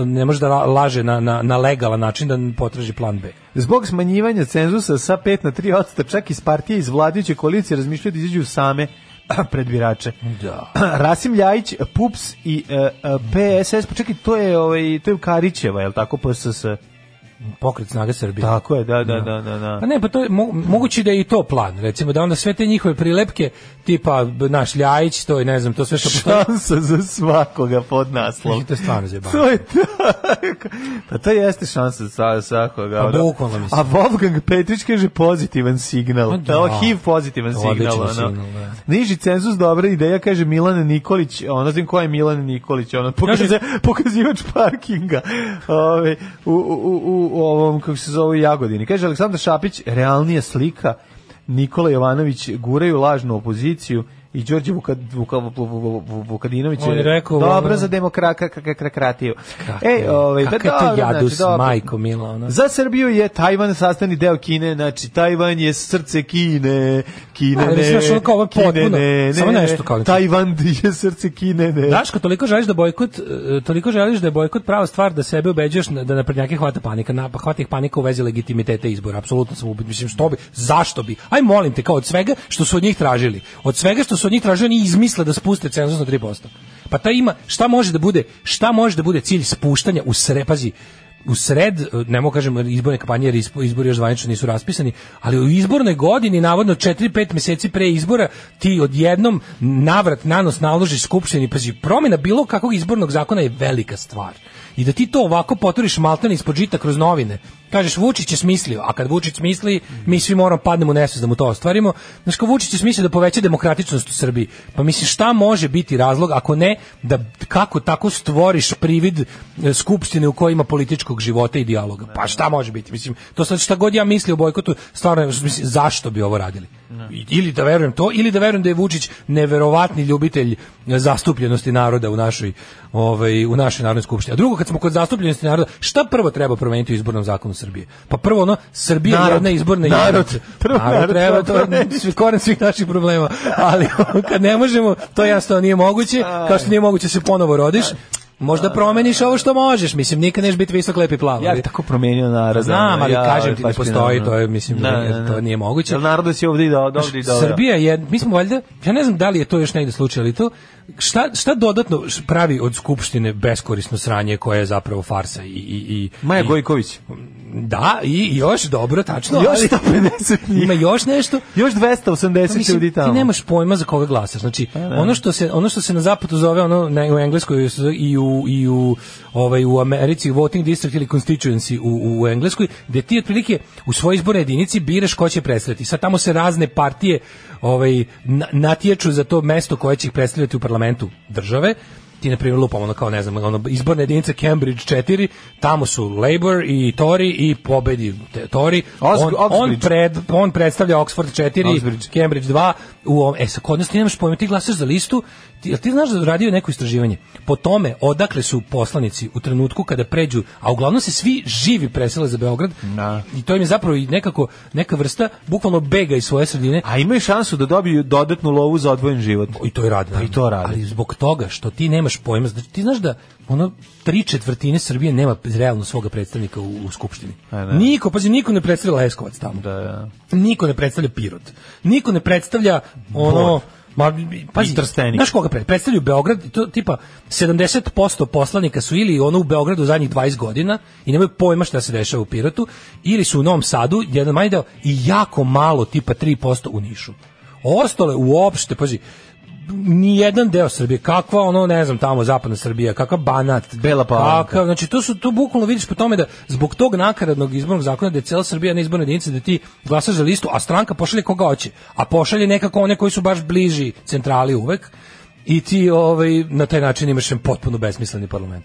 G: ne može da la- laže na, na, na legalan način da potraži plan B.
E: Zbog smanjivanja cenzusa sa 5 na 3 odsta, čak iz partije iz vladajuće koalicije razmišljaju da izađu same *clears throat* pred birače.
G: Da.
E: *clears throat* Rasim Ljajić, Pups i e, e, PSS, pa čekaj, to je, ovaj, to je Karićeva, je li tako, PSS?
G: Pokret snaga Srbije.
E: Tako je, da, da, da, da. da.
G: Pa ne, pa to je mo- moguće da je i to plan, recimo da onda sve te njihove prilepke tipa b- naš Ljajić, to je Pa ne znam, to sve što postoji.
E: Šansa za svakoga pod naslovom.
G: Mislim, to je stvarno zajebano.
E: To je tako. Pa to jeste šansa za svakoga.
G: Pa
E: ono.
G: bukvalno, mislim.
E: A Wolfgang Petrić kaže pozitivan signal.
G: Pa da.
E: Da. Ovo HIV pozitivan
G: Odličan
E: signal. Ono.
G: signal, da.
E: Niži cenzus, dobra ideja, kaže Milan Nikolić. Ono znam ko je Milan Nikolić. Ono, pokaze, pokazivač parkinga. Ove, u, u, u, u ovom, kako se zove, Jagodini. Kaže Aleksandar Šapić, realnija slika. Nikola Jovanović guraju lažnu opoziciju i Đorđe Vuka- Vuka- Vu- Vu- Vu- Vu- Vukadinović
G: On je rekao, ono-
E: dobro za demokratiju. Ej, ovaj, pa
G: Kakav je to
E: dobro,
G: jadus,
E: znači, dobro.
G: majko mila, ono.
E: Za Srbiju je Tajvan sastavni deo Kine, znači Tajvan je srce Kine, Kine ne,
G: Ali mislim, znaš, ono kao ovo je
E: Kine
G: potpuno,
E: ne,
G: samo
E: ne,
G: nešto kao- znači-
E: Tajvan je srce Kine, ne.
G: Daško, toliko želiš da bojkot, e, toliko želiš da je bojkot prava stvar da sebe ubeđuješ na- da naprednjake hvata panika, na, pa hvata ih panika u vezi legitimiteta izbora. Apsolutno sam ubeđen, mislim što bi, zašto bi? Aj molim te, kao od svega što su od njih tražili. Od svega što su od njih tražili, oni izmisle da spuste cenzus na 3%. Pa ta ima, šta može da bude, šta može da bude cilj spuštanja u srepazi u sred, e, ne mogu kažem izborne kampanje jer ispo- izbori još zvanično nisu raspisani, ali u izbornoj godini navodno 4-5 meseci pre izbora ti odjednom navrat nanos naložiš skupštini, pazi, promjena bilo kakvog izbornog zakona je velika stvar. I da ti to ovako poturiš maltene ispod žita kroz novine. Kažeš Vučić je smislio, a kad Vučić misli, mi svi moramo padnemo u nesvest da mu to ostvarimo. Znaš kao Vučić je smislio da poveća demokratičnost u Srbiji. Pa mislim šta može biti razlog ako ne da kako tako stvoriš privid e, skupštine u kojoj ima političkog života i dijaloga. Pa šta može biti? Mislim, to sad šta god ja mislim o bojkotu, stvarno, je, mislim, zašto bi ovo radili? I- Ili da verujem to, ili da verujem da je Vučić neverovatni ljubitelj e, zastupljenosti naroda u našoj, ovaj, u našoj Narodnoj skupštini. A drugo, kad smo kod zastupljenosti naroda, šta prvo treba promeniti u izbornom zakonu Srbije? Pa prvo ono, Srbija je
E: Narod.
G: jedna izborna
E: Narod.
G: jedinica.
E: *laughs* Prvo narod
G: treba, to
E: treba
G: je
E: promeniti.
G: svi- *laughs* koren svih naših problema. Ali *laughs* kad ne možemo, to jasno nije moguće, kao što nije moguće da se ponovo rodiš, možda promeniš ovo što možeš, mislim, nikad neš biti visok, lep i plav.
E: Ja
G: ali-
E: bi tako promenio narod.
G: Znam,
E: ono,
G: ali
E: ja,
G: kažem ti, ne
E: baš
G: postoji,
E: ono.
G: to je, mislim,
E: Ne, ne, ne.
G: to nije moguće.
E: Jel Narodu si ovdje i do, ovdje i do.
G: Srbija je, mi smo valjda, ja ne znam da li je to još negde slučaj, ali to, šta, šta dodatno pravi od Skupštine beskorisno sranje koje je zapravo farsa i... i, i
E: Maja
G: i-
E: Gojković.
G: Da, i još, dobro, tačno,
E: Još
G: ali-
E: 150 njih.
G: Ima još nešto,
E: Još
G: Pa
E: 280
G: mislim,
E: ljudi tamo. Pa
G: Ti nemaš pojma za koga glasaš. Znači, ono što se ono što se na zapadu zove ono ne, u engleskoj se zove i u i u ovaj u Americi voting district ili constituency u, u engleskoj, gde ti otprilike u svojoj izbornoj jedinici biraš ko će predstavljati. Sad tamo se razne partije ovaj na- natječu za to mesto koje će ih predstavljati u parlamentu države ti na primjer lupamo ono kao ne znam ono izborna jedinica Cambridge 4 tamo su Labour i Tory i pobedi te- Tory
E: Os-
G: on, on,
E: Oxbridge.
G: pred, on predstavlja Oxford 4
E: Oxbridge.
G: Cambridge 2 u ovom, e sa kod nas ti nemaš pojma ti glasaš za listu ti, jel ti znaš da je radio neko istraživanje po tome odakle su poslanici u trenutku kada pređu a uglavnom se svi živi presele za Beograd i to im je zapravo i nekako neka vrsta bukvalno bega iz svoje sredine
E: A imaju šansu da dobiju dodatnu lovu za odvojen život.
G: i to je rad.
E: Pa i to radi.
G: Ali zbog toga što ti nemaš pojma, znači ti znaš da ono tri četvrtine Srbije nema realno svoga predstavnika u, u skupštini.
E: E,
G: Niko, pazi, niko ne predstavlja Leskovac tamo. Niko ne predstavlja Pirot. Niko ne predstavlja ono... Ma, pazi,
E: I Trstenik.
G: Znaš koga pre- predstavljaju Beograd, i to tipa 70% poslanika su ili ono u Beogradu zadnjih 20 godina i nemaju pojma šta se dešava u Pirotu, ili su u Novom Sadu, jedan manji deo, i jako malo, tipa 3% u Nišu. Ostale uopšte, pazi, ni jedan deo Srbije, kakva ono, ne znam, tamo zapadna Srbija, kakav Banat,
E: Bela Palanka.
G: kakav, znači to su to bukvalno vidiš po tome da zbog tog nakaradnog izbornog zakona da je cela Srbija na izbornoj jedinici da ti glasaš za listu, a stranka pošalje koga hoće, a pošalje nekako one koji su baš bliži centrali uvek i ti ovaj na taj način imaš jedan potpuno besmisleni parlament.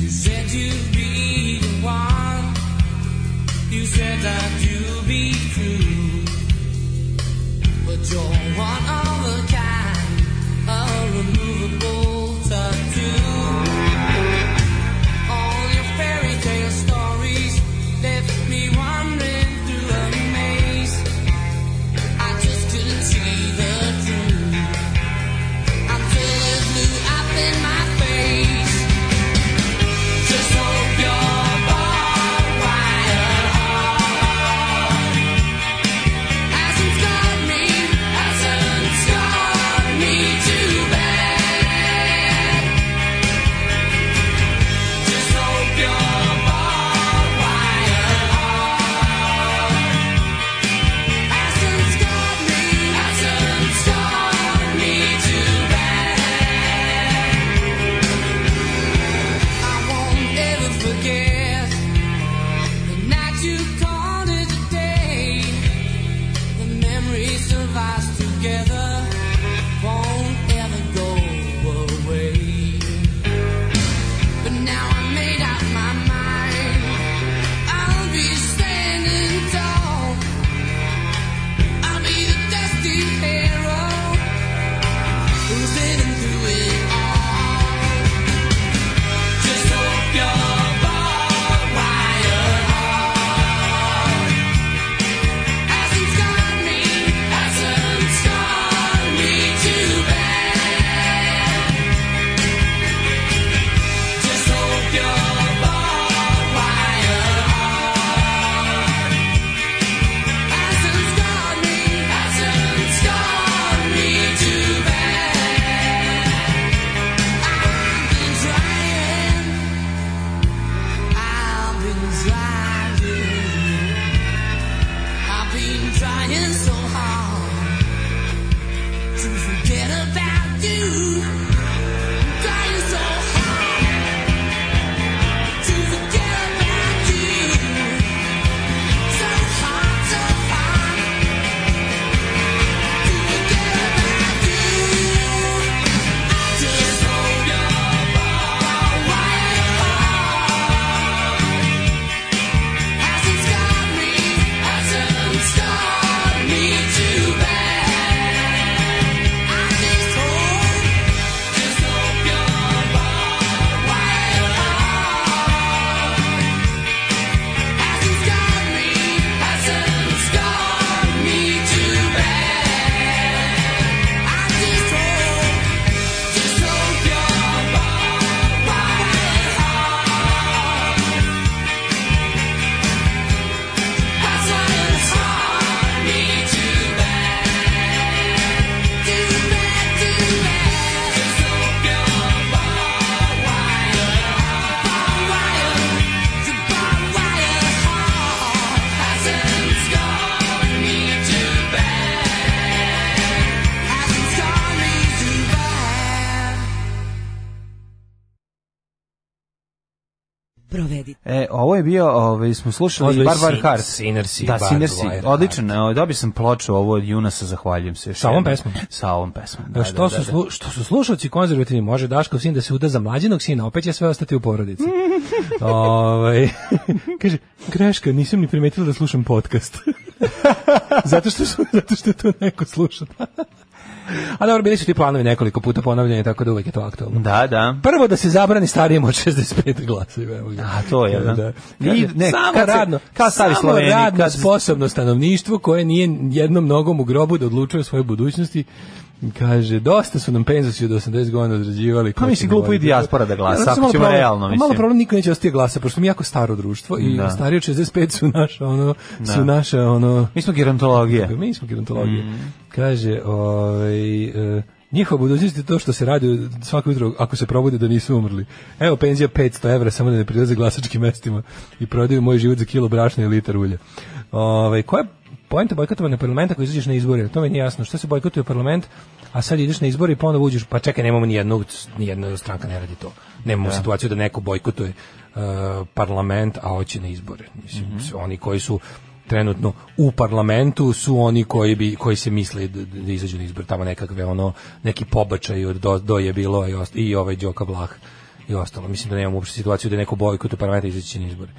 L: You said you'd be the one. You said that you'd be true. But you're one of a kind, a removable tattoo. All your fairy tale stories left me wandering through a maze. I just couldn't see the truth. I feel it blew up in my face. Just hope you're barbed wire hasn't scarred me, hasn't scarred me too bad. Just hope you're barbed wire hasn't scarred me, hasn't scarred me too bad. I won't ever forget the night you called it a day. The memories of us together won't ever go away. But now I made up my mind. I'll be standing tall. I'll be the dusty hero who's living through it all. Just hope you're barbed wire hasn't scarred me, hasn't scarred me too bad. Just hope you're barbed wire hasn't scarred me, hasn't scarred me too bad. I've been trying, I've been trying. I've been trying so hard to forget about you. I'm trying so hard to forget about you. So hard, so hard to forget about you. I just hope you're barbed wire. Hasn't scarred me, hasn't scarred me
J: Provedi.
E: E, ovo je bio, ovaj smo slušali
G: Ozbiljno,
E: Barbar
G: Sin-
E: Hart.
G: Sinner si,
E: Da,
G: Barbar
E: Sinner si.
G: Hart.
E: Odličan, evo, dobio sam ploču ovo od Junasa, zahvaljujem se. još
G: Sa ovom
E: jednom.
G: pesmom?
E: Sa ovom pesmom.
G: Da, što, su, slu- što su slušalci konzervativni, može Daškov sin da se uda za mlađenog sina, opet će sve ostati u *laughs* porodici. ovaj, *laughs* kaže, greška, nisam ni primetila da slušam podcast. *laughs* zato, što su, zato što je to neko sluša. *laughs* A dobro, bili su ti planovi nekoliko puta ponavljanje, tako da uvek je to aktualno.
E: Da, da.
G: Prvo da se zabrani starijim od *laughs* 65 glasova. evo ga.
E: A to je, da.
G: Kaže,
E: I, ne,
G: samo
E: kad se-
G: radno,
E: kao stari
G: samo
E: Sloveni,
G: radno
E: kad-
G: sposobno stanovništvo koje nije jednom nogom u grobu da odlučuje o svojoj budućnosti kaže dosta su nam penzusi od 80 godina odrađivali
E: Pa mislim, glupo i dijaspora da glasa,
G: Ja, zato
E: ako
G: sam malo
E: ćemo
G: problem-
E: realno, mislim.
G: malo problem niko neće ostati da glasa pošto mi je jako staro društvo i
E: Da.
G: stariji od 65 su naša ono
E: Da.
G: su naša ono
E: Mi smo gerontologije.
G: mi smo gerontologije. Kaže, ovaj, e, njihova budućnost je to što se radi svako jutro ako se probude da nisu umrli. Evo penzija 500 evra samo da ne prilaze glasačkim mestima i prodaju moj život za kilo brašna i litar ulja. Ovaj, koja je poenta bojkotovanja parlamenta ako izađeš na izbore? To mi nije jasno. Što se bojkotuje parlament, a sad ideš na izbore i ponovo uđeš, pa čekaj, nemamo ni jednog, ni jedna stranka ne radi to. Nemamo
E: Da.
G: situaciju da neko bojkotuje e, parlament, a hoće na izbore. Mislim, svi oni koji su trenutno u parlamentu su oni koji bi koji se misle da, da izađu na izbor tamo nekakve ono neki pobačaj od do, do je bilo i, ost, i ovaj Đoka Vlah i ostalo mislim da nemamo uopšte situaciju da je neko bojkot u parlamentu izaći će na izbore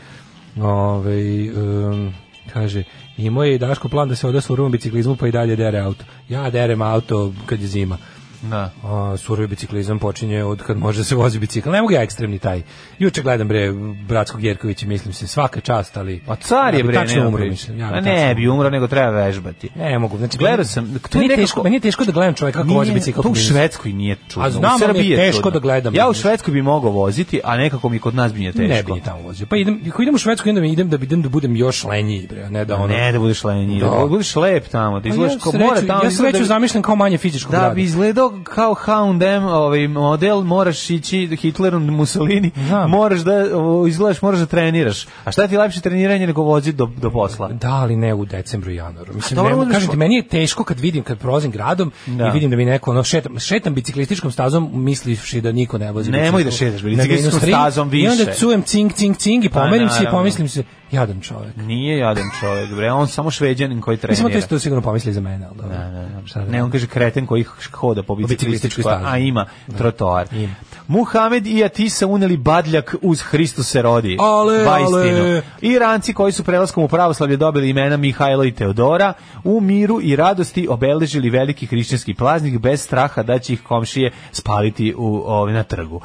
G: Ovaj em, kaže i moj je i Daško plan da se odaslu u rumom biciklizmu pa i dalje dere auto ja derem auto kad je zima
E: Da.
G: a, surovi biciklizam počinje od kad može da se vozi bicikl. Ne mogu ja ekstremni taj. Juče gledam bre Bratskog Jerkovića, mislim se svaka čast, ali
E: Pa car je
G: ja bi
E: bre,
G: tačno
E: nema
G: umro,
E: priče.
G: mislim. Ja bi
E: Ma
G: tačno
E: ne
G: umro.
E: bi umro, nego treba vežbati.
G: Ne mogu. Znači
E: Gledao sam, to je
G: meni je
E: nekako-
G: teško, meni je teško da gledam čovjeka kako vozi
E: Nije,
G: bicikl.
E: To u Švedskoj nije čudno.
G: A znam,
E: u
G: ali mi
E: Srbiji
G: je teško
E: čudno.
G: da gledam.
E: Ja u Švedskoj bi mogao voziti, a nekako mi kod nas bi nije teško.
G: Ne bi ni tamo vozio. Pa idem, ako idem u Švedsku, idem, idem da idem da budem još lenji, bre, a ne da ono.
E: Ne, da budeš lenji, da,
G: Da.
E: budeš lep tamo, da
G: Pa
E: izgledaš kao
G: sreću-
E: mora tamo.
G: Ja
E: izgleda
G: sreću
E: da bi-
G: zamišljam kao manje fizičkog
E: Da
G: rada.
E: bi izgledao kao Hound M ovaj model, moraš ići Hitlerom Mussolini, moraš da o, izgledaš, moraš da treniraš. A šta ti je lepše treniranje nego vozi do, do posla?
G: Da, ali ne u decembru i januaru. Mislim,
E: dobro,
G: ne, mogu-
E: možeš-
G: kažem ti, meni je teško kad vidim, kad prolazim gradom
E: Da.
G: i vidim da mi neko, ono, šetam, šetam biciklističkom stazom misliš da niko ne vozi.
E: Nemoj da
G: biciklističkom-
E: šetaš
G: nego
E: biciklističkom
G: industrijom.
E: stazom više.
G: I onda cujem cing, cing, cing i
E: Pa,
G: pomerim se i
E: naravno.
G: pomislim se, jadan čovek.
E: Nije jadan čovjek, bre, on samo šveđanin koji
G: Mislim, to
E: trenira.
G: isto sigurno pomisli za mene, ali dobro.
E: Da, da, da.
G: Šta da
E: Ne, on kaže kreten koji hoda po biciklističkoj,
G: biciklističkoj stazi.
E: a ima trotoar. Muhamed i Atisa uneli badljak uz Hristu se rodi.
G: Ale,
E: Bajstinu.
G: ale.
E: Iranci koji su prelaskom u pravoslavlje dobili imena Mihajla i Teodora, u miru i radosti obeležili veliki hrišćanski praznik bez straha da će ih komšije spaliti u, ovaj, na trgu.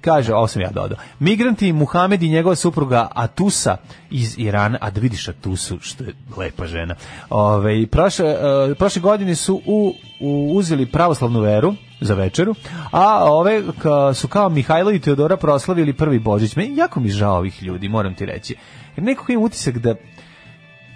E: Kaže, ovo sam ja dodao. Migranti Muhamed i njegova supruga Atusa iz Irana, a da vidiš Atusu, što je lepa žena. Ove, prošle, e, prošle godine su u, u- uzeli pravoslavnu veru za večeru, a ove ka- su kao Mihajlo i Teodora proslavili prvi Božić. Meni jako mi žao ovih ljudi, moram ti reći. Jer nekako imam utisak da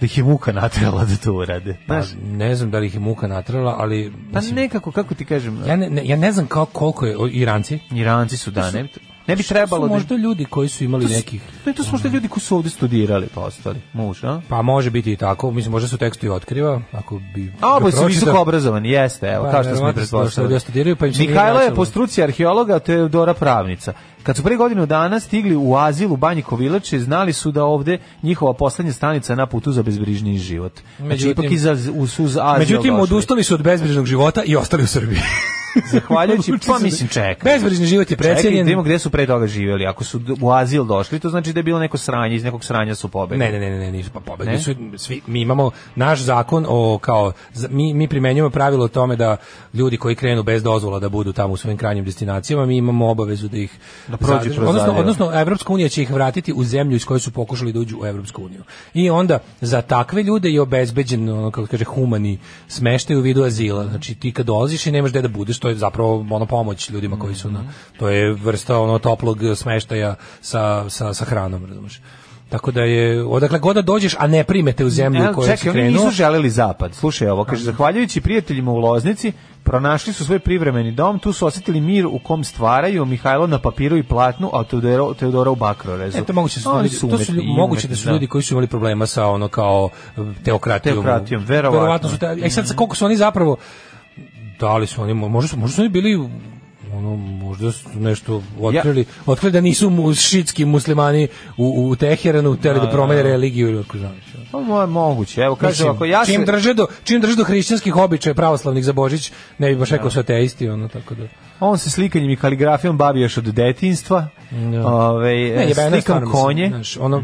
E: da ih je muka natrela da to urade.
G: Pa,
E: Znaš,
G: ne znam da li ih je muka natrala, ali...
E: um- pa
G: mislim,
E: nekako, kako ti kažem,
G: ja, ne, ne- ja ne znam kao, koliko je o, Iranci.
E: Iranci su da, ne bi, ne bi trebalo
G: su
E: da...
G: možda ljudi koji su imali
E: To su-
G: nekih...
E: Ne, to su možda ljudi koji su ovdje studirali pa ostali. Muž, a?
G: Pa može biti i tako, mislim možda su tekstu i otkriva, ako bi...
E: A, oboje su
G: pročitao.
E: visoko obrazovani, jeste, evo,
G: Pa,
E: kao što smo i
G: verovatno su došli
E: pretpostavili.
G: da studiraju, pa im se nije
E: Mihajlo je
G: vraćalo.
E: po struci arheologa, a Teodora pravnica. Kad su pre godinu dana stigli u azil u Banji Kovilače, znali su da ovde njihova poslednja stanica na putu za bezbrižni život. Znači,
G: Međutim-
E: ipak iz, az- uz, uz azil
G: Međutim,
E: došli.
G: odustali su od bezbrižnog života i ostali u
E: *laughs*
G: Srbiji. *laughs*
E: Zahvaljujući,
G: Odlučili
E: pa
G: su da-
E: mislim, čekaj.
G: Bezbrižni život je
E: Čekaj,
G: precenjen.
E: da vidimo gde su pre toga živjeli. Ako su d- u azil došli, to znači da je bilo neko sranje, iz nekog sranja su pobegli.
G: Ne, ne, ne, ne, ne, nisu pa pobegli
E: Ne?
G: su svi. Mi imamo naš zakon o kao za- mi mi primenjujemo pravilo o tome da ljudi koji krenu bez dozvola da budu tamo u svojim krajnjim destinacijama, mi imamo obavezu da ih
E: Da prođu
G: zadrži-
E: kroz
G: odnosno
E: zaljev.
G: odnosno Evropska unija će ih vratiti u zemlju iz koje su pokušali da uđu u Evropsku uniju. I onda za takve ljude je obezbeđen ono kako se kaže humani smeštaj u vidu azila. Znači ti kad dolaziš i nemaš gde da budeš, to je zapravo ono pomoć ljudima koji su
E: Mhm.
G: na to je vrsta ono toplog smeštaja sa sa sa hranom, razumeš. Tako da je odakle god da dođeš, a ne primete u zemlju
E: E,
G: u kojoj si
E: čekaj, oni
G: krenuo.
E: nisu želeli zapad. Slušaj ovo, kaže, zahvaljujući prijateljima u Loznici, pronašli su svoj privremeni dom, tu su osjetili mir u kom stvaraju Mihajlo na papiru i platnu, a Teodoro, Teodora u Bakrorezu.
G: E, to je moguće, da su,
E: Oni
G: ljudi- to su
E: umetni,
G: ljudi- moguće da su ljudi koji su imali problema sa ono kao teokratijom.
E: Teokratijom, verovatno.
G: su te, e sad sa koliko su oni zapravo da li su oni možda su, možda su oni bili ono možda su nešto otkrili, otkrili da nisu mu, šitski muslimani u, u Teheranu teli da,
E: Da,
G: promene
E: da.
G: religiju ili otko znaš.
E: Pa mo- moguće. Evo kaže
G: Mislim,
E: ako ja se
G: čim, drže do, čim drže do hrišćanskih običaja pravoslavnih za Božić, ne bi baš rekao su ateisti, ono, tako da.
E: on se slikanjem i kaligrafijom bavi još od detinjstva. Ovaj
G: Ne, jebena je
E: slikam
G: E, stvarno, mislim,
E: konje. Mhm.
G: znaš, ono,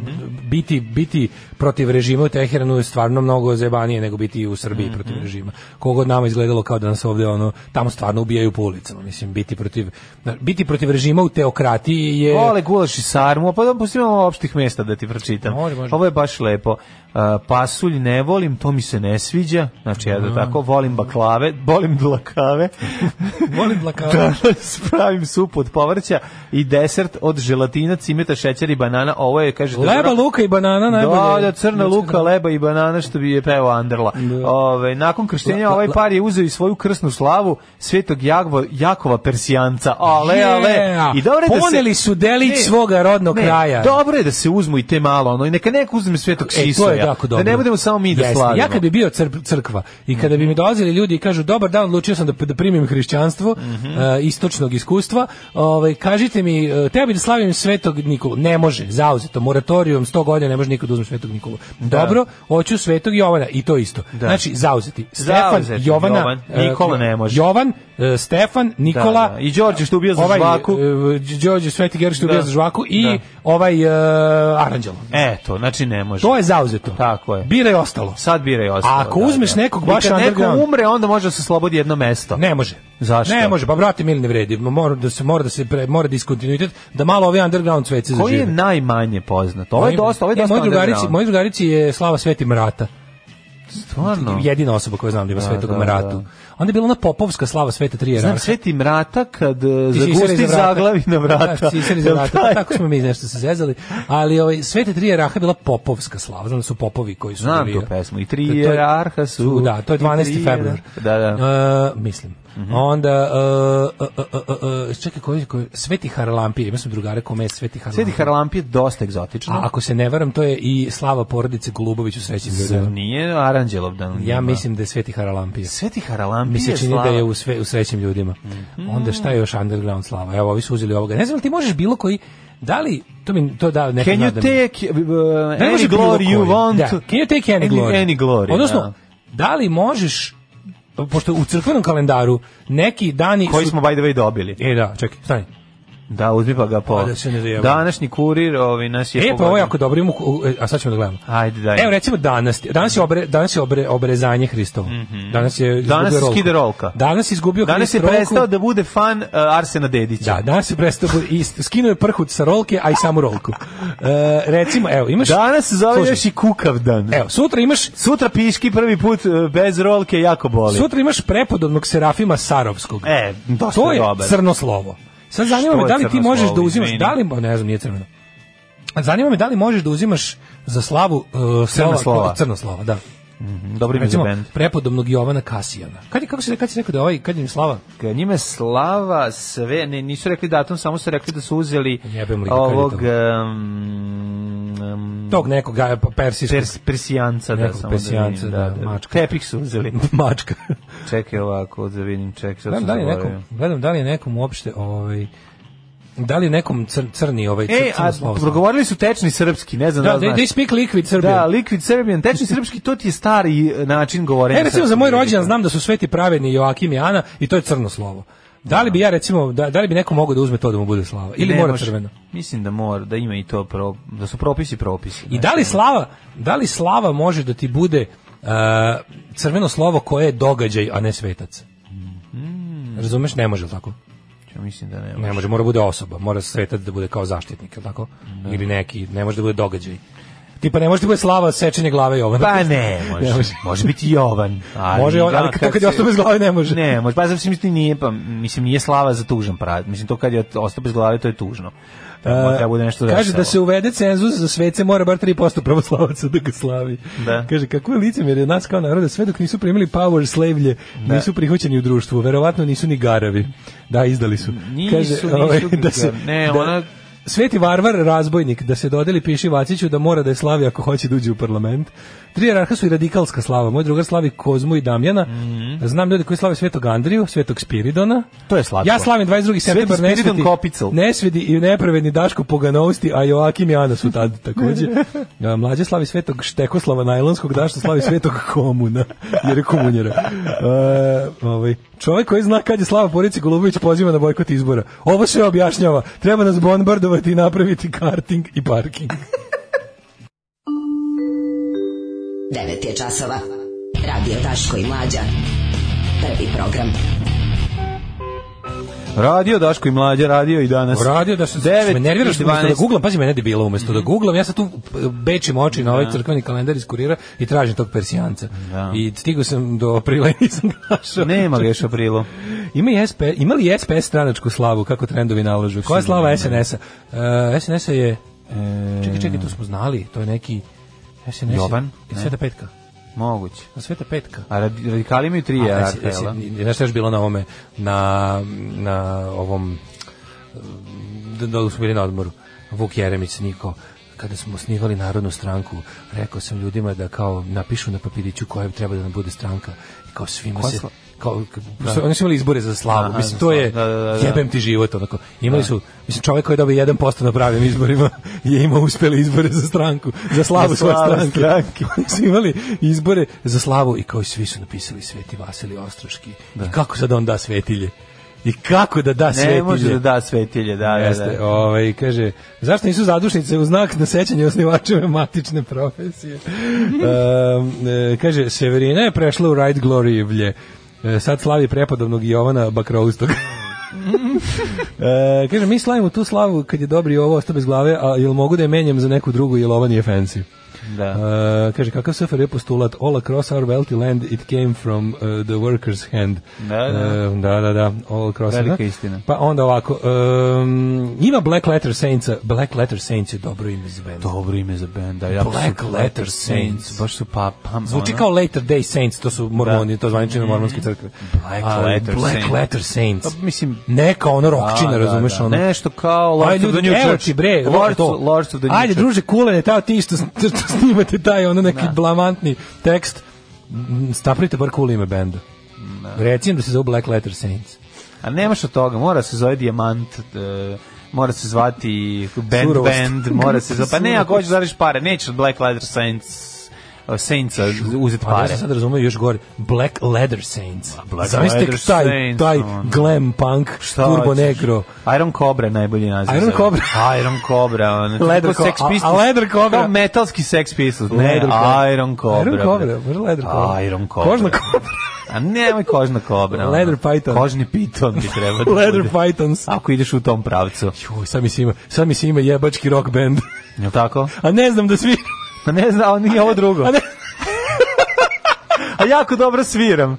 G: biti, biti protiv režima u Teheranu je stvarno mnogo zebanije nego biti u Srbiji
E: Mhm.
G: protiv režima. Kogod nama izgledalo kao da nas ovde ono, tamo stvarno ubijaju po ulicama. Mislim, biti protiv, znaš, biti protiv režima u teokratiji je...
E: Vole gulaš i sarmu, pa da pustimo ovo opštih mesta da ti pročitam.
G: Može, može.
E: Ovo je baš lepo. Uh, pasulj ne volim, to mi se ne sviđa. Znači, ja da
G: Mm.
E: tako, volim baklave, *laughs* volim dlakave.
G: *laughs* Volim dlakave.
E: Danas pravim sup od povrća i desert od želatina, cimeta, šećera i banana. Ovo je, kaže...
G: Leba,
E: dobro-
G: luka i banana
E: Da,
G: najbolje. Znači,
E: da, crna luka, leba i banana što bi je pevao Anderla. Ove, nakon krštenja
G: La-
E: ovaj
G: la-
E: par je uzeo i svoju krsnu slavu Svetog Jagva, Jakova Persijanca. Ale,
G: Yeah.
E: ale. I dobro je da se-
G: Poneli su delić
E: Ne,
G: svoga rodnog
E: ne,
G: kraja.
E: Dobro je da se uzmu i te malo, ono, i neka neko uzme Svetog
G: E, to je
E: Sisoja.
G: jako
E: Da
G: dobro.
E: ne budemo samo mi da
G: Jeste.
E: slavimo.
G: Ja kad bi bio crp- crkva i kada bi mi dolazili ljudi i kažu dobar dan, odlučio sam da, da primim hrišćanstvo
E: Mhm.
G: e, istočnog iskustva, ovaj, kažite mi, e, teo bi da slavim svetog Nikolu. Ne može, zauzeto, moratorijom, 100 godina ne može niko da uzme svetog Nikolu. Dobro, hoću svetog Jovana i to isto. Znači, zauzeti. Stefan,
E: Zauzeti,
G: Jovana,
E: Jovan,
G: e,
E: Nikola ne može.
G: Jovan, e, Stefan, Nikola.
E: da. I Đorđe što ubija za
G: ovaj,
E: žvaku.
G: e, Đorđe Sveti George što
E: Da.
G: ubija za žvaku i
E: Da.
G: ovaj e, Aranđelo.
E: Eto, znači ne može.
G: To je zauzeto.
E: Tako je.
G: Biraj ostalo.
E: Sad biraj ostalo.
G: A ako uzmeš nekog baš
E: I kad
G: underground-
E: neko umre, onda može da se slobodi jedno mesto.
G: Ne može.
E: Zašto?
G: Ne može, pa brate mili ne vredi. Mora da se mora da se pre, mora diskontinuitet da malo ovi underground sveci zažive.
E: Koji je najmanje poznat? Ovo je dosta, ovo je
G: Ne,
E: dosta
G: moj E, drugarici,
E: underground.
G: moj drugarici je Slava Sveti Mrata.
E: Stvarno?
G: Jedina osoba koju znam da ima
E: Da,
G: Svetog
E: da,
G: Mratu.
E: da.
G: Onda je bila ona popovska Slava Sveta Tri
E: Znam,
G: jerarha.
E: Sveti Mrata kad eh,
G: Ti si
E: zagusti
G: sisali za vrata.
E: zaglavi na vrata.
G: Da, sisali za vrata. Pa tako smo mi nešto se zezali. Ali ovaj, Svete Tri Jeraha je bila popovska slava. Znam da su popovi koji su
E: Znam
G: bili-
E: tu pesmu. I
G: To-
E: tri
G: to je-
E: jerarha su...
G: Da, to je
E: i tri
G: 12. februar.
E: jer- Da, da. Mhm.
G: E, mislim. Onda, e, e, e, e, e, čekaj, koji, koji, Sveti Haralampir, ima sam drugare kome je Sveti Haralampir.
E: Sveti Harlampi je dosta egzotično.
G: A ako se ne varam, to je i slava porodice Golubović u sreći.
E: Zar nije Aranđelov dan?
G: Ja mislim da je Sveti Haralampir.
E: Sveti Haralampir
G: Mi se
E: je
G: čini
E: slava. Mhm.
G: da je u, sve, u srećim ljudima. Onda šta je još underground slava? Evo, ovi su uzeli ovoga. Ne znam, jel ti možeš bilo koji... Da li, to mi to da neka
E: Can you
G: nada mi.
E: take uh,
G: Ne može
E: any
G: bilo
E: glory you
G: koji.
E: want?
G: Da. Can you take any, glory?
E: Any glory,
G: Odnosno,
E: da.
G: da li možeš pošto u crkvenom kalendaru neki dani
E: Koji
G: su-
E: smo by the way dobili.
G: E da, čekaj, stani.
E: Da, uzmi pa ga po.
G: Pa da se ne zajebam.
E: Današnji kurir ovi nas je
G: E, pa ovo je
E: pogodio.
G: jako dobro, imamo, u- e, a sad ćemo da gledamo.
E: Ajde, daj.
G: Evo recimo danas, danas je, obre, danas je obre, obrezanje Hristovo. Danas je izgubio
E: Mhm. Danas
G: rolku.
E: skida rolka.
G: Danas je izgubio
E: Danas je
G: Hrist rolku.
E: prestao da bude fan uh, Arsena Dedića.
G: Da, danas je prestao i skinuo je prhut sa rolke, a i samu rolku. E, recimo, evo, imaš...
E: Danas se zove
G: Slušaj,
E: još i kukav dan.
G: Evo, sutra imaš
E: Sutra piški prvi put e, bez rolke jako boli.
G: Sutra imaš prepodobnog Serafima Sarovskog.
E: E, dosta
G: to je
E: dobar.
G: crno slovo. Sad zanima
E: Što
G: me
E: je
G: da li ti
E: crno
G: možeš
E: slovo,
G: da uzimaš,
E: izvini?
G: da li, ne znam, nije crveno. Zanima me da li možeš da uzimaš za slavu uh, slova-
E: slova.
G: crno slova, da.
E: Mhm, Dobro ime za
G: Recimo,
E: bend.
G: prepodobnog Jovana Kasijana. Kad je, kako se, kad si rekao da je ovaj, kad je im slava?
E: Kad Njima je slava sve, ne, nisu rekli datum, samo su rekli da su uzeli
G: Jebem li ga, kad je
E: ovog
G: to?
E: um, um,
G: Tog nekog a, pa, persijskog.
E: pers, *laughs* persijanca. Da,
G: Nekog
E: samo
G: Persijanca,
E: da, vidim,
G: da, mačka.
E: Tepih su uzeli.
G: Mačka.
E: čekaj ovako, da vidim, čekaj. Sad
G: Gledam
E: sam
G: da li je
E: zaboravio.
G: nekom, gledam da li je nekom uopšte, ovaj, da li je nekom cr, crni ovaj cr,
E: E, a
G: crno slovo.
E: progovorili su tečni srpski, ne znam da,
G: Da,
E: li
G: they,
E: znaš.
G: they speak liquid Serbian.
E: Da, liquid Serbian, tečni srpski, to ti je stari e, način govorenja.
G: E, recimo za
E: srpskog
G: moj
E: jezika.
G: rođendan znam da su sveti pravedni Joakim i Ana i to je crno slovo. Da li bi ja recimo, da, da li bi neko mogao da uzme to da mu bude slava? Ili
E: Ne
G: mora
E: može.
G: crveno?
E: Mislim da mora, da ima i to, pro, da su propisi propisi.
G: I da li slava, da li slava može da ti bude uh, crveno slovo koje je događaj, a ne svetac?
E: Mm.
G: Razumeš? Ne može, jel tako?
E: znači, Ja mislim da ne
G: Pa Ne može, mora bude osoba, mora svetac da bude kao zaštitnik, jel tako? Ili neki, ne može da bude događaj. Tipa ne može da bude slava sečenje glave Jovana.
E: Pa ne, može.
G: Ne može.
E: može biti Jovan. Ali,
G: Može on,
E: da,
G: ali to kad je ostao bez glave ne može.
E: Ne, može. Pa zato što mislim nije, pa, mislim, nije slava za tužan prad. Mislim, to kad je ostao bez glave, to je tužno. Tako, treba bude nešto
G: E, Kaže
E: veselo.
G: da se uvede cenzus za svece mora bar 3% pravoslavaca da ga slavi.
E: Da.
G: Kaže kako je licemjerje nas kao naroda sve dok nisu primili power slavlje,
E: Da.
G: nisu prihvaćeni u društvu, verovatno nisu ni garavi. Da, izdali su.
E: Nisu, nisu,
G: ovaj,
E: da se, ne,
G: da-
E: ona
G: Sveti varvar, razbojnik, da se dodeli piši Vaciću da mora da je slavi ako hoće da uđe u parlament. Tri jerarha su i radikalska slava. Moj drugar slavi Kozmu i Damjana. Znam ljudi koji slave Svetog Andriju, Svetog Spiridona.
E: Mhm. To je slatko.
G: Ja slavim 22. september
E: Sveti Spiridon
G: nesveti,
E: Kopicl.
G: nesvedi i nepravedni Daško Poganovsti, a Joakim i Ana su tad
E: *laughs*
G: takođe. Ja, Mlađe slavi Svetog Štekoslava Najlonskog, Daško slavi Svetog Komuna, jer je komunjera. E, ovaj, čovjek koji zna kad je Slava Porici Golubović poziva na bojkot izbora. Ovo sve objašnjava. Treba nas bombardovati i napraviti karting i parking.
J: 9 je časova. Radio Daško i Mlađa. Prvi program.
E: Radio Daško i Mlađa, radio i danas.
G: Radio da se
E: Devet
G: me nerviraš
E: i Mhm.
G: da umesto da
E: 12.
G: guglam, pazi mene debila umesto da guglam, ja sad tu e, bečim oči na ovaj crkveni kalendar iz kurira i tražim tog persijanca. I stigao sam do aprila i *laughs* nisam našao.
E: Nema ga još aprilu.
G: Ima, i SP, ima li SPS stranačku slavu, kako trendovi nalažu? Koja je slava SNS-a? E, SNS-a je...
E: E,
G: Čekaj, čekaj, to smo znali, to je neki... SNS
E: Jovan?
G: Je,
E: Ne.
G: Sveta petka.
E: Moguće.
G: A Sveta petka.
E: A radi- radikali imaju tri
G: A,
E: jerarha,
G: jesi- jesi-
E: jel da?
G: Znaš šta je još bilo na ovome? Na, na ovom... Da, da smo bili na odmoru. Vuk Jeremić, Niko kada smo osnivali Narodnu stranku, rekao sam ljudima da kao napišu na papiriću koja treba da nam bude stranka i kao svima
E: Koja
G: se
E: sla-
G: kao, k- oni su imali izbore za slavu,
E: Aha,
G: mislim
E: za
G: to je
E: slavu, da, da, da, da.
G: jebem ti život onako. Imali
E: Da.
G: su mislim čovjek koji je dobio 1% na pravim izborima *laughs* je imao uspjeli izbore za stranku, za slavu
E: Za
G: svoje
E: slavu
G: stranke. *laughs*
E: stranke.
G: Oni su imali izbore za slavu i kao i svi su napisali Sveti Vasilij Ostroški. I kako sad on da svetilje? I kako da da svetilje?
E: Ne može da da svetilje, da, da,
G: Jeste,
E: da.
G: ovaj, kaže, zašto nisu zadušnice u znak na sećanje osnivačeve matične
E: *laughs*
G: profesije? Um, e, kaže, Severina je prešla u Right Gloryvlje. E, sad slavi prepodobnog Jovana Bakroustog.
E: *laughs*
G: e, kaže, mi slavimo tu slavu kad je dobri ovo ostao bez glave, a jel mogu da je menjam za neku drugu, jel ovo nije fancy?
E: Da.
G: E, kaže, kakav SFR je postulat? All across our wealthy land it came from uh, the worker's hand.
E: Da, da.
G: E, da, da, da. All across
E: Velika
G: da.
E: istina.
G: Pa onda ovako, um, ima Black Letter Saints, Black Letter Saints je dobro ime za band.
E: Dobro ime za benda. Ja
G: Black Letter Saints.
E: Baš su pa, pam,
G: Zvuči
E: ono. Mhm.
G: kao Later Day Saints, to su mormoni, to zvanične mormonske crkve.
E: Black
G: Ali
E: Letter
G: Black
E: Saints.
G: Letter Saints.
E: Pa, mislim,
G: Neka ono rokčina,
E: Da, da,
G: razumeš
E: da.
G: ono.
E: Nešto kao Lords
G: Ajde,
E: of the
G: ljudi,
E: New
G: evo
E: Church.
G: ti bre,
E: Lords-
G: to.
E: Lords of the New
G: Ajde,
E: Church.
G: druže, kulene, tao ti što, *laughs* što snimate taj ono neki blamantni tekst. M, Napravite bar cool ime benda. Recim da se zove Black Letter Saints.
E: A nemaš od toga, mora se zove Dijamant, e, mora se zvati Band
G: Surovost.
E: Band, mora se zvati... Pa ne, *laughs* ako hoćeš zaraš pare, nećeš od Black Leather Saints uh, Saintsa uzeti
G: Pa ja
E: pare.
G: sam sad razumio još gore. Black Leather Saints.
E: Black
G: Zamislite
E: Leather
G: taj,
E: Saints,
G: taj
E: ono.
G: glam punk,
E: Šta
G: turbo
E: hoćeš?
G: negro.
E: Iron Cobra je najbolji naziv.
G: Iron
E: za- Pa,
G: Cobra.
E: Iron Cobra. ono, On.
G: Leather Co- a- a Leather Cobra?
E: Kao metalski Sex Pistols. Ne,
G: Leather Cobra.
E: Iron Cobra.
G: Iron Cobra,
E: bre.
G: može Leather Cobra.
E: Iron Cobra.
G: Kožna kobra.
E: A nemoj kožna kobra. ono.
G: Leather Python.
E: Kožni piton ti treba
G: *laughs*
E: da
G: Leather
E: bude.
G: Pythons.
E: Ako ideš u tom pravcu.
G: Juj, sad mi se ima, sad mi se ima jebački rock band. *laughs*
E: Jel tako?
G: A ne znam da svi...
E: Pa ne znam, ali nije ovo drugo.
G: A ne,
E: *laughs* A jako dobro sviram.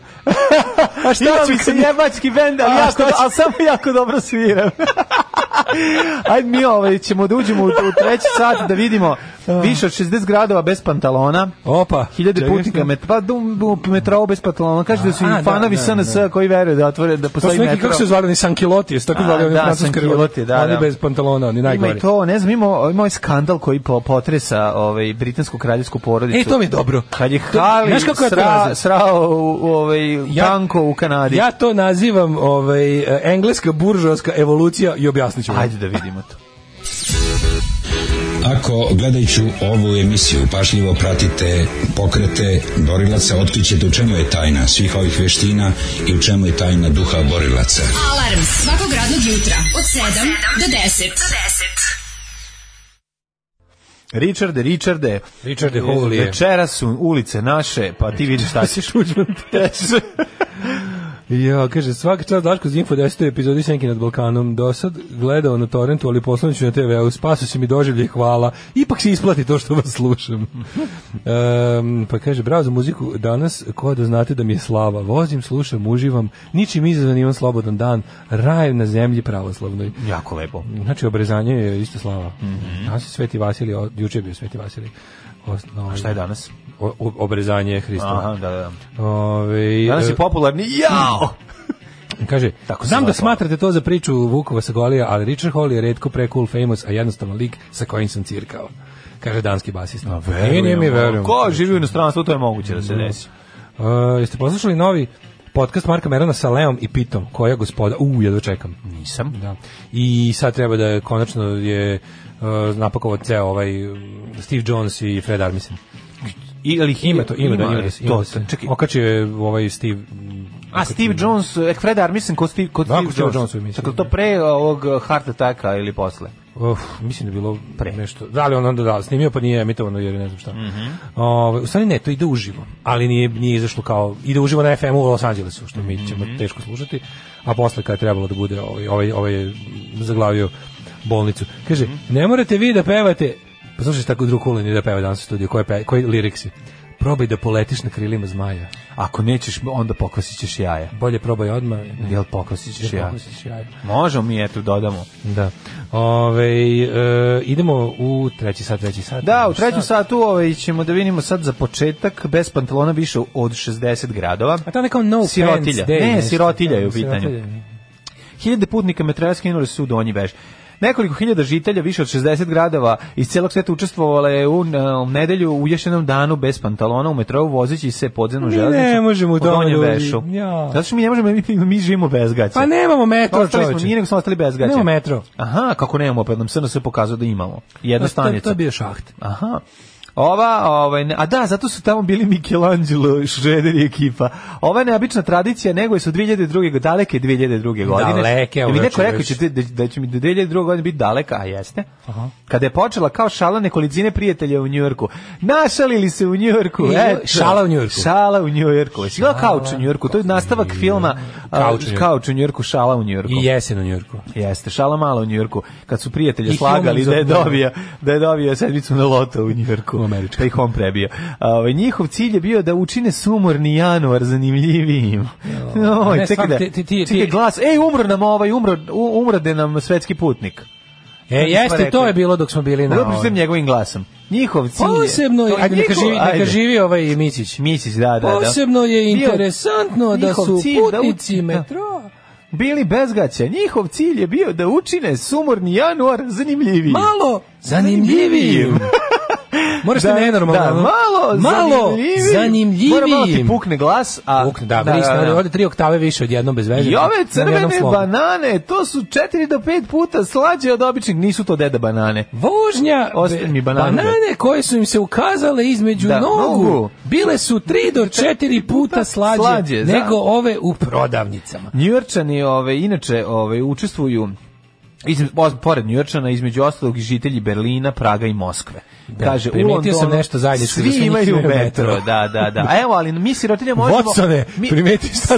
G: a šta
E: Imam
G: ću
E: se
G: kad-
E: jebački bend, ali,
G: A,
E: jako,
G: šta ću?
E: ali samo jako dobro
G: *laughs*
E: sviram. Ajde mi ovaj, ćemo da uđemo u, u treći sat da vidimo više od 60 gradova bez pantalona.
G: Opa.
E: Hiljade
G: čekaj
E: putnika
G: šta-
E: met, pa dum, dum, metrao bez pantalona. Kaže da su
G: A,
E: i
G: da,
E: fanovi
G: da,
E: SNS koji veruju da otvore da
G: To
E: postoji
G: su neki,
E: metro.
G: kako se zvali, oni sankiloti, jesu tako
E: A,
G: zvali, oni
E: da,
G: francuski
E: sankiloti, da,
G: Oni
E: da.
G: bez pantalona, oni
E: Ima
G: najgori.
E: i to, ne znam, ima, ima ovaj skandal koji po, potresa ovaj, britansku kraljevsku porodicu.
G: E, to mi je dobro.
E: Kad je
G: To-
E: Hali
G: znaš kako ja to
E: sra,
G: nazivam?
E: srao u, u ovaj,
G: Ja-
E: tanko u Kanadi.
G: Ja to nazivam ovaj, e, engleska buržovska evolucija i objasnit ću vam.
E: Ajde da vidimo to.
M: Ako gledajući ovu emisiju pažljivo pratite pokrete borilaca, otkrićete u čemu je tajna svih ovih veština i u čemu je tajna duha borilaca.
D: Alarm svakog radnog jutra od 7 do 10.
E: Richarde, Richarde.
G: Richarde Holy je.
E: Večera su ulice naše, pa ti vidiš
G: *laughs*
E: šta ćeš.
G: Ja, kaže, svaka čast Daško iz Info 10. epizodi Senki nad Balkanom. Do sad gledao na torrentu, ali poslanit ću na TV-u. Spasu si mi doživlje, hvala. Ipak se isplati to što vas
E: *laughs*
G: slušam. Em, pa kaže, bravo za muziku. Danas, ko da znate da mi je slava. Vozim, slušam, uživam. Ničim izazvan imam slobodan dan. Raj na zemlji pravoslavnoj.
E: *laughs* jako lepo.
G: Znači, obrezanje je isto slava.
E: Mhm.
G: Danas je Sveti Vasilij, o- juče je bio Sveti Vasilij. Osno-
E: Šta je danas?
G: o- o- obrezanje Hristova.
E: Aha, da, da.
G: Ove,
E: Danas
G: e,
E: je popularni, jao!
G: Kaže,
E: Tako se
G: znam da
E: zove pola.
G: smatrate to za priču Vukova sa Golija, ali Richard Hall je redko pre cool famous, a jednostavno lik sa kojim sam cirkao. Kaže danski basista. A
E: Verujemo. Ko živi u inostranstvu, to je moguće
G: Mm.
E: da se desi.
G: Uh, jeste poslušali novi podcast Marka Merona sa Leom i Pitom, koja gospoda, u, jedva čekam.
E: Nisam.
G: Da. I sad treba da je, konačno je uh, napakovao ceo ovaj um, Steve Jones i Fred Armisen.
E: I, ali
G: Ima to, ima, da, ima,
E: e,
G: da,
E: to,
G: ima da se.
E: čekaj.
G: Okačio je ovaj Steve...
E: A Steve Jones, eh, Fred Armisen kod Steve, kod
G: Da,
E: Steve
G: kod Steve
E: Jones.
G: Jonesu emisiji.
E: Dakle, to pre ovog eh, heart attacka ili posle.
G: Uf, mislim da je bilo pre nešto. Da li on onda da, snimio pa nije emitovano jer ne znam šta.
E: Mhm.
G: Ovaj, u stvari ne, to ide uživo, ali nije, nije izašlo kao, ide uživo na FM-u u Los Angelesu, što mi ćemo
E: Mhm.
G: teško slušati, a posle kad je trebalo da bude ovaj, ovaj, ovaj je zaglavio bolnicu. Kaže,
E: Mhm.
G: ne morate vi da pevate, pa slušaj šta Drew Cullen je da peva danas u studiju, koje, pe, koje liriksi? Probaj da poletiš na krilima zmaja.
E: Ako nećeš, onda pokvasit ćeš jaja.
G: Bolje probaj odmah.
E: Jel pokvasit ćeš
G: Jel
E: jaja?
G: pokvasit ćeš jaja.
E: Možemo mi, eto, dodamo.
G: Da. Ove, e, idemo u treći sat, treći sat.
E: Da, u trećem satu ovaj, ćemo da vidimo sad za početak bez pantalona više od 60 gradova.
G: A Pa to je neka no
E: sirotilja.
G: Offense Day,
E: ne,
G: nešto.
E: sirotilja je u
G: Da,
E: pitanju.
G: sirotilja.
E: Hiljade putnika metroja skinuli su u Donji Bež. Nekoliko hiljada žitelja više od 60 gradova iz celog sveta učestvovalo je u, na- u nedelju u ješenom danu bez pantalona u metrovu vozeći se podzemnu
G: Mi
E: železnicu.
G: ne možemo u
E: u Donjem
G: Donju,
E: Bešu.
G: ja.
E: Zato što mi ne možemo, mi, mi živimo bez gaća.
G: Pa nemamo metro,
E: ostali smo,
G: čoveče.
E: mi nego smo ostali bez gaća.
G: Nemamo metro.
E: Aha, kako nemamo, pa nam SNS pokazao da imamo. Jedna
G: Pa To- to-
E: stanica.
G: To je bio šaht.
E: Aha. Ova, ovaj, ne- a da, zato su tamo bili Michelangelo, Šreder i ekipa. Ova je neobična tradicija, nego je su 2002. go- daleke 2002. godine.
G: Daleke,
E: Da
G: ovo
E: mi
G: je
E: neko
G: čovječ.
E: rekao će te- da, da će mi do 2002. godine biti daleka, a jeste.
G: Aha.
E: Kada je počela kao šala nekolicine prijatelja u Njujorku. Našalili se u Njujorku.
G: I-
E: eto.
G: šala u Njujorku.
E: Šala u Njujorku. Jesi gledao Kauč u Njujorku? To je nastavak filma a,
G: Kauč u Njujorku.
E: Kauč u Njujorku, Šala u Njujorku.
G: I jesen u Njurku.
E: Jeste, šala malo u Njujorku, kad su prijatelje
G: I
E: slagali
G: Humans
E: da je
G: of Love.
E: dobio, da je dobio sedmicu na loto u Njujorku. U Američku. Pa ih on prebio. A, ovaj, njihov cilj je bio da učine sumorni januar zanimljivijim. *laughs* No,
G: Ne,
E: čekaj
G: svak-
E: da,
G: ti- ti- ti-
E: čekaj
G: ti-
E: glas, ej, umro nam ovaj, umro, u- umrode nam svetski putnik.
G: E,
E: Kako smo
G: jeste,
E: pa rekli?
G: to je bilo dok smo bili na...
E: Uvijek pričam njegovim glasom. Njihov cilj je...
G: Posebno je,
E: To je
G: ajde, neka
E: njihov-
G: živi, neka
E: ajde.
G: živi ovaj Micić.
E: Misić, da, da, da.
G: Posebno je
E: Bio-
G: interesantno da
E: njihov
G: su
E: cilj da uči-
G: putnici
E: da.
G: metroa
E: Bili bezgaća. Njihov cilj je bio da učine sumorni januar zanimljivijim.
G: malo zanimljivijim.
E: *laughs*
G: Moraš da, nenormalno.
E: Da,
G: ono,
E: malo,
G: malo
E: zanimljivijim.
G: zanimljivijim.
E: Mora malo ti pukne glas, a...
G: Pukne, da, da, da, ode tri oktave više odjednom bez veze. znači,
E: I ove
G: na jednom
E: crvene
G: slovu.
E: banane, to su 4 do 5 puta slađe od običnih, nisu to deda banane.
G: Vožnja
E: Ostavi mi banane.
G: banane koje su im se ukazale između
E: Da,
G: nogu,
E: nogu.
G: bile su tri do četiri puta slađe,
E: slađe, da.
G: nego ove u prodavnicama.
E: Njujorčani ove, inače ove, učestvuju izme, o- pored Njujorčana između ostalog i žitelji Berlina, Praga i Moskve. Kaže, u
G: primetio sam
E: Londonu
G: nešto zajedničko, da
E: Svi
G: sve njih
E: imaju
G: imaju
E: metro.
G: metro.
E: Da, da, da. A evo, ali mi sirotinje možemo...
G: Watsone,
E: mi-
G: primeti šta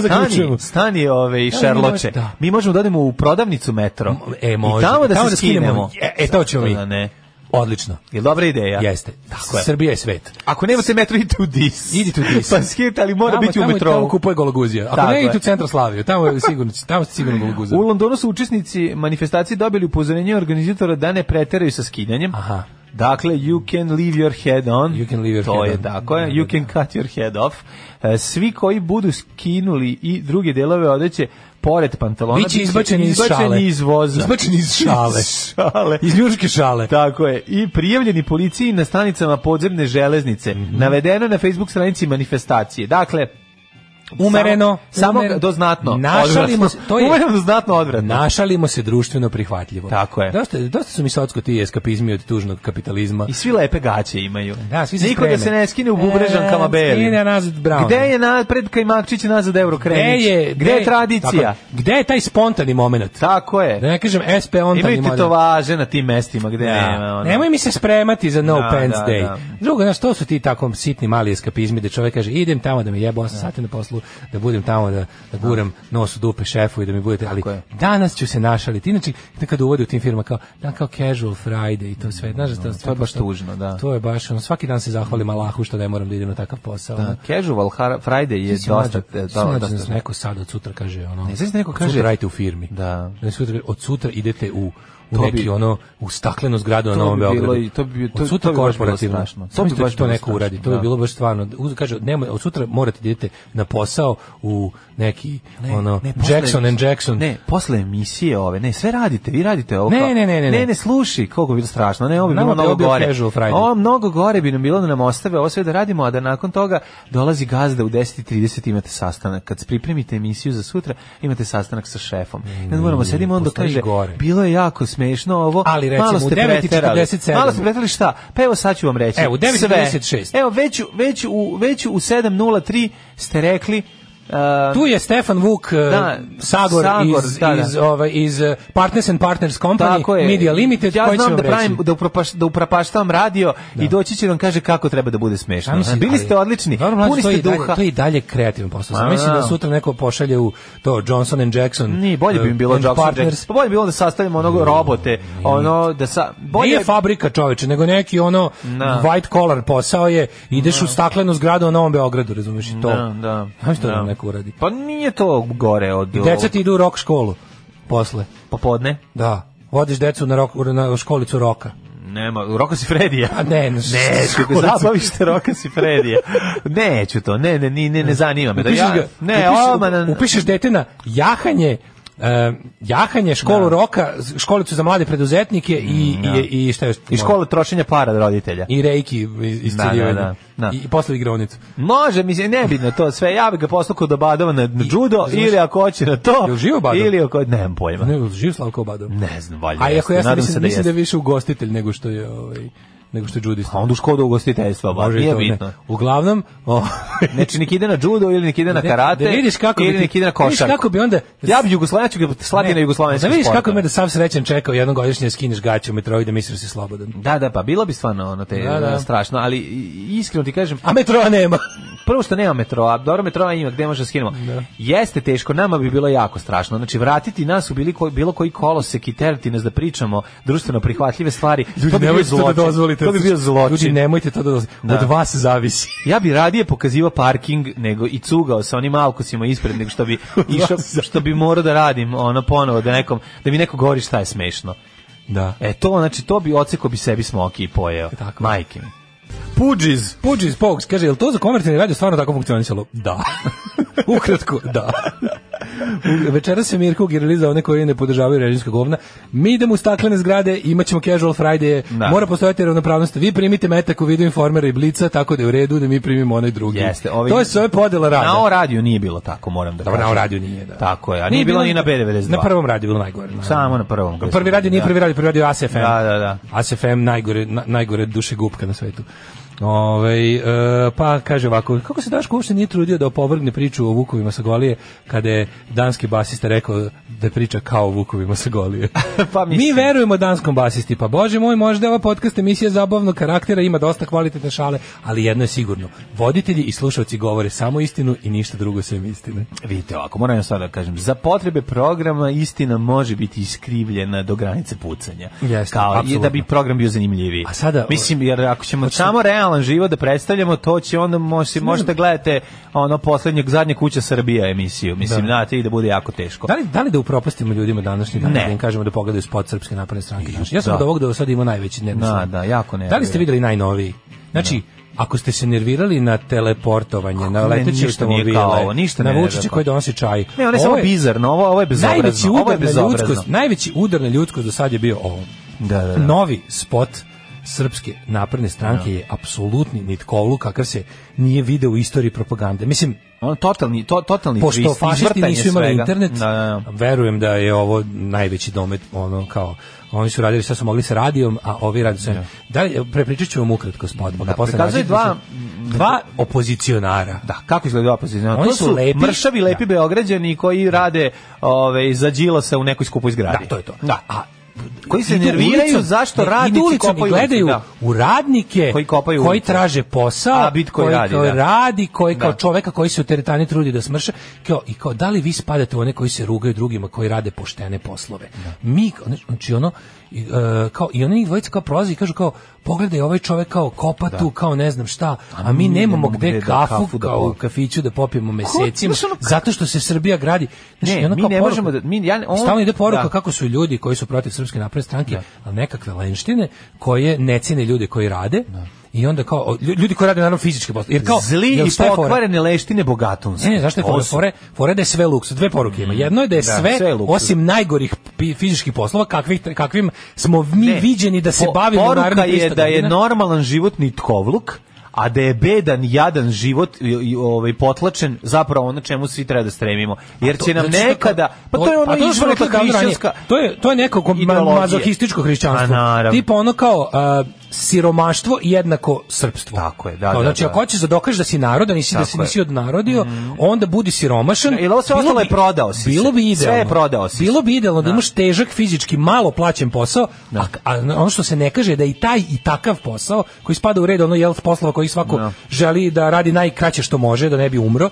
E: Stani,
G: zaključujemo.
E: stani ove, i
G: Da,
E: Sherloče.
G: da.
E: Mi možemo da odemo u prodavnicu metro.
G: E, može.
E: I tamo da se
G: skinemo.
E: skinemo.
G: E, e, to ćemo mi.
E: Da, ne.
G: Odlično.
E: Je dobra ideja.
G: Jeste.
E: Tako je.
G: Srbija je svet.
E: Ako nemate metro, idite u dis.
G: Idite u dis.
E: pa skinite, ali mora biti u
G: tamo,
E: metrou.
G: Tamo kupuje gologuzija. Ako
E: Tako
G: ne,
E: je.
G: idite u centar Slavije. Tamo je sigurno, tamo ste sigurno gologuzija.
E: U Londonu su učesnici manifestacije dobili upozorenje organizatora da ne preteraju sa skidanjem.
G: Aha.
E: Dakle, you can leave your head on.
G: You can leave your
E: to
G: head
E: je
G: on.
E: tako, je.
G: Da,
E: you
G: da,
E: can cut your head off. E, Svi koji budu skinuli i druge delove odeće pored pantalona,
G: Biće
E: bit će
G: izbačeni iz šale.
E: iz voza.
G: Izbačeni iz
E: *laughs*
G: šale.
E: Iz šale.
G: Iz njuške šale.
E: Tako je. I prijavljeni policiji na stanicama podzemne železnice.
G: Mhm.
E: Navedeno je na Facebook stranici manifestacije. Dakle,
G: Umereno,
E: samo, samo
G: umereno.
E: do znatno.
G: Našalimo se,
E: odvratno.
G: to je-
E: Umereno do znatno odvratno.
G: Našalimo se društveno prihvatljivo.
E: Tako je.
G: Dosta, dosta su mi socko ti eskapizmi od tužnog kapitalizma.
E: I svi lepe gaće imaju.
G: Da, svi se
E: Niko da
G: spreme.
E: se ne skine u bubrežankama
G: E,
E: beli.
G: skine nazad Brown.
E: Gde je na, pred Kajmakčić i nazad Eurokrenić?
G: Gde je,
E: Gde je
G: Tako
E: tradicija?
G: je. gde je taj spontani moment?
E: Tako je.
G: Da ne kažem SP on
E: Imaju tetovaže na tim mestima gde nema. ono.
G: Nemoj mi se spremati za No
E: Da,
G: Pants
E: da,
G: Day.
E: da.
G: Drugo, znaš, to su ti tako sitni mali eskapizmi da čovjek kaže idem tamo da me jebo 8 sati na poslu, da budem tamo da, da guram nos u dupe šefu i da mi budete, ali
E: je.
G: danas ću se našaliti. Inače, kad uvode u tim firma kao, da, kao casual Friday i to sve, znaš, da,
E: To je baš tužno, da.
G: To je baš, ono, svaki dan se zahvalim Allahu što ne moram da idem na takav posao.
E: Da,
G: ono.
E: casual har- Friday je
G: Mislim,
E: dosta...
G: mlađo,
E: e,
G: si
E: Da,
G: mlađo
E: dosta-
G: da se neko sad od sutra kaže ono.
E: Ne, sad se neko
G: od
E: kaže-
G: sutra radite u firmi.
E: Da.
G: sutra, od sutra idete u u neki ono u staklenu zgradu na
E: to
G: Novom
E: bi bilo
G: Beogradu.
E: i- to bi- to-
G: Od sutra
E: to bi baš bilo
G: korporativno.
E: strašno.
G: To bi baš to
E: bilo
G: neko
E: strašno,
G: uradi. To bi
E: da.
G: bilo baš stvarno uz- kaže nema od sutra morate da idete na posao u neki ono
E: posle
G: Jackson and
E: emisije-
G: Jackson.
E: Ne, posle emisije ove, ne, sve radite, vi radite ovo.
G: Ne,
E: kao-
G: ne, ne, ne, ne.
E: Ne, ne, sluši, koliko bi bilo strašno. Ne, ovo bi
G: Nama
E: bilo
G: bi
E: mnogo
G: ovo bio
E: gore.
G: casual Friday.
E: Ovo mnogo gore bi nam bilo da nam ostave ovo sve da radimo, a da nakon toga dolazi gazda u 10:30 imate sastanak. Kad pripremite emisiju za sutra, imate sastanak sa šefom. Ne moramo sedimo onda
G: postoji
E: kaže,
G: gore.
E: bilo je jako smešno ovo.
G: Ali, recimo,
E: malo
G: u
E: ste
G: 9:47.
E: preterali. Malo ste preterali šta? Pa evo sad ću vam reći.
G: Evo, u 9:56.
E: Sve. Evo već u- već u već u 7:03 ste rekli uh,
G: Tu je Stefan Vuk eh,
E: Da,
G: Sagor,
E: Sagor,
G: iz,
E: da, da.
G: iz, ovaj, iz eh, Partners and Partners Company
E: Tako je.
G: Media Limited.
E: Ja
G: koji će
E: znam
G: vam
E: da
G: reći?
E: pravim da upropaš da upropaštavam radio i doći će da vam kaže kako treba da bude smešno.
G: Ja mislim,
E: Bili
G: ali-
E: ste odlični.
G: Dobro, mlađe,
E: Puni
G: to je
E: ste
G: i dalje-
E: duha.
G: To je i dalje kreativan posao.
E: Ma,
G: Sam mislim
E: da.
G: da sutra neko pošalje u to Johnson and Jackson.
E: Ni, bolje bi
G: eh,
E: im bilo
G: and
E: Jackson
G: Partners.
E: Jackson. Pa bolje bi bilo da sastavimo onog robote, ono da sa bolje
G: Nije fabrika čoveče, nego neki ono
E: Da.
G: white collar posao je, ideš u staklenu zgradu u Novom Beogradu, razumeš i to.
E: Da, da.
G: Znaš što
E: da.
G: nam neko uradi?
E: Pa nije to gore od
G: I deca ti idu u rock školu posle.
E: popodne.
G: Da. Vodiš decu na, rock, na školicu roka.
E: Nema, Roka si Fredija.
G: A ne, ne,
E: Neću,
G: *laughs* školicu.
E: zabaviš te Roka si Fredija. Neću to, ne, ne, ne, ne, ne zanima me. Pa Da
G: Upišeš,
E: ja,
G: ga,
E: ne,
G: upišeš,
E: oma, na-
G: upišeš dete na jahanje e, jahanje, školu roka, školicu za mlade preduzetnike i, i, i šta još?
E: Mm, i škola trošenja para od roditelja.
G: I rejki iz
E: Da, da,
G: isceljivanja.
E: da, da.
G: I, I posle igronicu.
E: Može, mislim, nebitno to sve. Ja bih ga poslao kod Obadova na na judo ili ako hoće na to.
G: Jel živo Badov?
E: Ili ako, nemam pojma.
G: Ne, živ Slavko Obadov.
E: Ne znam, valjda.
G: A iako
E: jeste.
G: ja sam
E: Nadam
G: mislim,
E: se
G: da, mislim da
E: jeste.
G: je više ugostitelj nego što je ovaj nego što je judista.
E: A onda u škodu ugostiteljstva, ba,
G: Može i
E: nije
G: to, ne.
E: bitno.
G: Uglavnom, o,
E: *laughs* Znači, nek ide na judo ili nek ide na
G: Da-
E: karate
G: da vidiš kako bi
E: ili
G: ti-
E: nek ide na
G: da vidiš
E: košarku.
G: kako bi onda-
E: Ja bi Jugoslavija, ću ga slati na jugoslavijski
G: da vidiš kako me da sav srećan čekao jednom godišnje da skineš gaće u metrovi da misliš da si slobodan.
E: Da, da, pa bilo bi stvarno ono te
G: Da, da.
E: strašno, ali i- iskreno ti kažem,
G: A metroa nema.
E: prvo što nema metroa, dobro metroa ima, gde može da skinemo. Jeste teško, nama bi bilo jako strašno. Znači, vratiti nas u bili koji, bilo koji kolosek i terati nas da pričamo društveno prihvatljive stvari, to bi bio
G: nemojte to da
E: zločin.
G: dozvolite. Znači,
E: To bi bio zločin.
G: Ljudi, nemojte to da dozvolite.
E: Da.
G: Od vas zavisi.
E: Ja bi radije pokazivao parking nego i cugao sa onim alkosima ispred nego
G: *laughs*
E: što bi išao što bi morao da radim ono ponovo da nekom da mi neko govori šta je smešno.
G: Da. E,
E: E to znači to bi odsekao bi sebi smoki i pojeo.
G: Tako.
E: Majke mi. Pudžiz.
G: Puđi iz Pogues, kaže, je li to za komercijalni radio stvarno tako funkcionisalo? Da. *laughs* Ukratko, da. U- Večeras se Mirko Girli za one koji ne podržavaju režimska govna. Mi idemo u staklene zgrade, imat ćemo casual Friday,
E: Da.
G: mora postojati ravnopravnost. Vi primite metak u vidu informera i blica, tako da je u redu da mi primimo onaj drugi.
E: Jeste, ovaj-
G: To je sve podela rada.
E: Na o radiju nije bilo tako, moram da
G: Dobro,
E: kažem.
G: na o radiju nije, da.
E: Tako je, a nije, bilo ni na B92.
G: Na prvom radiju je bilo najgore. naravno.
E: Samo na prvom. gde
G: Prvi
E: smo bili,
G: radio nije prvi radio, prvi radio ASFM.
E: Da, da, da.
G: ASFM najgore, na, najgore duše gubka na svetu. Ove, pa kaže ovako, kako se Daško uopšte nije trudio da opovrgne priču o Vukovima sa Golije kada je danski basista rekao da je priča kao o Vukovima sa Golije.
E: *laughs* Pa
G: Mi
E: mislim.
G: verujemo danskom basisti, pa bože moj, možda je ova podcast emisija zabavnog karaktera, ima dosta kvalitetne šale, ali jedno je sigurno, voditelji i slušalci govore samo istinu i ništa drugo sem istine.
E: Vidite ovako, moram ja sad da kažem, za potrebe programa istina može biti iskrivljena do granice pucanja.
G: Jeste,
E: Kao i
G: apsolutno.
E: da bi program bio zanimljiviji.
G: A sada-
E: Mislim, jer ako ćemo samo realan život da predstavljamo, to će onda moći, možete gledate ono poslednjeg, zadnje kuća Srbija emisiju. Mislim,
G: Da.
E: znate, i da bude jako teško.
G: Da li, da li da upropastimo ljudima današnji dan,
E: Pa- Ne.
G: da im kažemo da pogledaju spot Srpske napravne stranke? Znaš, Ja sam
E: da.
G: od ovog do sada imao najveći dnevni
E: Da,
G: san.
E: da, jako
G: Da li ste
E: nervira.
G: videli najnoviji? Znači, Ako ste se nervirali na teleportovanje, na
E: ne,
G: leteće
E: ništa nije
G: automobile,
E: kao ovo, ništa
G: na
E: ne
G: Vučića
E: nervira.
G: koji donosi čaj.
E: Ne, ono je
G: Ovo
E: samo bizarno, ovo, ovo je bezobrazno.
G: Najveći
E: ovo je
G: udar na
E: bezobrazno.
G: ljudskost, najveći udar na ljudskost do sad je bio ovo.
E: Da, da, da.
G: Novi spot Srpske napredne stranke je apsolutni nitkovluk kakav se nije video u istoriji propagande. Mislim,
E: Ono, totalni, to, totalni
G: pošto
E: twist,
G: fašisti
E: izvrtanje
G: nisu imali
E: svega.
G: internet,
E: Da, da, da.
G: verujem da je ovo najveći domet, ono kao oni su radili šta su mogli sa radijom, a ovi radi sa... Da, prepričat ću vam ukratko spot. pa ga posle
E: prikazuje
G: nađite.
E: dva-
G: dva opozicionara.
E: Da, kako izgleda opozicija?
G: Oni
E: To
G: su
E: su
G: lepi.
E: mršavi, lepi
G: Da.
E: beograđani koji rade ove, za Đilasa u nekoj skupoj zgradi.
G: Da, to je to.
E: Da.
G: A
E: Koji se
G: idu
E: nerviraju
G: ulicom,
E: zašto
G: ne, idu
E: radnici
G: ulicom i
E: kopaju
G: gledaju
E: ulicu,
G: u radnike
E: Koji kopaju
G: koji
E: ulicu.
G: traže posao,
E: A bit koji radi,
G: kao
E: da.
G: radi, koji kao
E: Da.
G: čoveka koji se u teretani trudi da smrše, kao i kao da li vi spadate u one koji se rugaju drugima, koji rade poštene poslove. Mi znači ono i, e, kao i oni dvojica kao prolaze i kažu kao pogledaj, ovaj čovek kao kopa tu, kao ne znam šta, a mi nemamo gde kafu
E: da
G: kao u
E: popijemo.
G: kafiću da popijemo mesecima,
E: znaš, ono ka-
G: zato što se Srbija gradi. Znaš,
E: Ne,
G: i ono
E: mi
G: kao
E: ne
G: poruka-
E: možemo da- mi- ja ne- on-
G: Stalno ide poruka
E: da.
G: kako su ljudi koji su protiv Srpske napredne stranke, ali nekakve lenštine koje ne cene ljude koji rade, I onda kao o, lju- ljudi koji rade naravno fizičke poslove. Jer kao
E: Zli
G: jer
E: i
G: šta je fora?
E: pokvarene leštine bogatunske.
G: Ne, ne, zašto je
E: To
G: fora?
E: su-
G: Fora, fora je da je sve luksuz. Dve poruke ima. Jedno je da je
E: Mm, Da,
G: sve,
E: sve je luksuz.
G: osim najgorih pi- fizičkih poslova, kakvih, kakvim smo mi
E: Ne.
G: viđeni da se
E: Po-
G: bavimo
E: Poruka
G: narednih
E: je
G: 300
E: da je
G: godina.
E: normalan život nitkovluk, a da je bedan, jadan život i, i, ovaj, potlačen zapravo ono čemu svi treba da stremimo. Jer će nam
G: Zato Pa znači što
E: nekada...
G: kao-
E: Pa to je ono
G: a što smo
E: izvrta
G: rekli kao ranije,
E: hrišćanska...
G: To je, to je neko kom- ma-
E: ideologija.
G: mazohističko hrišćanstvo.
E: A, Pa naravno.
G: Tipo ono kao a, siromaštvo jednako srpstvo. Tako
E: je, da, da,
G: znači,
E: da.
G: ako hoćeš da dokažeš da si narod, a nisi, da
E: Tako
G: si,
E: je.
G: nisi odnarodio, onda budi siromašan.
E: Ili ovo sve
G: Bilo
E: ostalo je
G: bi-
E: prodao si se.
G: Bilo bi idealno.
E: Sve je prodao si se.
G: Bilo bi idealno da imaš težak fizički malo plaćen posao, a, a ono što se ne kaže je da je i taj i takav posao koji spada u red ono jel poslova koji svako želi da radi najkraće što može da ne bi umro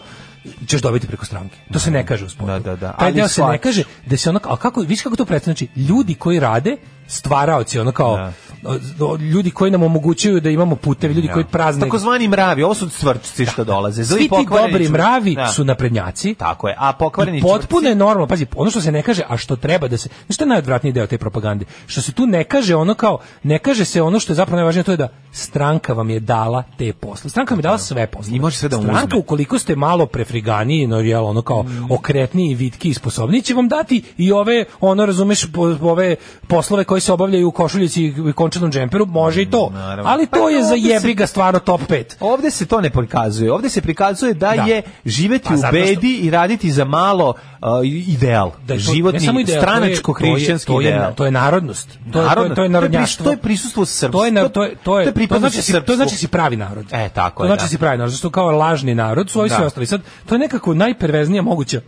G: ćeš dobiti preko stranke. To se ne kaže u sportu.
E: Da, da, da.
G: Taj
E: Ali
G: deo se ne
E: shvatiš.
G: kaže da se ono, a kako, viš kako to predstavlja, znači ljudi koji rade, stvaraoci, ono kao o- o- ljudi koji nam omogućuju da imamo puteve, ljudi koji prazne
E: Takozvani mravi, ovo su cvrčci što dolaze. Zli
G: svi ti
E: pokvareni
G: dobri
E: čvrci.
G: mravi
E: Da.
G: su naprednjaci.
E: Tako je. A pokvareni
G: I potpuno je normalno, pazi, ono što se ne kaže, a što treba da se, znaš što je najodvratniji deo te propagande? Što se tu ne kaže ono kao, ne kaže se ono što je zapravo najvažnije, to je da stranka vam je dala te posle. Stranka vam je dala sve posle.
E: I može sve da vam
G: Stranka
E: uzme. Mm.
G: ukoliko ste malo prefriganiji, no jel, ono kao okretniji, vitki i sposobniji, će vam dati i ove, ono razumeš, po- ove poslove koji se obavljaju u košuljici i končanom džemperu, može i to.
E: naravno.
G: Ali
E: Pa
G: to je
E: ovde
G: za
E: se-
G: jebiga stvarno top 5.
E: Ovde se to ne prikazuje. Ovde se prikazuje da,
G: Da.
E: je živeti
G: Pa
E: u
G: zato što-
E: bedi i raditi za malo uh, ideal.
G: da je to,
E: Životni,
G: ne samo ideja, to je-
E: stranačko-hrišćanski
G: to je, to je,
E: ideal.
G: To je narodnost. To je, to je,
E: Narodno.
G: to je
E: pris-
G: narodnjaštvo.
E: To je prisustvo srpstva.
G: To je, nar- to je, to je, to
E: pripadnost
G: znači, si, to
E: srpstvu.
G: znači si pravi narod.
E: E, tako
G: to
E: je,
G: znači
E: da.
G: si pravi narod, zato što kao lažni narod su ovi
E: Da.
G: svi ostali. Sad, to je nekako najperveznija moguća,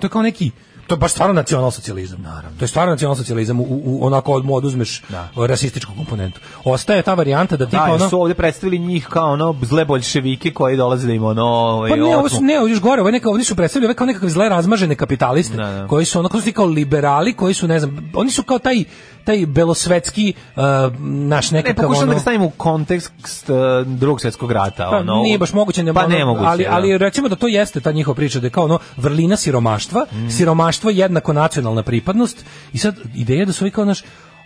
G: to je kao neki, to je baš stvarno nacionalsocijalizam. Naravno. To je stvarno nacionalsocijalizam, u, u, onako od mu oduzmeš rasističku komponentu. Ostaje ta varijanta da tipa
E: Da, jer
G: ono...
E: su ovde predstavili njih kao ono zle boljševike koji dolaze da im ono... ovaj,
G: Pa ne, ovo su,
E: otmu.
G: ne, ovo je još gore, ovo je neka, oni su predstavljali ove kao nekakve zle razmažene kapitaliste, koji su onako su kao liberali, koji su, ne znam, oni su kao taj, taj belosvetski, uh, naš
E: Ne,
G: nekakav
E: pokušam da
G: ono...
E: ga stavim u kontekst uh, drugog svjetskog rata.
G: Pa,
E: ono,
G: nije baš moguće ne
E: pa
G: ono,
E: ne moguće,
G: ali
E: da.
G: ali recimo da to jeste ta njihova priča da je kao ono vrlina siromaštva
E: Mhm.
G: siromaštvo jednako nacionalna pripadnost i sad ideja da su ovi kao naš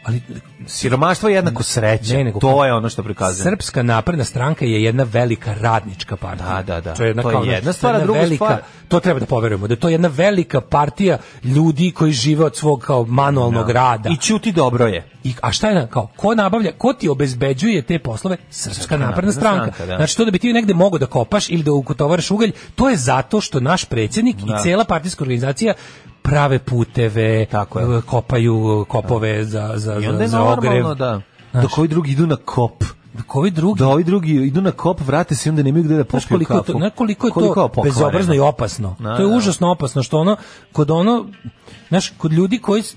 G: ali
E: siromaštvo je jednako sreće.
G: Ne, nego-
E: to je ono što prikazuje.
G: Srpska napredna stranka je jedna velika radnička partija.
E: Da, da, da.
G: To je jedna,
E: To je
G: kao ono-
E: jedna
G: to
E: stvar, a
G: jedna
E: druga
G: velika,
E: stvar-
G: To treba da poverujemo, da je to jedna velika partija ljudi koji žive od svog kao manualnog rada.
E: I ćuti dobro je.
G: I, a šta je na- kao, ko nabavlja, ko ti obezbeđuje te poslove? Srpska napredna stranka.
E: stranka, da.
G: Znači to da bi ti negde mogao da kopaš ili da ukotovaraš ugalj, to je zato što naš predsjednik
E: Da.
G: i cela partijska organizacija prave puteve, eh, kopaju kopove za, za,
E: I onda
G: za,
E: je
G: za
E: normalno
G: ogrev.
E: da, da koji drugi idu na kop.
G: Dok ovi drugi
E: Da ovi drugi idu na kop, vrate se i onda nemaju gde da popiju
G: Znaš koliko je
E: kafu.
G: to, znaš koliko je
E: Koliko
G: to
E: pokvareno.
G: bezobrazno i opasno.
E: Da,
G: to je
E: da.
G: užasno opasno što ono kod ono znaš kod ljudi koji s-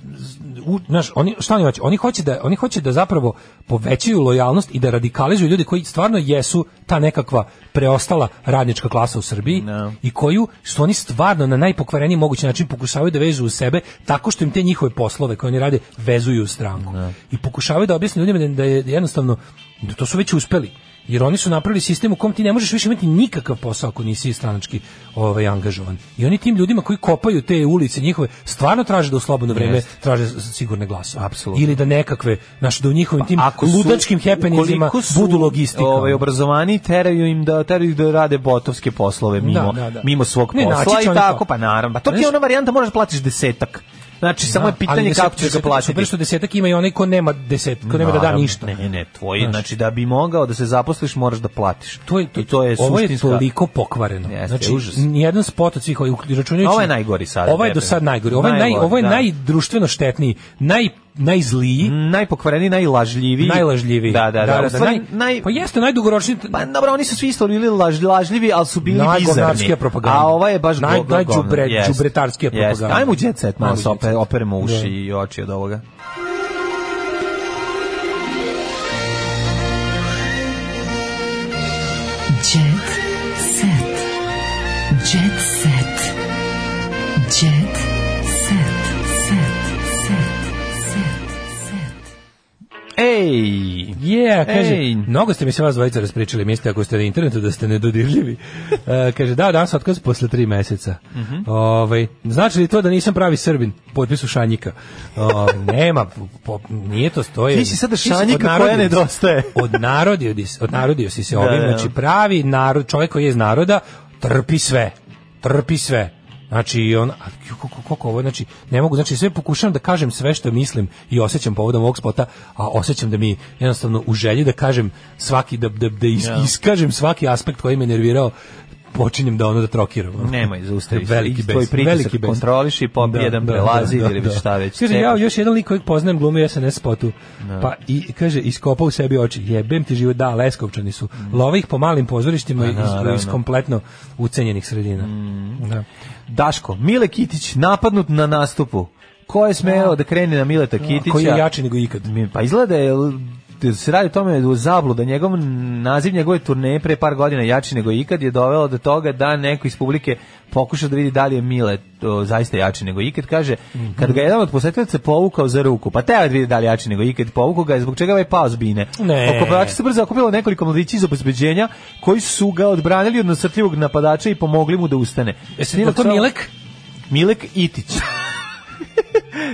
G: u, znaš oni šta oni hoće? Oni hoće da oni hoće da zapravo povećaju lojalnost i da radikalizuju ljudi koji stvarno jesu ta nekakva preostala radnička klasa u Srbiji i koju što oni stvarno na najpokvareniji mogući način pokušavaju da vežu u sebe tako što im te njihove poslove koje oni rade vezuju u stranku. I pokušavaju da objasne ljudima da, da je jednostavno da to su već uspeli. Jer oni su napravili sistem u kom ti ne možeš više imati nikakav posao ako nisi stranački ovaj, angažovan. I oni tim ljudima koji kopaju te ulice njihove stvarno traže da u slobodno vreme
E: Jeste.
G: traže s- sigurne glasove.
E: Apsolutno. Pa
G: Ili da nekakve, znaš, da u njihovim tim
E: Ako su-
G: ludačkim happeningima
E: ukoliko su,
G: budu logistika. ono.
E: Ovaj obrazovani teraju im da teraju ih da rade botovske poslove mimo
G: Da, da, da.
E: mimo svog
G: Ne, naći
E: posla
G: će
E: i
G: oni
E: tako
G: to.
E: pa naravno. Pa to ti je
G: Znaš-
E: ona varijanta možeš da platiš desetak. Znači samo je
G: Da, ali
E: pitanje
G: deset-
E: kako ćeš ga
G: desetak je
E: platiti.
G: Super što desetak ima i onaj ko nema deset, ko nema da da
E: Naravno,
G: ništa.
E: Ne, ne, tvoj, znači da bi mogao da se zaposliš, moraš da platiš.
G: To je,
E: I to je
G: ovo je
E: suštinska-
G: toliko pokvareno.
E: Jeste,
G: znači,
E: užas.
G: nijedan spot od svih ovih računajući.
E: Ovo je najgori sad,
G: Ovo je do
E: definitivno.
G: sad najgori. Ovo je, naj,
E: Najgori,
G: ovo je
E: da.
G: najdruštveno štetniji, naj, najzliji.
E: najpokvareniji, najlažljiviji.
G: Najlažljiviji.
E: Da, da, da. u stvari,
G: naj- Pa jeste najdugoročniji.
E: Pa dobro, oni su svi isto bili laž, lažljivi, ali su bili bizarni.
G: Najgovnarskija propaganda.
E: A ova je baš
G: Naj-
E: govno,
G: najđubre-
E: govno, jest.
G: đubretarskija
E: Jest.
G: propaganda.
E: Ajmo u jet set, malo
G: Ajmo
E: se
G: u Jet Set.
E: ope- operemo uši
G: Da.
E: i oči od ovoga.
D: Jet set. Jet set. Jet set. Set. Set. Set. Set.
E: Ej!
G: Yeah, kaže, mnogo ste mi se vas dvojica raspričali, mislite ako ste na internetu da ste
E: *laughs*
G: nedodirljivi. E, kaže, da, danas otkaz posle tri meseca.
E: Mhm.
G: Ovaj, znači li to da nisam pravi Srbin? Potpis u Šanjika. O, nema, po- nije to stoje.
E: Ti si sada
G: Ti si
E: Šanjika koja
G: odnarodio-
E: nedostaje.
G: Odnarodio, dis- odnarodio si se
E: Da,
G: ovim,
E: da, da.
G: znači pravi narod, čovjek koji je iz naroda, trpi sve. Trpi sve. Znači, on, a ju, koliko, koliko ovo, znači, ne mogu, znači, sve pokušavam da kažem sve što mislim i osjećam povodom ovog spota, a osjećam da mi jednostavno u želji da kažem svaki, da, da, da is-
E: Ja.
G: iskažem svaki aspekt koji me nervirao, počinjem da ono da trokiram. ono.
E: Nemoj, zaustavi se.
G: Veliki
E: I tvoj
G: bes,
E: pritisak
G: veliki bes.
E: kontroliši, pobij jedan, prelazi ili već šta već.
G: Kaže, ja još jedan lik kojeg poznajem glumi SNS spotu.
E: Da.
G: Pa i kaže iskopa u sebi oči. Jebem ti život, da, Leskovčani su. Love ih po malim pozorištima
E: Mm. Pa,
G: iz,
E: naravno. Mm.
G: iz kompletno ucenjenih sredina. Da.
E: Daško, Mile Kitić napadnut na nastupu. Ko je smeo da krene na Mileta Kitića?
G: Koji je jači nego ikad.
E: Mi- Pa izgleda je l- da se radi o tome da u zabluda njegov naziv njegove turneje pre par godina jači nego ikad je dovelo do toga da neko iz publike pokuša da vidi da li je Mile o, zaista jači nego ikad kaže kad ga je jedan od posetilaca povukao za ruku pa teo je da vidi da li je jači nego ikad povukao ga je zbog čega je ovaj pao s bine
G: Ne.
E: Okupači se brzo okupilo nekoliko mladići iz obezbeđenja koji su ga odbranili od nasrtljivog napadača i pomogli mu da ustane
G: Jesi to
E: Samo-
G: Milek?
E: Milek Itić. *laughs*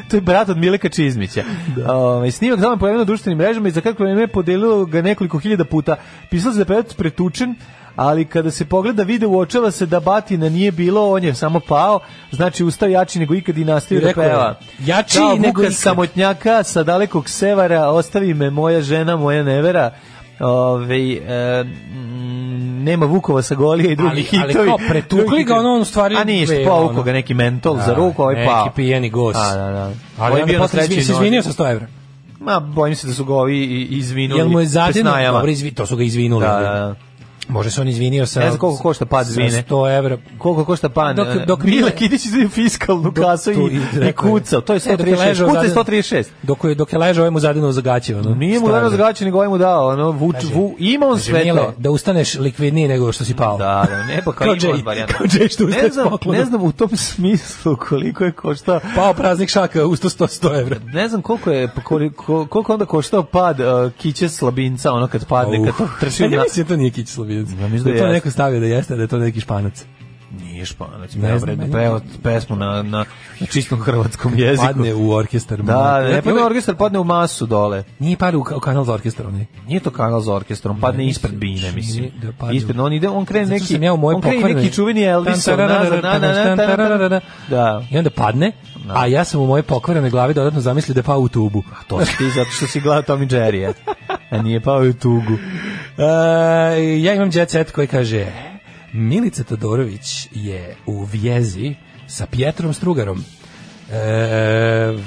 E: to je brat od Mileka Čizmića. Ovaj, snimak tamo je pojavio na društvenim mrežama i za kakve vreme podelilo ga nekoliko hiljada puta. Pisalo se da je pevač pretučen, ali kada se pogleda video uočava se da batina nije bilo, on je samo pao, znači ustao jači nego ikad i nastavio da
G: Rekao je,
E: peva.
G: jači
E: Kao
G: nego
E: Vukan
G: ikad.
E: samotnjaka sa dalekog sevara, ostavi me moja žena, moja nevera. Ove, e, mm, nema Vukova sa Golija i drugi
G: Ali- ali
E: hitovi.
G: kao pretukli
E: Drugi
G: ga, ono,
E: hitovi.
G: on u stvari
E: A ništa,
G: peva,
E: povukao
G: ono.
E: ga neki mentol
G: Da,
E: za ruku, ovaj
G: neki
E: pa.
G: pijeni gos.
E: A, da, da. Ovo
G: Ali
E: je
G: onda
E: bio na
G: posle
E: trećoj
G: izvi- se
E: nozi.
G: izvinio sa 100 evra.
E: Ma, bojim se da su ga ovi i- i- izvinuli.
G: Jel mu je zadino?
E: pesnajama.
G: Dobro, izvi, to su ga izvinuli.
E: Da, da, da.
G: Može se on izvinio sa...
E: Ne znam koliko košta pad
G: sa
E: zvine.
G: 100 evra.
E: Koliko košta pan?
G: Dok-
E: e,
G: dok
E: Mile
G: Mile-
E: Kidić izvini fiskalnu kasu i,
G: tu i-
E: i,
G: rekao je.
E: kucao. To je
G: E, dok je
E: 136.
G: ležao
E: Kuca je
G: zadnje-
E: 136.
G: Dok je, dok je ležao, ovaj mu zadino za gaće. Ono,
E: Nije mu
G: stvarno.
E: danas gaće, nego ovaj mu dao. Ono, vuč, vu, ima on
G: Kaže,
E: sve
G: Mile,
E: to.
G: da ustaneš likvidniji nego što si pao.
E: Da, da, ne, pa kao,
G: Kao
E: ima on
G: Jay-
E: varijanta.
G: kao Jay što
E: ne
G: ustaje s
E: znam,
G: poklonom.
E: ne znam u tom smislu koliko je koštao.
G: Pao praznik šaka, usto 100, 100 evra.
E: Ne znam koliko je pa koliko, koliko onda koštao pad uh, kiće slabinca ono kad padne kad trči
G: Ja
E: na
G: E, mislim da to nije kić slobinac. Ja
E: mislim da
G: to
E: jeste.
G: neko stavio da jeste, da je to neki španac.
E: Nije španac,
G: Ne
E: ne
G: znam,
E: znam,
G: meni-
E: peva pesmu na, na, na čistom hrvatskom jeziku.
G: Padne u orkestar.
E: Da, ne, pa
G: Znate,
E: padne
G: ovaj-
E: orkestar, padne u masu dole.
G: Nije par u, ka- u kanal za orkestar, onaj.
E: Nije to kanal za orkestrom, padne
G: Ne,
E: ispred bine,
G: čini
E: mislim.
G: da padne u-
E: ispred, on ide, on krene
G: Zato
E: neki,
G: sam ja u mojoj
E: on krene
G: pokvarnoj-
E: neki čuveni Elvis,
G: Tan, tararara, tan, tan, tararara.
E: da.
G: I onda padne, a ja sam u moje pokvarene glavi dodatno zamislio da je pao u tubu. A
E: To si ti zato što si gledao Tom i Jerry, a. a nije pao i u tugu.
G: E, ja imam jet set koji kaže Milica Todorović je u vjezi sa Pietrom Strugarom. E,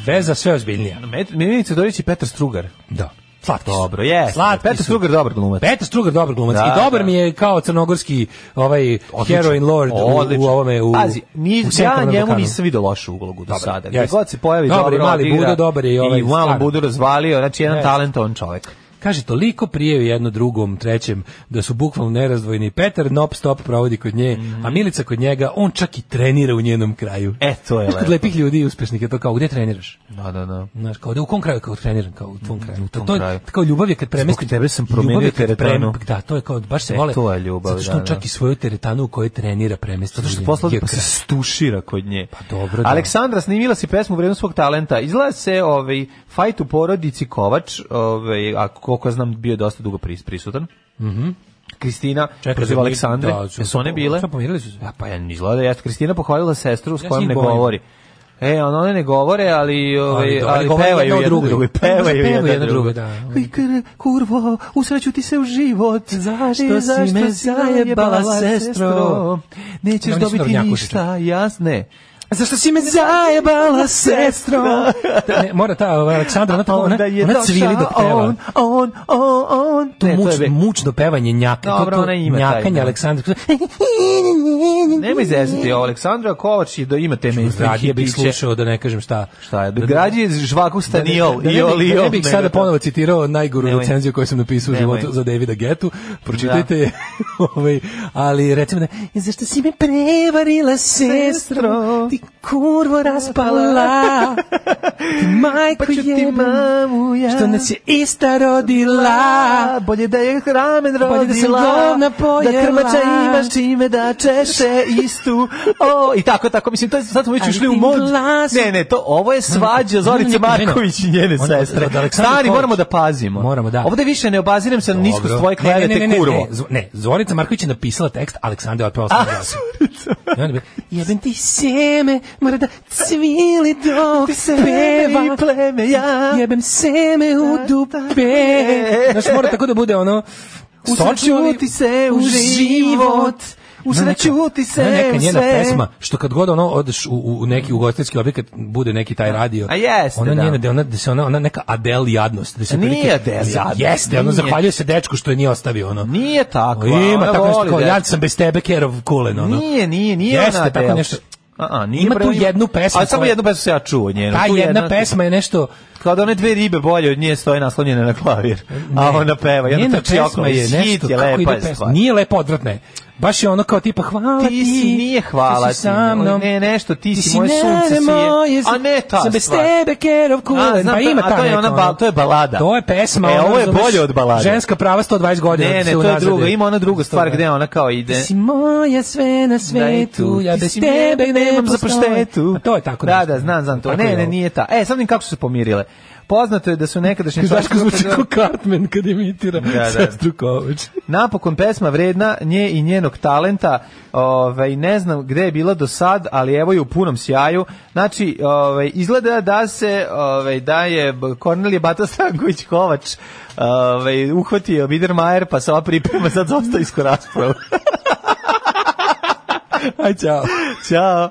G: veza sve ozbiljnija.
E: Milinica Dorić i Petar Strugar.
G: Da. Slatki su.
E: Dobro, je.
G: Slatki
E: Petar
G: su.
E: Strugar dobar glumac.
G: Petar Strugar dobar glumac
E: Da,
G: i dobar
E: da.
G: mi je kao crnogorski ovaj heroin lord u, u
E: Odličan.
G: ovome u
E: Pazi, ni,
G: u
E: ja
G: Centralnom
E: njemu
G: Balkanu.
E: nisam video lošu ulogu do
G: Dobar,
E: sada. Gdje
G: jeste.
E: god se pojavi
G: Dobar je
E: dobro
G: mali
E: odigra
G: Budo, dobar je i ovaj,
E: malo
G: stvarno.
E: Budu razvalio, znači jedan
G: Jeste.
E: talentovan čovjek.
G: Kaže, toliko prijevi jedno drugom, trećem, da su bukvalno nerazdvojni. Petar non stop provodi kod nje, a Milica kod njega, on čak i trenira u njenom kraju.
E: Mhm. E, to je
G: Znaš, Kod
E: lepo.
G: lepih ljudi i uspešnika, to kao, gde treniraš?
E: Da, da, da.
G: Znaš, kao, da u kom kraju, kao treniram, kao u tvom kraju.
E: tvom
G: to je,
E: Mhm, kraju.
G: kao ljubav je kad premesti.
E: Zbog tebe sam promijenio
G: ljubav je kad
E: teretanu.
G: prem- Da, to je kao, baš se
E: E,
G: vole.
E: to je ljubav,
G: Zato što on
E: da,
G: čak
E: da.
G: i svoju teretanu u kojoj trenira premesti.
E: Zato što poslali pa se stušira kod nje. Pa
G: dobro, da.
E: Aleksandra snimila si pesmu vrednu svog talenta. Izgleda se ovaj fajt u porodici Kovač, ovaj a koliko ja znam bio je dosta dugo pris- prisutan.
G: Mhm.
E: Kristina
G: Čekaj,
E: protiv
G: mi-
E: Aleksandre,
G: da, su-
E: jesu one bile?
G: Sad pomirili su se.
E: A pa ja izgleda jeste Kristina pohvalila sestru s
G: Ja se
E: kojom
G: njih
E: ne
G: bojim.
E: govori. E, on one ne govore, ali
G: Ali
E: ovaj
G: do-
E: ali,
G: ali govore
E: pevaju
G: jedna o
E: jedno
G: drugoj.
E: drugoj,
G: Možda
E: pevaju
G: pevaju
E: jedno
G: jedna
E: drugoj,
G: drugoj, da. ono.
E: Oj, kr- kurvo, usreću ti se u život. E, Zašto,
G: si me zajebala, sestro?
E: Nećeš
G: Oni su
E: dobiti
G: narodnjakoši,
E: ništa, jasne.
G: Zašto si me *laughs* zajebala, sestro? Da, ne, mora ta ovaj, Aleksandra, ona, tako, ona,
E: Onda je
G: ona
E: došao
G: cvili dok peva.
E: On, on, on, on.
G: to
E: Ne,
G: muč,
E: je be-
G: mučno pevanje njaka.
E: Dobro,
G: to, to,
E: ona ima taj,
G: njakanje
E: da.
G: Aleksandra.
E: Nemoj zezati, ovo, Aleksandra Kovač i da ima te mainstream
G: Radije bih
E: hitiće.
G: slušao da ne kažem šta.
E: Šta je? Građi je žvaku staniol
G: da ne,
E: i
G: da ne, bih-
E: olio.
G: da ne bih sada ponovo citirao najguru
E: Nemoj.
G: recenziju koju sam napisao u
E: Nemoj.
G: životu za Davida Getu. Pročitajte je. *laughs* ovaj, ali recimo da, "E, zašto si me prevarila sestro? Ti kurvo raspala, *laughs* ti majku
E: Pa ću ti
G: jebem,
E: mamu ja.
G: što nas je ista rodila.
E: La, bolje da je ramen rodila,
G: Bolje da sam govna pojela.
E: da krmača imaš čime da češe istu, o, i tako, tako, mislim, to je, sad smo već
G: Ali
E: ušli u
G: ti
E: mod,
G: glas-
E: ne, ne, to, ovo je svađa Zorice
G: Nema neko-
E: Marković i njene
G: Onda od-
E: sestre,
G: od Aleksandra
E: stani,
G: Kovač.
E: moramo da pazimo,
G: Moramo, da.
E: ovde više ne obazirem se na nisko
G: Dobro.
E: tvoje
G: Ne, ne, ne,
E: klevete,
G: ne, ne,
E: kurvo,
G: Ne, Z- ne, Zorica Marković je napisala tekst, Aleksandra je *laughs* otpeo sam glasa. I onda bi, jebem ti seme, mora da cvili dok se peva.
E: pleme ja.
G: Jebem seme u dupe. Znaš, mora tako da bude ono... sočno, ali
E: Usrećuti se u
G: u
E: život, usrećuti se
G: Ona neka
E: u
G: njena
E: sve.
G: pesma, što kad god ono odeš u, u u neki ugostiteljski objekat, bude neki taj radio.
E: A jeste,
G: ona
E: da.
G: njena, da ona, da se ona, ona neka Adel jadnost. Da se
E: A nije
G: otprilike-
E: Adele jadnost,
G: Jeste, ono
E: nije.
G: zahvaljuje se dečku što je nije ostavio, ono.
E: Nije tako.
G: Ima
E: ona
G: tako nešto
E: voli
G: kao,
E: da-
G: ja sam bez tebe kerov kulen, ono.
E: Nije, nije, nije
G: Jeste,
E: ona
G: tako
E: Adele.
G: nešto.
E: A, a, nije
G: Ima
E: bre,
G: tu jednu pesmu
E: Ali samo
G: koja-
E: jednu pesmu se ja čuo njenu.
G: Ta
E: Tu
G: jedna pesma je nešto...
E: Kao da one dve ribe bolje od nje stoje naslonjene na klavir. A ona peva. Jedna
G: Njena
E: trči okolo.
G: pesma je nešto,
E: Hit je
G: kako
E: lepa
G: ide
E: je
G: pesma.
E: stvar.
G: Nije lepo, odvratna je. Baš je ono kao tipa, hvala ti,
E: Ti si, nije hvala
G: ti
E: ti.
G: si sa mnom.
E: Ne, nešto, ti,
G: Ti
E: si
G: si
E: moje sunce
G: neve
E: si je.
G: moje,
E: A ne ta
G: sam bez
E: stvar.
G: tebe kerov
E: A,
G: kulen.
E: znam
G: Pa
E: to,
G: ima
E: a
G: ta
E: to je
G: neka,
E: ona
G: ono.
E: bal- to je balada.
G: To je pesma.
E: E,
G: ono,
E: ovo je
G: razumeš,
E: bolje od balade.
G: Ženska prava 120 godina.
E: Ne, ne,
G: se
E: to je
G: unazad
E: drugo. Ima ona druga stvar
G: Da.
E: gde ona kao ide.
G: Ti si moja sve na svetu,
E: tu,
G: ja
E: ti
G: bez
E: si
G: tebe
E: mi-
G: ne
E: nemam za
G: postoje.
E: paštetu.
G: A To je tako
E: Da,
G: nešto. Pa
E: da, znam, znam to.
G: Tako je
E: Ne, ne,
G: ovo.
E: nije ta. E, sad im kako su se pomirile. Poznato je da su nekadašnji
G: Daško zvuči
E: članovi-
G: kao Cartman kad imitira
E: Da, da.
G: sestru Kovač.
E: Napokon pesma vredna nje i njenog talenta. Ovaj ne znam gde je bila do sad, ali evo je u punom sjaju. Znači, ovaj izgleda da se ovaj da je B- Kornelije Bata Stanković Kovač ovaj uhvatio Bidermajer pa se ova priprema sad za ostavinsku raspravu. *laughs*
G: Aj, čao.
E: Ćao.